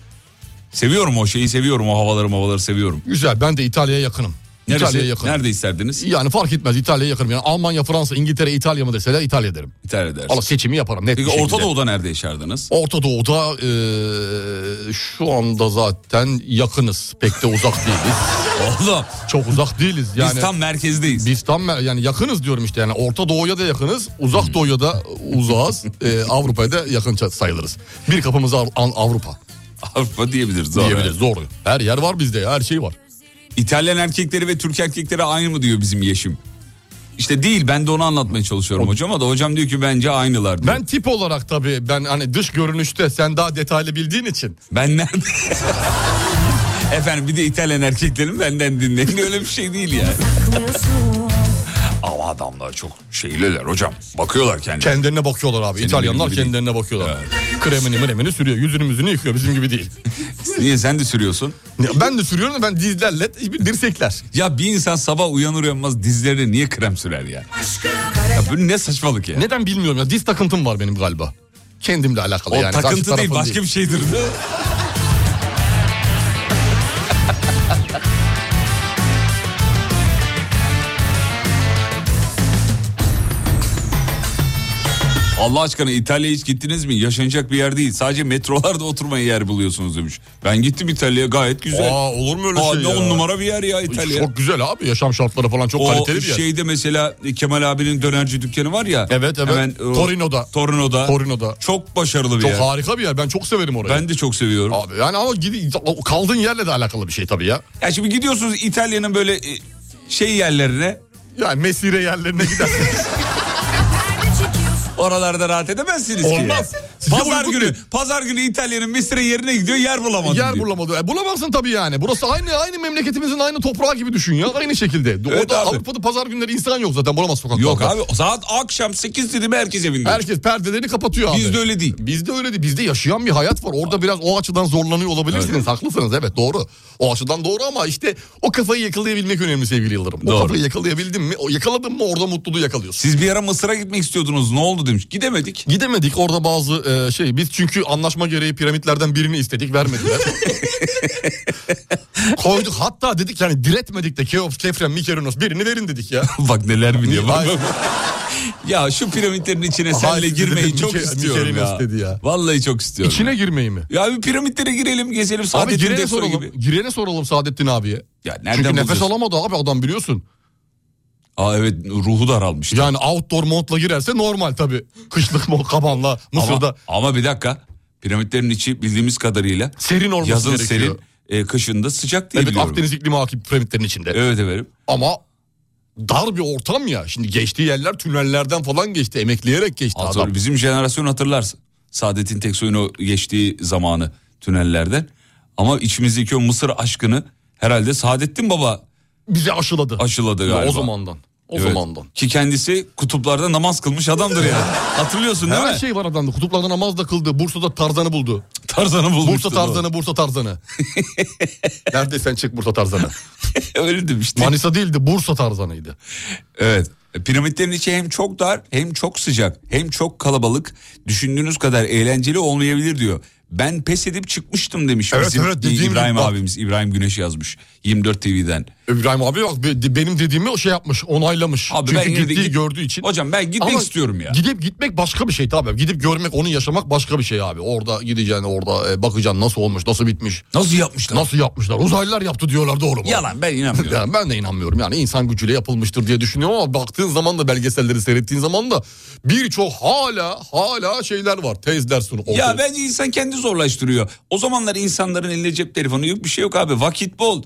Speaker 2: Seviyorum o şeyi seviyorum o havaları havaları seviyorum.
Speaker 3: Güzel ben de İtalya'ya yakınım.
Speaker 2: Neresi,
Speaker 3: İtalya'ya yakınım.
Speaker 2: Nerede isterdiniz?
Speaker 3: Yani fark etmez İtalya'ya yakınım. Yani Almanya, Fransa, İngiltere, İtalya mı deseler İtalya derim.
Speaker 2: İtalya dersin.
Speaker 3: Valla seçimi yaparım net
Speaker 2: Peki
Speaker 3: bir şekilde.
Speaker 2: Orta Doğu'da nerede yaşardınız?
Speaker 3: Orta Doğu'da eee, şu anda zaten yakınız. Pek de uzak değiliz.
Speaker 2: Oğlum.
Speaker 3: Çok uzak değiliz. Yani,
Speaker 2: Biz tam merkezdeyiz.
Speaker 3: Biz tam mer- yani yakınız diyorum işte yani Orta Doğu'ya da yakınız,
Speaker 2: Hmm.
Speaker 3: Uzak Doğu'ya da uzağız, eee, Avrupa'ya da yakın ça- sayılırız. Bir kapımız Av- An- Avrupa.
Speaker 2: Avrupa diyebiliriz. Doğru.
Speaker 3: Diyebiliriz, doğru. Her yer var bizde ya her şey var.
Speaker 2: İtalyan erkekleri ve Türk erkekleri aynı mı diyor bizim yeşim? İşte değil ben de onu anlatmaya çalışıyorum hocama da hocam diyor ki bence aynılar diyor.
Speaker 3: Ben tip olarak tabii ben hani dış görünüşte sen daha detaylı bildiğin için.
Speaker 2: Ben nerede? Efendim bir de İtalyan erkeklerin benden dinleyin öyle bir şey değil yani. Ama adamlar çok şeyliler hocam. Bakıyorlar kendilerine.
Speaker 3: Kendilerine bakıyorlar abi.
Speaker 2: Senin
Speaker 3: İtalyanlar
Speaker 2: benim gibi
Speaker 3: kendilerine bakıyorlar. Kremini mremini sürüyor. Yüzünü müzünü yıkıyor. Bizim gibi değil.
Speaker 2: Niye sen de sürüyorsun?
Speaker 3: Ya ben de sürüyorum da ben dizlerle dirsekler.
Speaker 2: Ya bir insan sabah uyanır uyanmaz dizlerine niye krem sürer ya? Ya bu ne saçmalık ya?
Speaker 3: Neden bilmiyorum ya. Diz takıntım var benim galiba. Kendimle alakalı
Speaker 2: O
Speaker 3: yani. Karşı
Speaker 2: takıntı değil
Speaker 3: tarafın
Speaker 2: başka bir şeydir. Allah aşkına İtalya'ya hiç gittiniz mi? Yaşanacak bir yer değil. Sadece metrolarda oturmaya yer buluyorsunuz demiş. Ben gittim İtalya'ya gayet güzel.
Speaker 3: Aa, olur mu öyle
Speaker 2: Aa,
Speaker 3: şey
Speaker 2: ne
Speaker 3: ya?
Speaker 2: On numara bir yer ya İtalya.
Speaker 3: Çok güzel abi. Yaşam şartları falan çok
Speaker 2: o şey
Speaker 3: kaliteli bir yer.
Speaker 2: şeyde mesela Kemal abinin dönerci dükkanı var ya.
Speaker 3: Evet evet.
Speaker 2: Hemen, o-
Speaker 3: Torino'da.
Speaker 2: Torino'da.
Speaker 3: Torino'da.
Speaker 2: Çok başarılı bir
Speaker 3: Çok
Speaker 2: yer.
Speaker 3: harika bir yer. Ben çok severim orayı.
Speaker 2: Ben de çok seviyorum.
Speaker 3: Abi yani ama gidi- kaldığın yerle de alakalı bir şey tabii ya.
Speaker 2: Ya şimdi gidiyorsunuz İtalya'nın böyle e, şey yerlerine.
Speaker 3: Yani mesire yerlerine gidersiniz.
Speaker 2: Oralarda rahat edemezsiniz ki.
Speaker 3: Olmaz. Size
Speaker 2: Pazar
Speaker 3: uygun
Speaker 2: günü,
Speaker 3: değil.
Speaker 2: pazar günü İtalya'nın mesire yerine gidiyor yer bulamadı
Speaker 3: Yer
Speaker 2: diyor.
Speaker 3: bulamadı. E, bulamazsın tabii yani. Burası aynı aynı memleketimizin aynı toprağı gibi düşün ya. Aynı şekilde. Orada
Speaker 2: abi.
Speaker 3: Avrupa'da pazar günleri insan yok zaten. Bulamaz sokaklarda.
Speaker 2: Yok abi saat akşam 8 dedi herkes evinde.
Speaker 3: Herkes perdelerini kapatıyor abi.
Speaker 2: Bizde öyle değil.
Speaker 3: Bizde öyle değil. Bizde yaşayan bir hayat var. Orada biraz o açıdan zorlanıyor olabilirsiniz. Haklısınız evet doğru. O açıdan doğru ama işte o kafayı yakalayabilmek önemli sevgili Yıldırım.
Speaker 2: Doğru.
Speaker 3: O kafayı yakalayabildim mi? O yakaladın mı orada mutluluğu yakalıyorsun.
Speaker 2: Siz bir ara Mısır'a gitmek istiyordunuz ne oldu demiş. Gidemedik.
Speaker 3: Gidemedik orada bazı e, şey biz çünkü anlaşma gereği piramitlerden birini istedik vermediler. Koyduk hatta dedik yani diretmedik de Keops, Kefren, Mikeronos birini verin dedik ya.
Speaker 2: Bak neler mi diyor. Bak,
Speaker 3: Hayır.
Speaker 2: ya şu piramitlerin içine
Speaker 3: Hayır,
Speaker 2: senle
Speaker 3: dedi,
Speaker 2: girmeyi
Speaker 3: bir
Speaker 2: çok
Speaker 3: kere- bir
Speaker 2: istiyorum
Speaker 3: kere
Speaker 2: ya.
Speaker 3: istedi ya.
Speaker 2: Vallahi çok istiyorum.
Speaker 3: İçine girmeyi mi?
Speaker 2: Ya bir piramitlere girelim gezelim
Speaker 3: Abi
Speaker 2: Saadettin
Speaker 3: girene
Speaker 2: Teksoy
Speaker 3: soralım.
Speaker 2: gibi.
Speaker 3: Girene soralım Saadettin abiye.
Speaker 2: Ya nereden
Speaker 3: Çünkü nefes
Speaker 2: bulacağız?
Speaker 3: alamadı abi adam biliyorsun.
Speaker 2: Aa evet ruhu daralmış.
Speaker 3: Yani outdoor montla girerse normal tabii. Kışlık mont kabanla Mısır'da.
Speaker 2: Ama, ama bir dakika. Piramitlerin içi bildiğimiz kadarıyla
Speaker 3: Serin olması
Speaker 2: yazın
Speaker 3: gerekiyor.
Speaker 2: serin, e, kışında sıcak diye
Speaker 3: evet
Speaker 2: biliyorum.
Speaker 3: Akdeniz iklimi hakim piramitlerin içinde.
Speaker 2: Evet efendim.
Speaker 3: Ama dar bir ortam ya. Şimdi geçtiği yerler tünellerden falan geçti. Emekleyerek geçti
Speaker 2: Hatır-
Speaker 3: adam.
Speaker 2: Bizim jenerasyon hatırlarsın. Saadettin Teksoy'un o geçtiği zamanı tünellerden. Ama içimizdeki o Mısır aşkını herhalde Saadettin Baba
Speaker 3: Bizi aşıladı.
Speaker 2: aşıladı
Speaker 3: Ya
Speaker 2: galiba.
Speaker 3: o zamandan. O
Speaker 2: Evet.
Speaker 3: zamandan.
Speaker 2: Ki kendisi kutuplarda namaz kılmış adamdır yani. Hatırlıyorsun değil
Speaker 3: Her
Speaker 2: mi?
Speaker 3: şey var adamda. Kutuplarda namaz da kıldı. Bursa'da Tarzan'ı buldu.
Speaker 2: Tarzan'ı bulmuştu,
Speaker 3: Bursa Tarzan'ı, Bursa Tarzan'ı. Nerede sen çık Bursa Tarzan'ı.
Speaker 2: Öyle demişti.
Speaker 3: Manisa değildi Bursa Tarzan'ıydı.
Speaker 2: Evet. Piramitlerin içi hem çok dar hem çok sıcak hem çok kalabalık. Düşündüğünüz kadar eğlenceli olmayabilir diyor. Ben pes edip çıkmıştım demiş
Speaker 3: Evet,
Speaker 2: bizim
Speaker 3: evet, dediğim
Speaker 2: İbrahim
Speaker 3: gibi bak.
Speaker 2: abimiz. İbrahim Güneş yazmış 24 TV'den.
Speaker 3: İbrahim abi bak be- benim dediğimi o şey yapmış onaylamış.
Speaker 2: Abi
Speaker 3: Çünkü
Speaker 2: ben yine de
Speaker 3: gittiği
Speaker 2: git-
Speaker 3: gördüğü için.
Speaker 2: Hocam ben gitmek
Speaker 3: Ama
Speaker 2: istiyorum ya.
Speaker 3: Gidip gitmek başka bir şey tabii. Gidip görmek onu yaşamak başka bir şey abi. Orada gideceksin orada e, bakacaksın nasıl olmuş nasıl bitmiş.
Speaker 2: Nasıl yapmışlar?
Speaker 3: Nasıl yapmışlar uzaylılar yaptı diyorlar doğru mu?
Speaker 2: Yalan ben inanmıyorum.
Speaker 3: Yani ben de inanmıyorum yani insan gücüyle yapılmıştır diye düşünüyorum ama baktığın zaman da belgeselleri seyrettiğin zaman da birçok hala hala şeyler var tezler sunu.
Speaker 2: Ya bence insan kendi zorlaştırıyor. O zamanlar insanların eline cep telefonu yok bir şey yok abi. Vakit bol,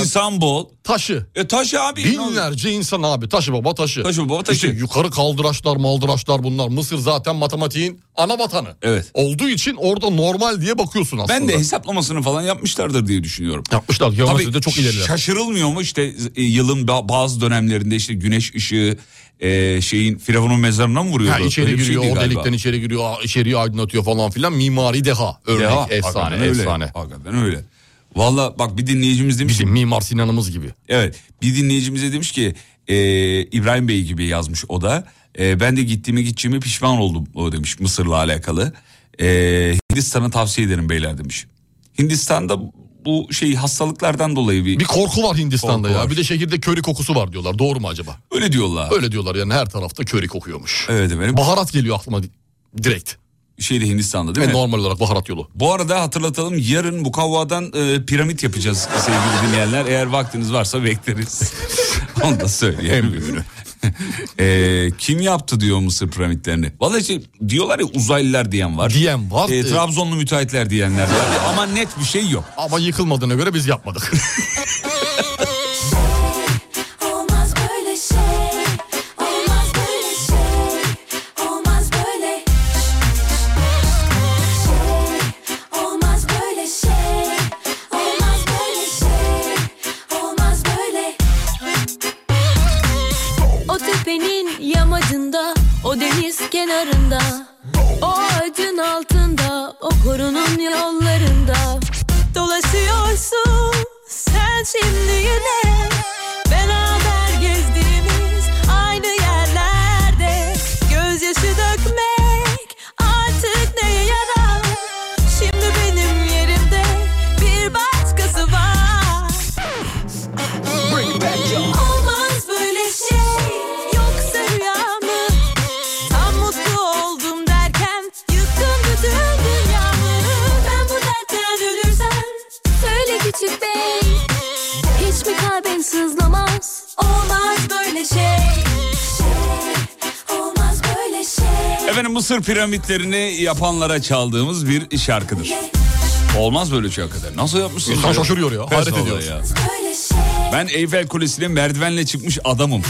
Speaker 2: insan bol.
Speaker 3: Taşı.
Speaker 2: E taşı abi. ne olur.
Speaker 3: Binlerce insan abi taşı baba taşı.
Speaker 2: Taşı baba taşı.
Speaker 3: İşte yukarı kaldıraçlar maldıraçlar bunlar. Mısır zaten matematiğin ana vatanı.
Speaker 2: Evet.
Speaker 3: Olduğu için orada normal diye bakıyorsun aslında.
Speaker 2: Ben de hesaplamasını falan yapmışlardır diye düşünüyorum.
Speaker 3: Yapmışlar. Geometride çok ileriler.
Speaker 2: Şaşırılmıyor mu işte e, yılın ba- bazı dönemlerinde işte güneş ışığı e, şeyin Firavun'un mezarına mı vuruyordu?
Speaker 3: Ha, içeri
Speaker 2: Öyle bir
Speaker 3: giriyor,
Speaker 2: şeydi
Speaker 3: o
Speaker 2: galiba.
Speaker 3: delikten içeri giriyor, aa, içeriği aydınlatıyor falan filan. Mimari deha. Örnek,
Speaker 2: Deha,
Speaker 3: efsane,
Speaker 2: hakikaten öyle,
Speaker 3: efsane.
Speaker 2: Hakikaten öyle. Valla bak bir dinleyicimiz demiş
Speaker 3: Bizim Mimar Sinan'ımız gibi.
Speaker 2: Evet bir dinleyicimiz de demiş ki e, İbrahim Bey gibi yazmış o da. E, ben de gittiğime gideceğime pişman oldum o demiş Mısır'la alakalı. E, Hindistan'a tavsiye ederim beyler demiş. Hindistan'da bu şey hastalıklardan dolayı bir...
Speaker 3: Bir korku var Hindistan'da
Speaker 2: Korku
Speaker 3: ya.
Speaker 2: var.
Speaker 3: Bir de şehirde köri kokusu var diyorlar. Doğru mu acaba?
Speaker 2: Öyle diyorlar.
Speaker 3: Öyle diyorlar yani her tarafta köri kokuyormuş.
Speaker 2: Evet efendim.
Speaker 3: Baharat geliyor aklıma di- direkt.
Speaker 2: Şeyde Hindistan'da değil
Speaker 3: Ve
Speaker 2: mi?
Speaker 3: normal olarak baharat yolu.
Speaker 2: Bu arada hatırlatalım yarın mukavvadan e, piramit yapacağız sevgili dinleyenler. Eğer vaktiniz varsa bekleriz. Onu da söyleyeyim. E, kim yaptı diyor Mısır piramitlerini? Vallahi işte diyorlar ya uzaylılar diyen var.
Speaker 3: Diyen var.
Speaker 2: E, Trabzonlu müteahhitler diyenler var. Ama net bir şey yok.
Speaker 3: Ama yıkılmadığına göre biz yapmadık.
Speaker 15: Olmaz böyle şey. Olmaz böyle şey. Olmaz böyle. Şey. Olmaz böyle şey. Olmaz böyle şey. Olmaz böyle.
Speaker 1: O tepenin yamacında, o deniz kenarında, o ağacın altında, o korunun yollarında dolaşıyorsun sen şimdi yine. Beraber gezdiğimiz aynı yerlerde gözyaşı dökmek artık neye yarar? Şimdi benim yerimde bir başkası var. Olmaz böyle şey yoksa rüya mı? Tam mutlu oldum derken yıktım bütün dünyamı. Ben bu dertten ölürsem
Speaker 15: Söyle küçük bey Hiç mi kalbin sızlamaz Olmaz böyle şey Şey Olmaz böyle şey
Speaker 2: Efendim Mısır piramitlerini yapanlara çaldığımız bir şarkıdır. Olmaz böyle şarkıdır. Nasıl yapmışsınız?
Speaker 3: İnsan
Speaker 2: ya?
Speaker 3: şaşırıyor ya,
Speaker 2: Pes
Speaker 3: hayret
Speaker 2: vallahi
Speaker 3: ediyoruz.
Speaker 2: ya.
Speaker 15: Böyle şey
Speaker 2: Ben Eyfel Kulesi'ne merdivenle çıkmış adamım.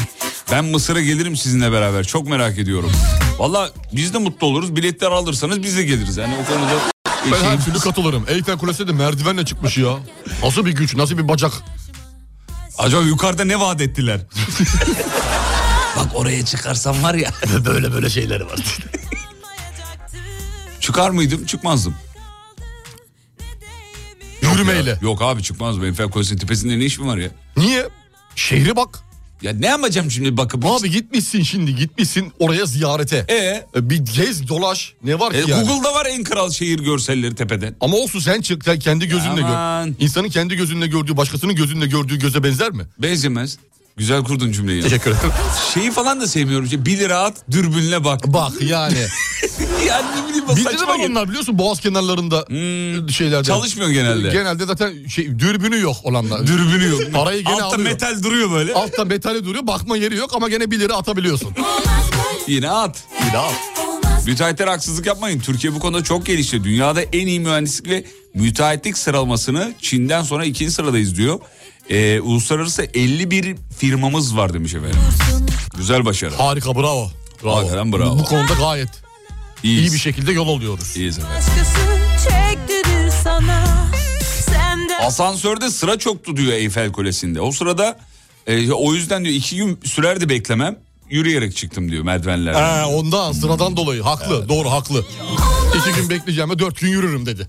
Speaker 2: Ben Mısır'a gelirim sizinle beraber. Çok merak ediyorum. Valla biz de mutlu oluruz. Biletler alırsanız biz de geliriz. Yani o konuda...
Speaker 3: ben her türlü katılırım. Eyfel Kulesi de merdivenle çıkmış ya. Nasıl bir güç, nasıl bir bacak.
Speaker 2: Acaba yukarıda ne vaat ettiler? Bak oraya çıkarsam var ya.
Speaker 3: böyle böyle şeyleri var.
Speaker 2: Çıkar mıydım? Çıkmazdım. Yürümeyle. Yok, abi çıkmazdım. Eyfel Kulesi'nin tepesinde ne işim var ya?
Speaker 3: Niye? Şehre bak.
Speaker 2: Ya ne yapacağım şimdi bakıp?
Speaker 3: Abi gitmişsin şimdi gitmişsin oraya ziyarete. E,
Speaker 2: Ee?
Speaker 3: Bir gez dolaş ne var ki
Speaker 2: E,
Speaker 3: yani?
Speaker 2: Google'da var en kral şehir görselleri tepeden.
Speaker 3: Ama olsun sen çık sen kendi gözünle
Speaker 2: Aman.
Speaker 3: gör. İnsanın kendi gözünle gördüğü başkasının gözünle gördüğü göze benzer mi?
Speaker 2: Benzemez. Güzel kurdun cümleyi.
Speaker 3: Teşekkür ederim.
Speaker 2: Şeyi falan da sevmiyorum. İşte 1 lira at dürbünle bak.
Speaker 3: Bak yani.
Speaker 2: yani ne bileyim
Speaker 3: Bir de
Speaker 2: saçma
Speaker 3: var
Speaker 2: geliyor.
Speaker 3: onlar biliyorsun boğaz kenarlarında e, şeylerde.
Speaker 2: Çalışmıyor genelde.
Speaker 3: Genelde zaten şey, dürbünü yok olanlar.
Speaker 2: Dürbünü yok.
Speaker 3: Parayı gene
Speaker 2: Altta
Speaker 3: alıyor.
Speaker 2: metal duruyor böyle.
Speaker 3: Altta metali duruyor bakma yeri yok ama gene 1 lira atabiliyorsun.
Speaker 2: Yine at.
Speaker 3: Yine at.
Speaker 2: Müteahhitlere haksızlık yapmayın. Türkiye bu konuda çok gelişti. Dünyada en iyi mühendislik ve müteahhitlik sıralamasını Çin'den sonra ikinci sıradayız diyor. Ee, uluslararası 51 firmamız var demiş efendim. Güzel başarı.
Speaker 3: Harika bravo. Bravo.
Speaker 2: Hakikaten bravo.
Speaker 3: Bu konuda gayet
Speaker 2: İyiyiz.
Speaker 3: iyi bir şey. şekilde yol alıyoruz.
Speaker 2: İyiyiz efendim.
Speaker 1: başkası çektirir sana. Sen de
Speaker 2: Asansörde sıra çoktu diyor Eyfel Kulesi'nde. O sırada E, o yüzden diyor iki gün sürerdi beklemem. Yürüyerek çıktım diyor merdivenlerden.
Speaker 3: He, Ee, ondan sıradan dolayı haklı doğru haklı. İki gün bekleyeceğime dört gün yürürüm dedi.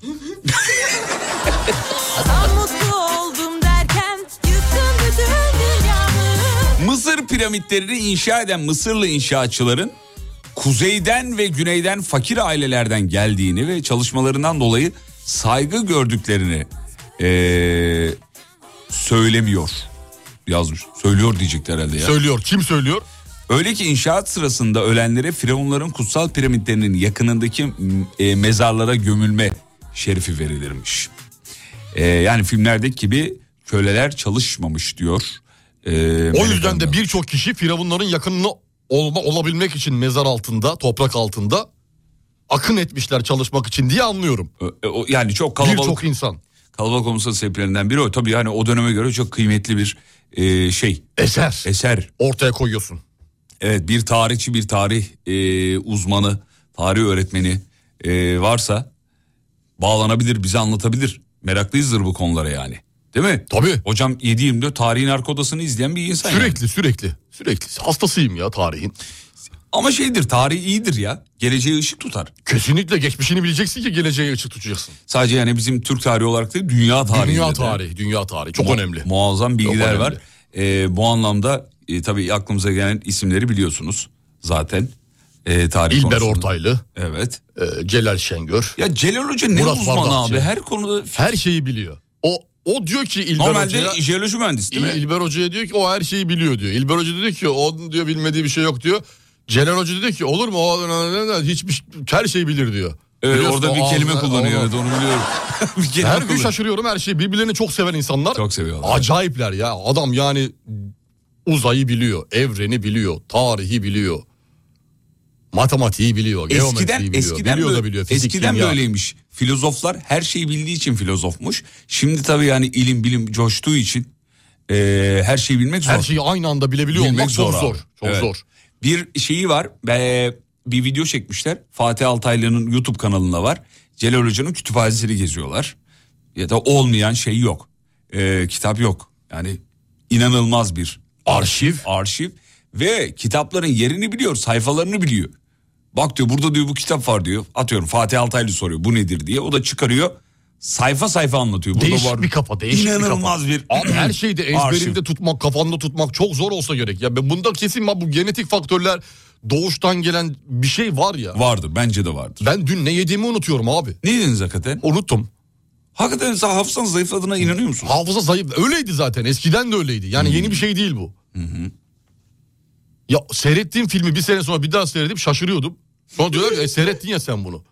Speaker 1: Tam mutlu oldum derken yıktım bütün dünyamı.
Speaker 2: Mısır piramitlerini inşa eden Mısırlı inşaatçıların kuzeyden ve güneyden fakir ailelerden geldiğini ve çalışmalarından dolayı saygı gördüklerini eee, söylemiyor yazmış. Söylüyor diyecekler herhalde ya.
Speaker 3: Söylüyor. Kim söylüyor?
Speaker 2: Öyle ki inşaat sırasında ölenlere firavunların kutsal piramitlerinin yakınındaki m- e, mezarlara gömülme şerefi verilirmiş. E, yani filmlerdeki gibi köleler çalışmamış diyor. E,
Speaker 3: O
Speaker 2: Melek
Speaker 3: yüzden de birçok kişi firavunların yakınını olma, olabilmek için mezar altında, toprak altında akın etmişler çalışmak için diye anlıyorum.
Speaker 2: E, o- Yani çok kalabalık.
Speaker 3: Birçok insan.
Speaker 2: Kalabalık olmasının sebeplerinden biri o. Tabii yani o döneme göre çok kıymetli bir e, şey.
Speaker 3: Eser.
Speaker 2: Eser.
Speaker 3: Ortaya koyuyorsun.
Speaker 2: Evet bir tarihçi bir tarih e, uzmanı, tarih öğretmeni e, varsa bağlanabilir bize anlatabilir. Meraklıyızdır bu konulara yani. Değil mi?
Speaker 3: Tabii.
Speaker 2: Hocam 7-24 tarihin arka odasını izleyen bir insan.
Speaker 3: Sürekli sürekli sürekli hastasıyım ya tarihin.
Speaker 2: Ama şeydir tarih iyidir ya. Geleceğe ışık tutar.
Speaker 3: Kesinlikle geçmişini bileceksin ki geleceğe ışık tutacaksın.
Speaker 2: Sadece yani bizim Türk tarihi olarak değil dünya tarihi.
Speaker 3: Dünya
Speaker 2: de.
Speaker 3: tarihi, dünya tarihi çok
Speaker 2: Mu-
Speaker 3: önemli.
Speaker 2: Muazzam bilgiler
Speaker 3: önemli.
Speaker 2: var. Ee, bu anlamda e, tabii aklımıza gelen isimleri biliyorsunuz zaten. E, tarih
Speaker 3: İlber
Speaker 2: konusunda.
Speaker 3: Ortaylı. e,
Speaker 2: Evet.
Speaker 3: Celal Şengör.
Speaker 2: Ya Celal Hoca ne
Speaker 3: Murat
Speaker 2: uzmanı
Speaker 3: Bardakçı.
Speaker 2: abi her konuda.
Speaker 3: Her şeyi biliyor. O o diyor ki İlber
Speaker 2: Normalde
Speaker 3: Hoca'ya.
Speaker 2: jeoloji mühendisi değil mi?
Speaker 3: İl- İlber Hoca'ya diyor ki o her şeyi biliyor diyor. İlber Hoca diyor ki onun diyor bilmediği bir şey yok diyor. Celal Hoca diyor ki olur mu o hiçbir her şeyi bilir diyor.
Speaker 2: Evet,
Speaker 3: Biliyorsun,
Speaker 2: Ee, orada
Speaker 3: o
Speaker 2: bir kelime
Speaker 3: ağzına-
Speaker 2: kullanıyor
Speaker 3: ona-
Speaker 2: evet onu biliyorum. Bir kelime
Speaker 3: her gün
Speaker 2: kullanıyor.
Speaker 3: şaşırıyorum her şeyi. Birbirlerini çok seven insanlar.
Speaker 2: Çok seviyorlar.
Speaker 3: Acayipler ya. Adam yani uzayı biliyor, evreni biliyor, tarihi biliyor. Matematiği biliyor,
Speaker 2: Eskiden
Speaker 3: geometriyi biliyor.
Speaker 2: eskiden
Speaker 3: biliyor da
Speaker 2: böyle-
Speaker 3: biliyor. Fizik,
Speaker 2: eskiden
Speaker 3: kimya.
Speaker 2: böyleymiş. Filozoflar her şeyi bildiği için filozofmuş. Şimdi tabii yani ilim bilim coştuğu için e, her şeyi bilmek zor.
Speaker 3: Her şeyi aynı anda bilebiliyor
Speaker 2: Bilmek
Speaker 3: olmak çok
Speaker 2: abi.
Speaker 3: zor. Çok
Speaker 2: Evet.
Speaker 3: zor.
Speaker 2: Bir şeyi var. e, bir video çekmişler. Fatih Altaylı'nın YouTube kanalında var. Celal Hoca'nın kütüphanesini geziyorlar. Ya da olmayan şey yok. E, kitap yok. Yani inanılmaz bir arşiv. Arşiv ve kitapların yerini biliyor, sayfalarını biliyor. Bak diyor burada diyor bu kitap var diyor. Atıyorum Fatih Altaylı soruyor bu nedir diye. O da çıkarıyor. Sayfa sayfa anlatıyor. Burada
Speaker 3: Değişik
Speaker 2: var.
Speaker 3: bir kafa, değişik
Speaker 2: İnanılmaz bir
Speaker 3: bir kafa. Abi her şeyi de
Speaker 2: arşiv.
Speaker 3: ezberinde tutmak, kafanda tutmak çok zor olsa gerek. Ya ben bunda kesin bak bu genetik faktörler doğuştan gelen bir şey var ya.
Speaker 2: Vardı bence de vardı.
Speaker 3: Ben dün ne yediğimi unutuyorum abi.
Speaker 2: Ne yediniz hakikaten?
Speaker 3: Unuttum.
Speaker 2: Hakikaten sen hafızan zayıfladığına inanıyor musun?
Speaker 3: Hafıza zayıf. Öyleydi zaten eskiden de öyleydi. Yani yeni bir şey değil bu. Ya seyrettiğim filmi bir sene sonra bir daha seyredip şaşırıyordum. Sonra diyorlar ki "E, seyrettin ya sen bunu.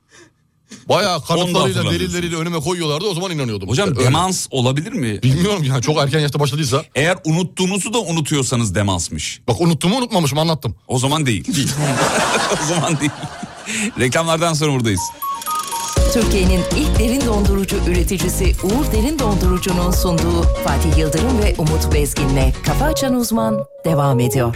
Speaker 3: Bayağı kanıtlarıyla
Speaker 2: hatırlamıyorsunuz.
Speaker 3: delilleriyle önüme koyuyorlardı o zaman inanıyordum.
Speaker 2: Hocam
Speaker 3: İşte öyle.
Speaker 2: demans olabilir mi?
Speaker 3: Bilmiyorum ya çok erken yaşta başladıysa.
Speaker 2: Eğer unuttuğunuzu da unutuyorsanız demansmış.
Speaker 3: Bak unuttuğumu unutmamışım anlattım.
Speaker 2: O zaman değil. o zaman değil. Reklamlardan sonra buradayız.
Speaker 6: Türkiye'nin ilk derin dondurucu üreticisi Uğur Derin Dondurucu'nun sunduğu Fatih Yıldırım ve Umut Bezgin'le Kafa Açan Uzman devam ediyor.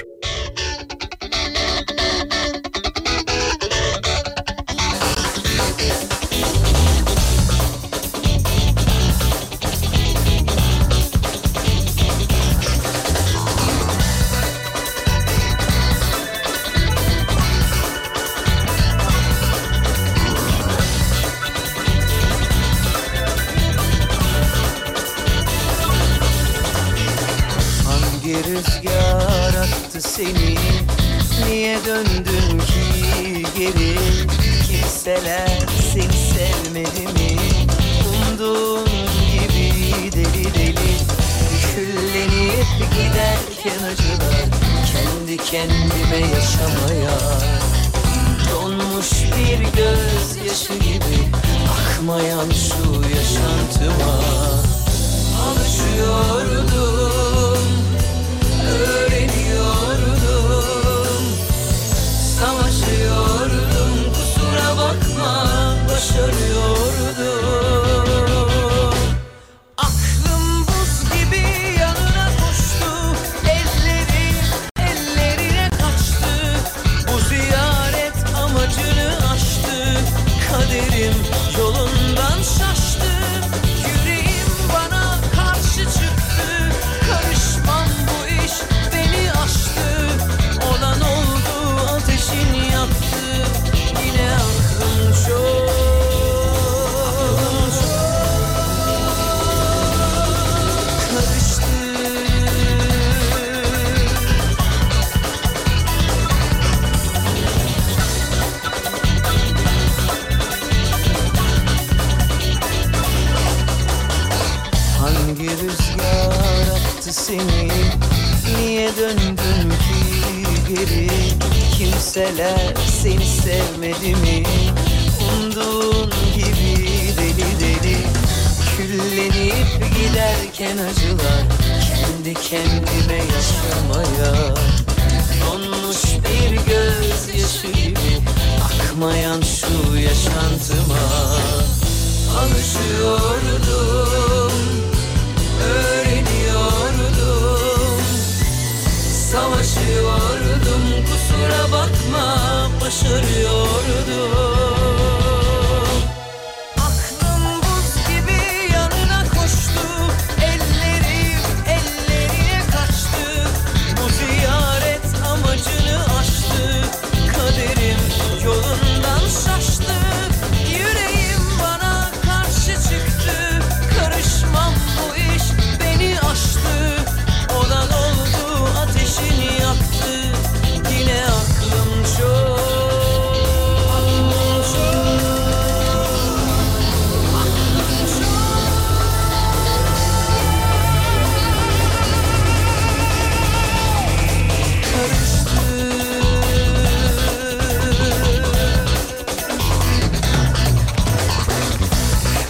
Speaker 7: Hangi rüzgar attı seni Niye döndün ki geri Kimseler seni sevmedi mi Umduğun gibi deli deli Küllenip giderken acılar Kendi kendime yaşamaya Donmuş bir gözyaşı gibi Akmayan şu yaşantıma Alışıyordum öğreniyordum Savaşıyordum kusura bakma başarıyordum Aklım buz gibi yanına koştu Elleri ellerine kaçtı Bu ziyaret amacını aştı Kaderim yolundan şaştı Yüreğim bana karşı çıktı Karışmam bu iş Hangi rüzgar attı seni Niye döndün ki geri Kimseler seni sevmedi mi Umduğun gibi deli deli Küllenip giderken acılar Kendi kendime yaşamaya Donmuş bir gözyaşı gibi Akmayan şu yaşantıma Alışıyordum, öğreniyordum Savaşıyordum, kusura bakma başarıyordum
Speaker 16: Aklım buz gibi yanına koştu Ellerim ellerine kaçtı Bu ziyaret amacını aştı Kaderim yolundan şaştı Yüreğim bana karşı çıktı Karışmam bu iş beni aştı Olan oldu ateşini yaktı Yine aklım çok Aklım çok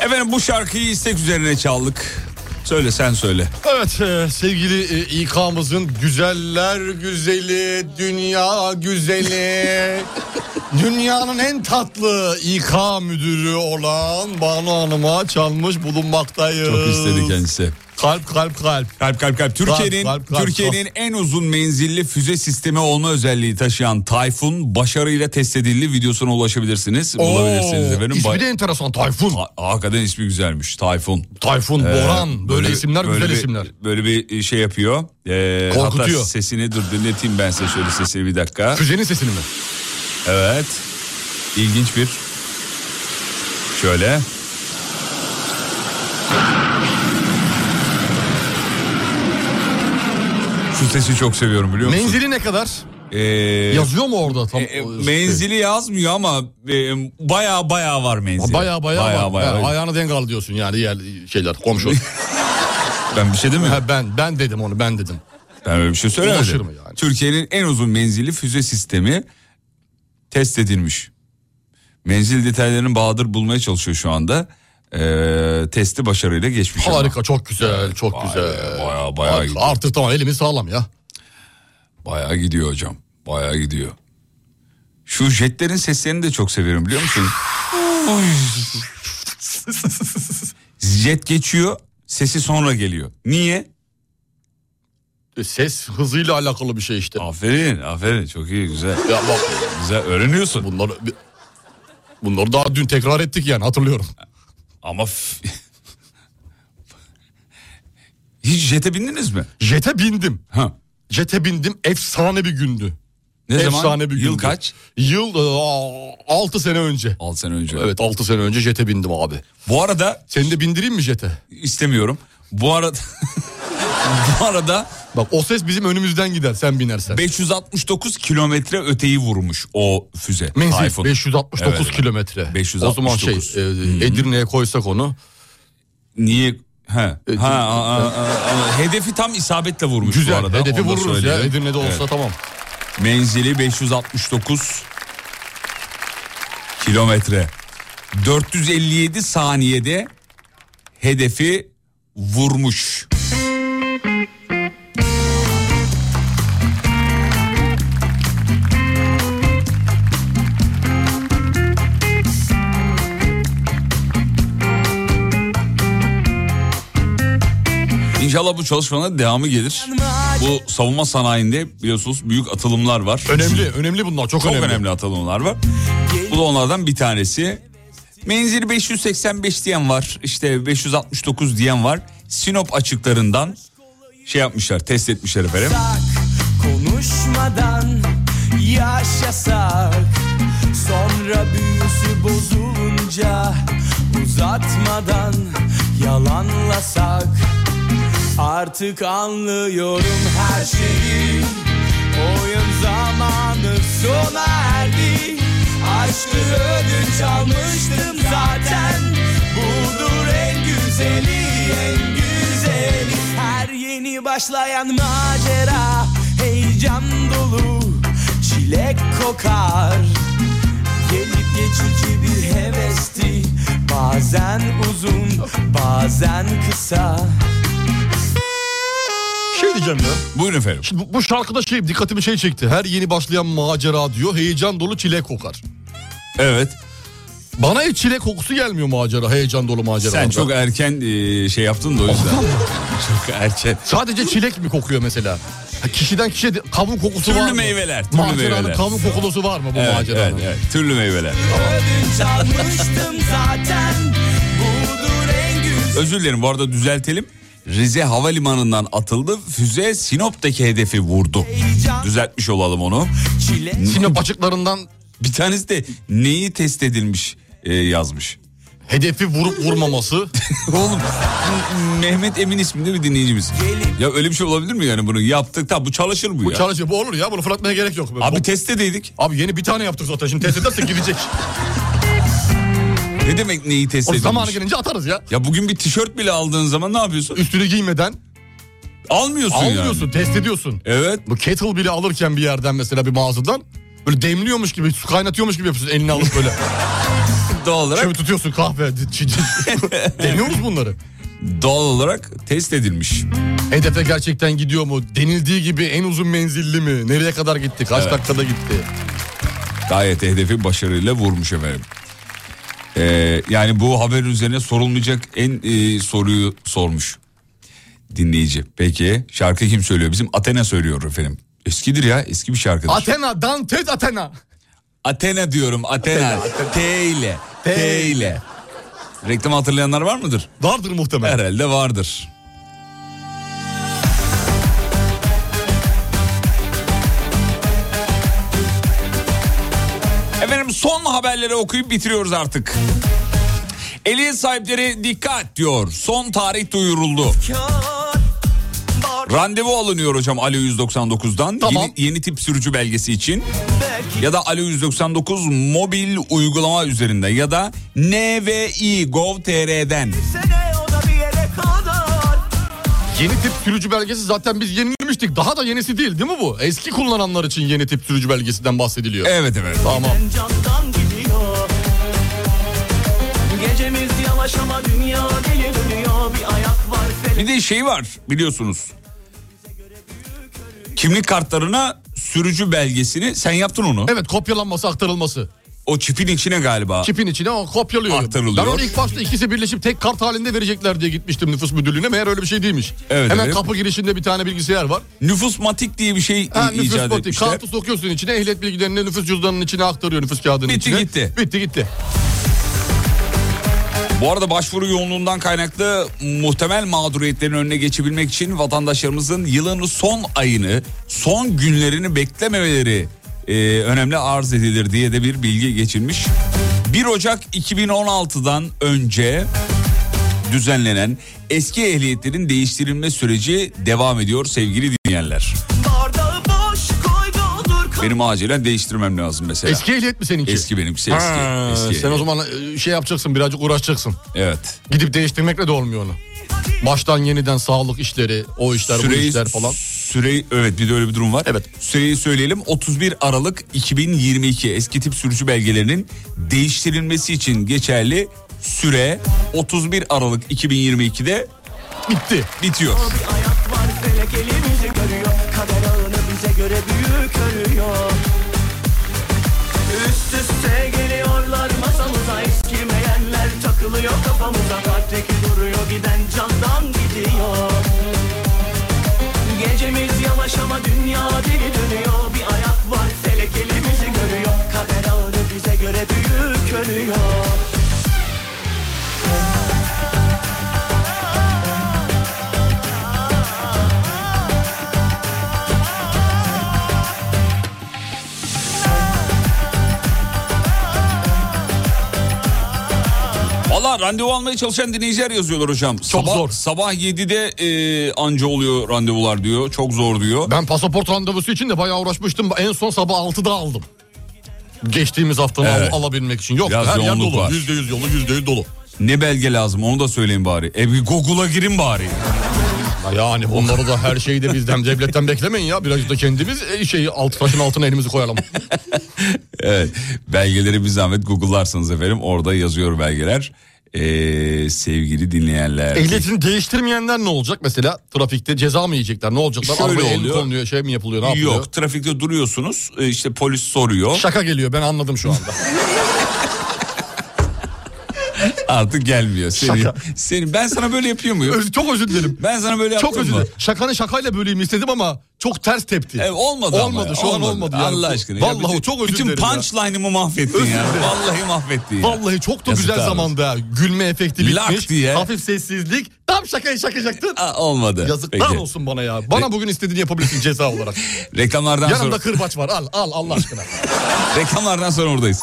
Speaker 2: Efendim bu şarkıyı istek üzerine çaldık. Söyle sen söyle.
Speaker 3: Evet e, sevgili e, İK'mızın güzeller güzeli, dünya güzeli, dünyanın en tatlı İK müdürü olan Banu Hanım'a çalmış bulunmaktayız.
Speaker 2: Çok istedi kendisi.
Speaker 3: Kalp kalp Ee, kalp.
Speaker 2: Kalp kalp kalp. Türkiye'nin
Speaker 3: kalp, kalp.
Speaker 2: Türkiye'nin en uzun menzilli füze sistemi olma özelliği taşıyan Tayfun başarıyla test edildi. Videosuna ulaşabilirsiniz.
Speaker 3: Oo,
Speaker 2: Bulabilirsiniz efendim.
Speaker 3: ismi
Speaker 2: Bay-
Speaker 3: de enteresan Tayfun.
Speaker 2: Ha- hakikaten ismi güzelmiş. Tayfun.
Speaker 3: Tayfun, Boran. Böyle
Speaker 2: Ee, bir-
Speaker 3: isimler güzel
Speaker 2: bir-
Speaker 3: isimler.
Speaker 2: Böyle bir şey yapıyor. Ee,
Speaker 3: Korkutuyor.
Speaker 2: Hatta sesini dur dinleteyim ben size şöyle sesini bir dakika.
Speaker 3: Füzenin sesini mi?
Speaker 2: Evet. İlginç bir. Şöyle. Şu sesi çok seviyorum biliyor musun?
Speaker 3: Menzili ne kadar?
Speaker 2: Ee,
Speaker 3: Yazıyor mu orada tam?
Speaker 2: e, e, menzili yazmıyor ama e, baya baya var menzili.
Speaker 3: Baya baya,
Speaker 2: baya,
Speaker 3: baya,
Speaker 2: baya.
Speaker 3: ayağını denk al diyorsun yani yer şeyler komşu.
Speaker 2: ben bir şey demedim.
Speaker 3: Ha, ben ben dedim onu ben dedim.
Speaker 2: Ben öyle bir şey
Speaker 3: Ulaşır
Speaker 2: söylemedim.
Speaker 3: mı
Speaker 2: Türkiye'nin en uzun menzilli füze sistemi test edilmiş. Menzil detaylarını Bahadır bulmaya çalışıyor şu anda. Ee, testi başarıyla geçmiş. ama.
Speaker 3: Harika çok güzel çok güzel.
Speaker 2: Baya baya
Speaker 3: Artık- Artık tamam elimiz sağlam ya.
Speaker 2: Bayağı gidiyor hocam. Bayağı gidiyor. Şu jetlerin seslerini de çok seviyorum biliyor musun? Jet geçiyor, sesi sonra geliyor. Niye?
Speaker 3: E, Ses hızıyla alakalı bir şey işte.
Speaker 2: Aferin, aferin. Çok iyi, güzel.
Speaker 3: Ya bak.
Speaker 2: Güzel öğreniyorsun.
Speaker 3: Bunları bunları daha dün tekrar ettik yani hatırlıyorum.
Speaker 2: Ama f- hiç jete bindiniz mi?
Speaker 3: Jete bindim.
Speaker 2: Ha.
Speaker 3: Jete bindim efsane bir gündü.
Speaker 2: Ne
Speaker 3: efsane
Speaker 2: zaman?
Speaker 3: Bir
Speaker 2: Yıl
Speaker 3: gündü.
Speaker 2: kaç?
Speaker 3: Yıl 6 sene önce.
Speaker 2: 6 sene önce.
Speaker 3: Evet 6 sene önce jete bindim abi.
Speaker 2: Bu arada
Speaker 3: seni de bindireyim mi jete?
Speaker 2: İstemiyorum. Bu arada bu arada
Speaker 3: bak o ses bizim önümüzden gider sen binersen.
Speaker 2: 569 kilometre öteyi vurmuş o füze.
Speaker 3: Menzil
Speaker 2: Tayfun.
Speaker 3: 569
Speaker 2: Evet.
Speaker 3: kilometre.
Speaker 2: 569.
Speaker 3: O zaman şey e,
Speaker 2: Hmm.
Speaker 3: Edirne'ye koysak onu.
Speaker 2: Niye? He. Ha, a- a- a- a- hedefi tam isabetle vurmuş
Speaker 3: E, Güzel,
Speaker 2: bu arada.
Speaker 3: hedefi
Speaker 2: Onu da
Speaker 3: vururuz ya.
Speaker 2: söyleyelim.
Speaker 3: Edirne'de olsa tamam.
Speaker 2: Menzili 569 kilometre. 457 saniyede hedefi vurmuş. İnşallah bu çalışmanın devamı gelir. Bu savunma sanayinde biliyorsunuz büyük atılımlar var.
Speaker 3: Önemli, önemli bunlar çok,
Speaker 2: Çok önemli.
Speaker 3: önemli.
Speaker 2: atılımlar var. Bu da onlardan bir tanesi. Menzil 585 diyen var. işte 569 diyen var. Sinop açıklarından şey yapmışlar, test etmişler efendim.
Speaker 17: konuşmadan yaşasak Sonra büyüsü bozulunca uzatmadan yalanlasak Artık anlıyorum her şeyi Oyun zamanı sona erdi Aşkı ödünç almıştım zaten Budur en güzeli en güzeli
Speaker 18: başlayan macera heyecan dolu çilek kokar Gelip geçici bir hevesti bazen uzun bazen kısa
Speaker 3: Şey diyeceğim ya.
Speaker 2: Buyurun efendim.
Speaker 3: Şimdi bu, bu şarkıda şey dikkatimi şey çekti. Her yeni başlayan macera diyor. Heyecan dolu çilek kokar.
Speaker 2: Evet.
Speaker 3: Bana hiç çilek kokusu gelmiyor macera. Heyecan dolu macera.
Speaker 2: Sen çok erken e, şey yaptın da o yüzden. çok erken.
Speaker 3: Sadece çilek mi kokuyor mesela? Ha, kişiden kişiye de- kavun kokusu
Speaker 2: Türlü
Speaker 3: var mı?
Speaker 2: meyveler, türlü
Speaker 3: Maceranın
Speaker 2: meyveler.
Speaker 3: kavun kokulusu var mı bu
Speaker 2: evet,
Speaker 3: maceranın?
Speaker 2: evet, evet. Türlü meyveler.
Speaker 18: Ödünç almıştım zaten budur en güzel
Speaker 2: Özür dilerim bu arada düzeltelim. Rize Havalimanı'ndan atıldı. Füze Sinop'taki hedefi vurdu. Düzeltmiş olalım onu.
Speaker 3: Sinop açıklarından...
Speaker 2: Bir tanesi de neyi test edilmiş e, yazmış.
Speaker 3: Hedefi vurup vurmaması.
Speaker 2: Oğlum Mehmet Emin isminde bir dinleyicimiz. Ya öyle bir şey olabilir mi yani bunu yaptık tam bu çalışır bu,
Speaker 3: Bu
Speaker 2: ya.
Speaker 3: çalışıyor. Bu olur ya. Bunu fırlatmaya gerek yok.
Speaker 2: Abi
Speaker 3: Bu-
Speaker 2: test edeydik.
Speaker 3: Abi yeni bir tane yaptık zaten. Şimdi test edersek gidecek.
Speaker 2: Ne demek neyi test
Speaker 3: O
Speaker 2: edilmiş?
Speaker 3: zamanı gelince atarız ya.
Speaker 2: Ya bugün bir tişört bile aldığın zaman ne yapıyorsun?
Speaker 3: Üstünü giymeden.
Speaker 2: Almıyorsun,
Speaker 3: Almıyorsun.
Speaker 2: yani.
Speaker 3: Test ediyorsun.
Speaker 2: Evet.
Speaker 3: Bu kettle bile alırken bir yerden mesela bir mağazadan. Böyle demliyormuş gibi, su kaynatıyormuş gibi yapıyorsun elini alıp böyle.
Speaker 2: Doğal olarak.
Speaker 3: Şöyle tutuyorsun kahve. Deniyor musun bunları?
Speaker 2: Doğal olarak test edilmiş.
Speaker 3: Hedefe gerçekten gidiyor mu? Denildiği gibi en uzun menzilli mi? Nereye kadar gitti? Kaç
Speaker 2: Evet.
Speaker 3: dakikada gitti?
Speaker 2: Gayet hedefi başarıyla vurmuş efendim. Ee, yani bu haber üzerine sorulmayacak en e, soruyu sormuş dinleyici. Peki şarkı kim söylüyor? Bizim Athena söylüyor efendim. Eskidir ya eski bir şarkıdır.
Speaker 3: Athena, Dantes Athena.
Speaker 2: Athena diyorum Athena. T ile. T ile. Reklamı hatırlayanlar var mıdır?
Speaker 3: Vardır muhtemelen.
Speaker 2: Herhalde vardır. Efendim son haberleri okuyup bitiriyoruz artık. Ehliyet sahipleri dikkat diyor. Son tarih duyuruldu. Randevu alınıyor hocam Alo 199'dan. Yeni, yeni tip sürücü belgesi için. Ya da Alo 199 mobil uygulama üzerinden ya da NVI Gov.tr'den.
Speaker 3: Yeni tip sürücü belgesi zaten biz yenilemiştik. Daha da yenisi değil değil mi bu? Eski kullananlar için yeni tip sürücü belgesinden bahsediliyor.
Speaker 2: Evet evet.
Speaker 3: Tamam.
Speaker 7: Camdan gidiyor Gecemiz yavaş ama dünya geri dönüyor Bir ayak var
Speaker 2: Bir de şey var biliyorsunuz. Kimlik kartlarına sürücü belgesini sen yaptın onu.
Speaker 3: Evet kopyalanması aktarılması.
Speaker 2: O çipin içine galiba.
Speaker 3: Çipin içine o kopyalıyor.
Speaker 2: Aktarılıyor.
Speaker 3: Ben onu ilk başta ikisi birleşip tek kart halinde verecekler diye gitmiştim nüfus müdürlüğüne. Meğer öyle bir şey değilmiş.
Speaker 2: Evet,
Speaker 3: Hemen
Speaker 2: evet.
Speaker 3: kapı girişinde bir tane bilgisayar var.
Speaker 2: Nüfusmatik diye bir şey
Speaker 3: Ha,
Speaker 2: i- icat
Speaker 3: nüfus
Speaker 2: etmişler.
Speaker 3: Kartı sokuyorsun içine ehliyet bilgilerini nüfus cüzdanının içine aktarıyor nüfus kağıdının
Speaker 2: Bitti
Speaker 3: içine.
Speaker 2: gitti.
Speaker 3: Bitti gitti.
Speaker 2: Bu arada başvuru yoğunluğundan kaynaklı muhtemel mağduriyetlerin önüne geçebilmek için vatandaşlarımızın yılın son ayını, son günlerini beklememeleri e, önemli arz edilir diye de bir bilgi geçilmiş. 1 Ocak 2016'dan önce düzenlenen eski ehliyetlerin değiştirilme süreci devam ediyor sevgili dinleyenler.
Speaker 7: Bardağı boş koy doldur
Speaker 2: Benim acilen değiştirmem lazım mesela.
Speaker 3: Eski ehliyet mi seninki?
Speaker 2: Eski benimkisi eski.
Speaker 3: Ha,
Speaker 2: eski
Speaker 3: Sen o
Speaker 2: ehliyet.
Speaker 3: zaman e, şey yapacaksın birazcık uğraşacaksın.
Speaker 2: Evet.
Speaker 3: Gidip değiştirmekle de olmuyor onu. Baştan yeniden sağlık işleri, o işler, bu
Speaker 2: Süreyi-
Speaker 3: işler falan.
Speaker 2: Süreyi evet bir de öyle bir durum var. Evet. Süreyi söyleyelim. 31 Aralık 2022 eski tip sürücü belgelerinin değiştirilmesi için geçerli süre 31 Aralık 2022'de
Speaker 3: bitti.
Speaker 2: Bitiyor.
Speaker 7: Var felek elimizi görüyor Kader ağını bize göre büyük örüyor Üst üste geliyorlar masamıza Eskimeyenler takılıyor kafamıza Kalpteki duruyor giden candan gidiyor Gecemiz yavaş ama dünya deli dönüyor Bir ayak var felek elimizi görüyor Kader ağını bize göre büyük örüyor
Speaker 2: Valla randevu almaya çalışan dinleyiciler yazıyorlar hocam. Çok sabah, zor. Sabah 7'de e, anca oluyor randevular diyor. Çok zor diyor.
Speaker 3: Ben pasaport randevusu için de bayağı uğraşmıştım. En son sabah 6'da aldım. Geçtiğimiz haftanı al-
Speaker 2: Evet.
Speaker 3: alabilmek için. Yok
Speaker 2: Biraz
Speaker 3: her yer
Speaker 2: yoğunluk
Speaker 3: dolu.
Speaker 2: var.
Speaker 3: Yüzde yüz yolu, yüzde yüz dolu.
Speaker 2: Ne belge lazım onu da söyleyin bari. E bir Google'a girin bari.
Speaker 3: Yani bunları da her şeyi de bizden devletten beklemeyin ya. Biraz da kendimiz e, şeyi alt taşın altına elimizi koyalım.
Speaker 2: Evet. Belgeleri bir zahmet Google'larsanız efendim orada yazıyor belgeler. Ee, sevgili dinleyenler.
Speaker 3: Ehliyetini değiştirmeyenler ne olacak mesela? Trafikte ceza mı yiyecekler? Ne olacaklar?
Speaker 2: Şöyle
Speaker 3: Arabaya el mi
Speaker 2: oluyor.
Speaker 3: konuluyor, şey mi yapılıyor, ne yapılıyor?
Speaker 2: Yok trafikte duruyorsunuz e, işte polis soruyor.
Speaker 3: Şaka geliyor ben anladım şu anda.
Speaker 2: Artık gelmiyor. Seni,
Speaker 3: Şaka.
Speaker 2: seni, ben sana böyle yapıyor muyum?
Speaker 3: Öz- çok özür dilerim.
Speaker 2: Ben sana böyle
Speaker 3: Çok
Speaker 2: yaptım
Speaker 3: özür
Speaker 2: mı?
Speaker 3: dilerim. Şakanı şakayla böleyim istedim ama çok ters tepti.
Speaker 2: E, olmadı ama
Speaker 3: Olmadı
Speaker 2: ya,
Speaker 3: şu an olmadı. yani.
Speaker 2: Allah aşkına. ya
Speaker 3: Vallahi
Speaker 2: bütün-
Speaker 3: çok özür
Speaker 2: bütün
Speaker 3: dilerim. ya.
Speaker 2: punchline'ımı mahvettin
Speaker 3: Özür
Speaker 2: ya.
Speaker 3: dilerim.
Speaker 2: Vallahi mahvettin ya.
Speaker 3: Vallahi çok da
Speaker 2: Yazıklar
Speaker 3: güzel
Speaker 2: olsun.
Speaker 3: zamanda gülme efekti
Speaker 2: Lak
Speaker 3: bitmiş.
Speaker 2: diye.
Speaker 3: Hafif sessizlik. Tam şakayı şakacaktın.
Speaker 2: Olmadı.
Speaker 3: Yazıklar
Speaker 2: Peki.
Speaker 3: olsun bana ya. Bana bugün istediğini yapabilirsin ceza olarak.
Speaker 2: Reklamlardan
Speaker 3: Yanımda
Speaker 2: sonra.
Speaker 3: kırbaç var. Al al Allah aşkına.
Speaker 2: Reklamlardan sonra oradayız.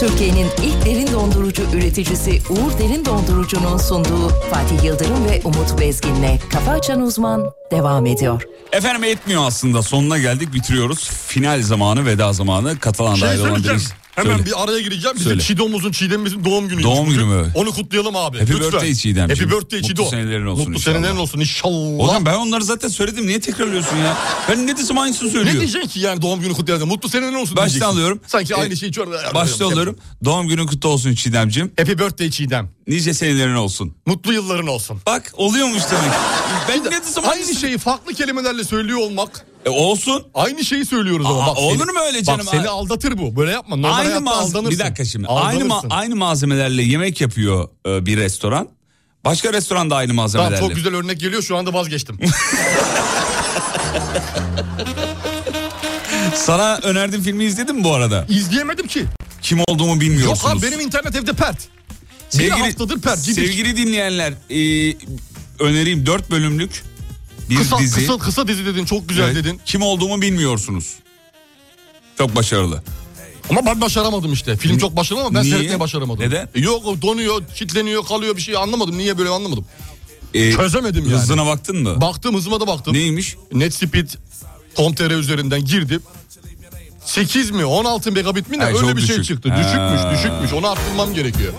Speaker 6: Türkiye'nin ilk derin dondurucu üreticisi Uğur Derin Dondurucu'nun sunduğu Fatih Yıldırım ve Umut Bezgin'le Kafa Açan Uzman devam ediyor.
Speaker 2: Efendim etmiyor aslında. Sonuna geldik bitiriyoruz. Final zamanı, veda zamanı. Katalan'da
Speaker 3: şey
Speaker 2: ayrılan
Speaker 3: söyleyeceğim.
Speaker 2: birisi-
Speaker 3: Hemen
Speaker 2: Söyle.
Speaker 3: bir araya gireceğim. Bizim
Speaker 2: Söyle.
Speaker 3: Çiğdem'imizin, Çiğdem'imizin doğum günü.
Speaker 2: Doğum günü mü?
Speaker 3: Onu kutlayalım abi.
Speaker 2: Happy
Speaker 3: Lütfen.
Speaker 2: birthday Çiğdemciğim.
Speaker 3: Happy birthday
Speaker 2: Mutlu
Speaker 3: Çiğdo.
Speaker 2: senelerin olsun
Speaker 3: Mutlu
Speaker 2: inşallah.
Speaker 3: senelerin olsun inşallah.
Speaker 2: Oğlum ben onları zaten söyledim. Niye tekrarlıyorsun ya? Ben ne desem aynısını söylüyorum.
Speaker 3: Ne diyeceksin ki yani doğum günü kutlayalım. Mutlu senelerin olsun
Speaker 2: Başta
Speaker 3: diyeceksin.
Speaker 2: alıyorum.
Speaker 3: Sanki
Speaker 2: E,
Speaker 3: aynı şeyi çok...
Speaker 2: Başta oluyorum. Doğum günün kutlu olsun Çiğdem'cim.
Speaker 3: Happy birthday Çiğdem.
Speaker 2: Nice senelerin olsun.
Speaker 3: Mutlu yılların olsun.
Speaker 2: Bak oluyormuş demek. Ben ne desem
Speaker 3: Aynı şey- şeyi farklı kelimelerle söylüyor olmak.
Speaker 2: E, olsun.
Speaker 3: Aynı şeyi söylüyoruz ama.
Speaker 2: Aa,
Speaker 3: Bak,
Speaker 2: olur
Speaker 3: seni-
Speaker 2: mu öyle canım?
Speaker 3: Bak seni aldatır bu. Böyle yapma. Normal
Speaker 2: aynı
Speaker 3: hayatta
Speaker 2: malz-
Speaker 3: aldanırsın.
Speaker 2: bir dakika şimdi. Aynı ma-
Speaker 3: Aldanırsın.
Speaker 2: aynı malzemelerle yemek yapıyor e, bir restoran. Başka restoran da aynı malzemelerle.
Speaker 3: Tamam çok güzel örnek geliyor şu anda vazgeçtim.
Speaker 2: Sana önerdiğim filmi izledin mi bu arada?
Speaker 3: İzleyemedim ki.
Speaker 2: Kim olduğumu
Speaker 3: Yok
Speaker 2: bilmiyorsunuz.
Speaker 3: abi benim internet evde pert. Sevgili, bir haftadır pert. Gidik.
Speaker 2: sevgili dinleyenler e, önereyim 4 bölümlük bir
Speaker 3: kısa,
Speaker 2: dizi.
Speaker 3: Kısa, kısa dizi dedin çok güzel
Speaker 2: Evet.
Speaker 3: dedin.
Speaker 2: Kim olduğumu bilmiyorsunuz. Çok başarılı.
Speaker 3: Ama ben başaramadım işte. Film çok başarılı ama ben
Speaker 2: Niye?
Speaker 3: seyretmeye başaramadım.
Speaker 2: Neden?
Speaker 3: E Yok o donuyor, kitleniyor, kalıyor bir şey anlamadım. Niye böyle anlamadım. Çözemedim yani.
Speaker 2: E, Hızına baktın mı?
Speaker 3: Baktım hızıma da baktım.
Speaker 2: Neymiş?
Speaker 3: NetSpeed.com.tr üzerinden girdim. 8 mi 16 megabit mi ne
Speaker 2: Ay,
Speaker 3: öyle
Speaker 2: çok
Speaker 3: bir şey
Speaker 2: düşük.
Speaker 3: çıktı.
Speaker 2: Ha.
Speaker 3: Düşükmüş düşükmüş onu arttırmam gerekiyor.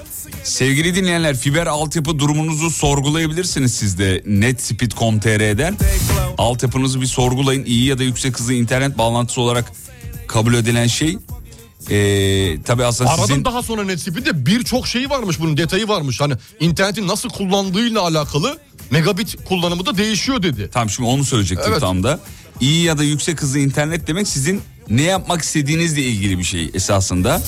Speaker 2: Sevgili dinleyenler fiber altyapı durumunuzu sorgulayabilirsiniz siz de netspeed.com.tr'den. Altyapınızı bir sorgulayın. İyi ya da yüksek hızlı internet bağlantısı olarak kabul edilen şey. Ee, tabii aslında
Speaker 3: Aradım
Speaker 2: sizin...
Speaker 3: daha sonra NetSpeed'de birçok şeyi varmış bunun detayı varmış. Hani internetin nasıl kullandığıyla alakalı megabit kullanımı da değişiyor dedi.
Speaker 2: Tamam şimdi onu söyleyecektim
Speaker 3: Evet.
Speaker 2: tam da. İyi ya da yüksek hızlı internet demek sizin ne yapmak istediğinizle ilgili bir şey esasında.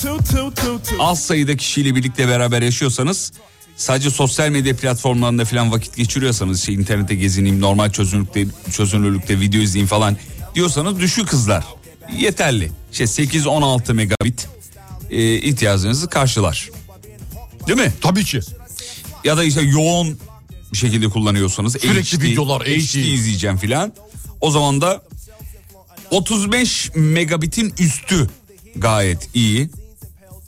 Speaker 2: Az sayıda kişiyle birlikte beraber yaşıyorsanız sadece sosyal medya platformlarında falan vakit geçiriyorsanız işte internette gezineyim normal çözünürlükte, çözünürlükte video izleyeyim falan diyorsanız düşük hızlar yeterli. İşte 8-16 megabit e, ihtiyacınızı karşılar. Değil mi?
Speaker 3: Tabii ki.
Speaker 2: Ya da işte yoğun bir şekilde kullanıyorsanız
Speaker 3: Sürekli
Speaker 2: HD,
Speaker 3: videolar, HD.
Speaker 2: izleyeceğim filan. O zaman da 35 megabitin üstü gayet iyi.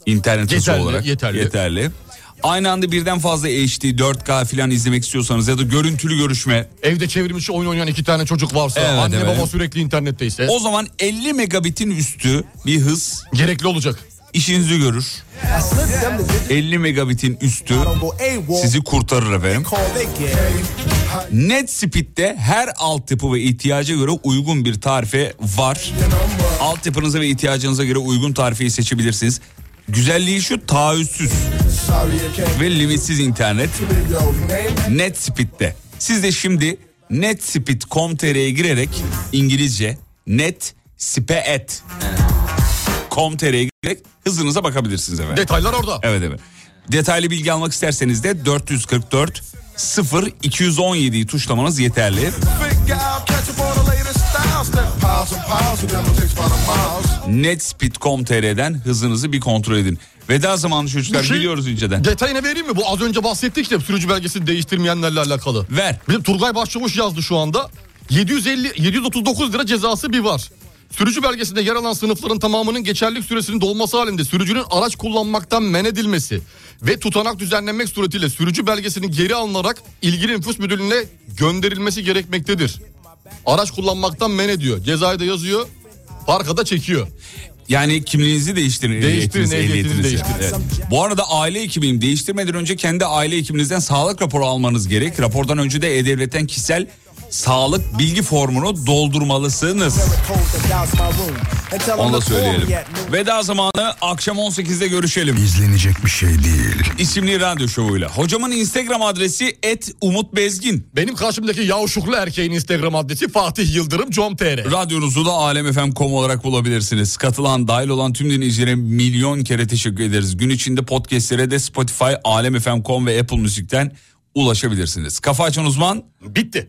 Speaker 2: İnternet hızı
Speaker 3: Yeterli,
Speaker 2: olarak
Speaker 3: yeterli.
Speaker 2: Aynı anda birden fazla HD, 4K filan izlemek istiyorsanız ya da görüntülü görüşme
Speaker 3: Evde çevrilmiş oyun oynayan iki tane çocuk varsa
Speaker 2: Evet,
Speaker 3: anne
Speaker 2: evet.
Speaker 3: baba sürekli internetteyse.
Speaker 2: o zaman 50 megabitin üstü bir hız
Speaker 3: gerekli olacak.
Speaker 2: İşinizi görür. 50 megabitin üstü sizi kurtarır efendim. NetSpeed'de her altyapı ve ihtiyaca göre uygun bir tarife var. Altyapınıza ve ihtiyacınıza göre uygun tarifeyi seçebilirsiniz. Güzelliği şu taahhütsüz ve limitsiz internet NetSpeed'de. Siz de şimdi netspeed.com.tr'ye girerek İngilizce netspeed.com.tr'ye girerek hızınıza bakabilirsiniz efendim.
Speaker 3: Detaylar orada.
Speaker 2: Evet evet. Detaylı bilgi almak isterseniz de 444 0 217'yi tuşlamanız yeterli. Netspeed.com.tr'den hızınızı bir kontrol edin. Veda zamanı çocuklar
Speaker 3: Bir şey-
Speaker 2: biliyoruz inceden.
Speaker 3: Detayını vereyim mi? Bu az önce bahsettik de sürücü belgesini değiştirmeyenlerle alakalı.
Speaker 2: Ver.
Speaker 3: Bizim Turgay Başçavuş yazdı şu anda. 750 739 lira cezası bir var. Sürücü belgesinde yer alan sınıfların tamamının geçerlilik süresinin dolması halinde sürücünün araç kullanmaktan men edilmesi ve tutanak düzenlenmek suretiyle sürücü belgesinin geri alınarak ilgili nüfus müdürlüğüne gönderilmesi gerekmektedir. Araç kullanmaktan men ediyor. Cezayı da yazıyor. Parka da çekiyor.
Speaker 2: Yani kimliğinizi değiştirin.
Speaker 3: Değiştirin,
Speaker 2: ehliyetinizi,
Speaker 3: ehliyetinizi
Speaker 2: ehliyetinizi.
Speaker 3: değiştirin.
Speaker 2: Evet. Bu arada aile hekimiyim. Değiştirmeden önce kendi aile hekiminizden sağlık raporu almanız gerek. Rapordan önce de E-Devlet'ten kişisel sağlık bilgi formunu doldurmalısınız. Onu da söyleyelim. Veda zamanı akşam 18'de görüşelim. İzlenecek bir şey değil. İsimli radyo şovuyla. Hocamın Instagram adresi et Umut Bezgin.
Speaker 3: Benim karşımdaki yavşuklu erkeğin Instagram adresi Fatih Yıldırım Com.tr.
Speaker 2: Radyonuzu da alemfm.com olarak bulabilirsiniz. Katılan, dahil olan tüm dinleyicilere milyon kere teşekkür ederiz. Gün içinde podcastlere de Spotify, alemfm.com ve Apple Müzik'ten ulaşabilirsiniz. Kafa açan uzman
Speaker 3: bitti.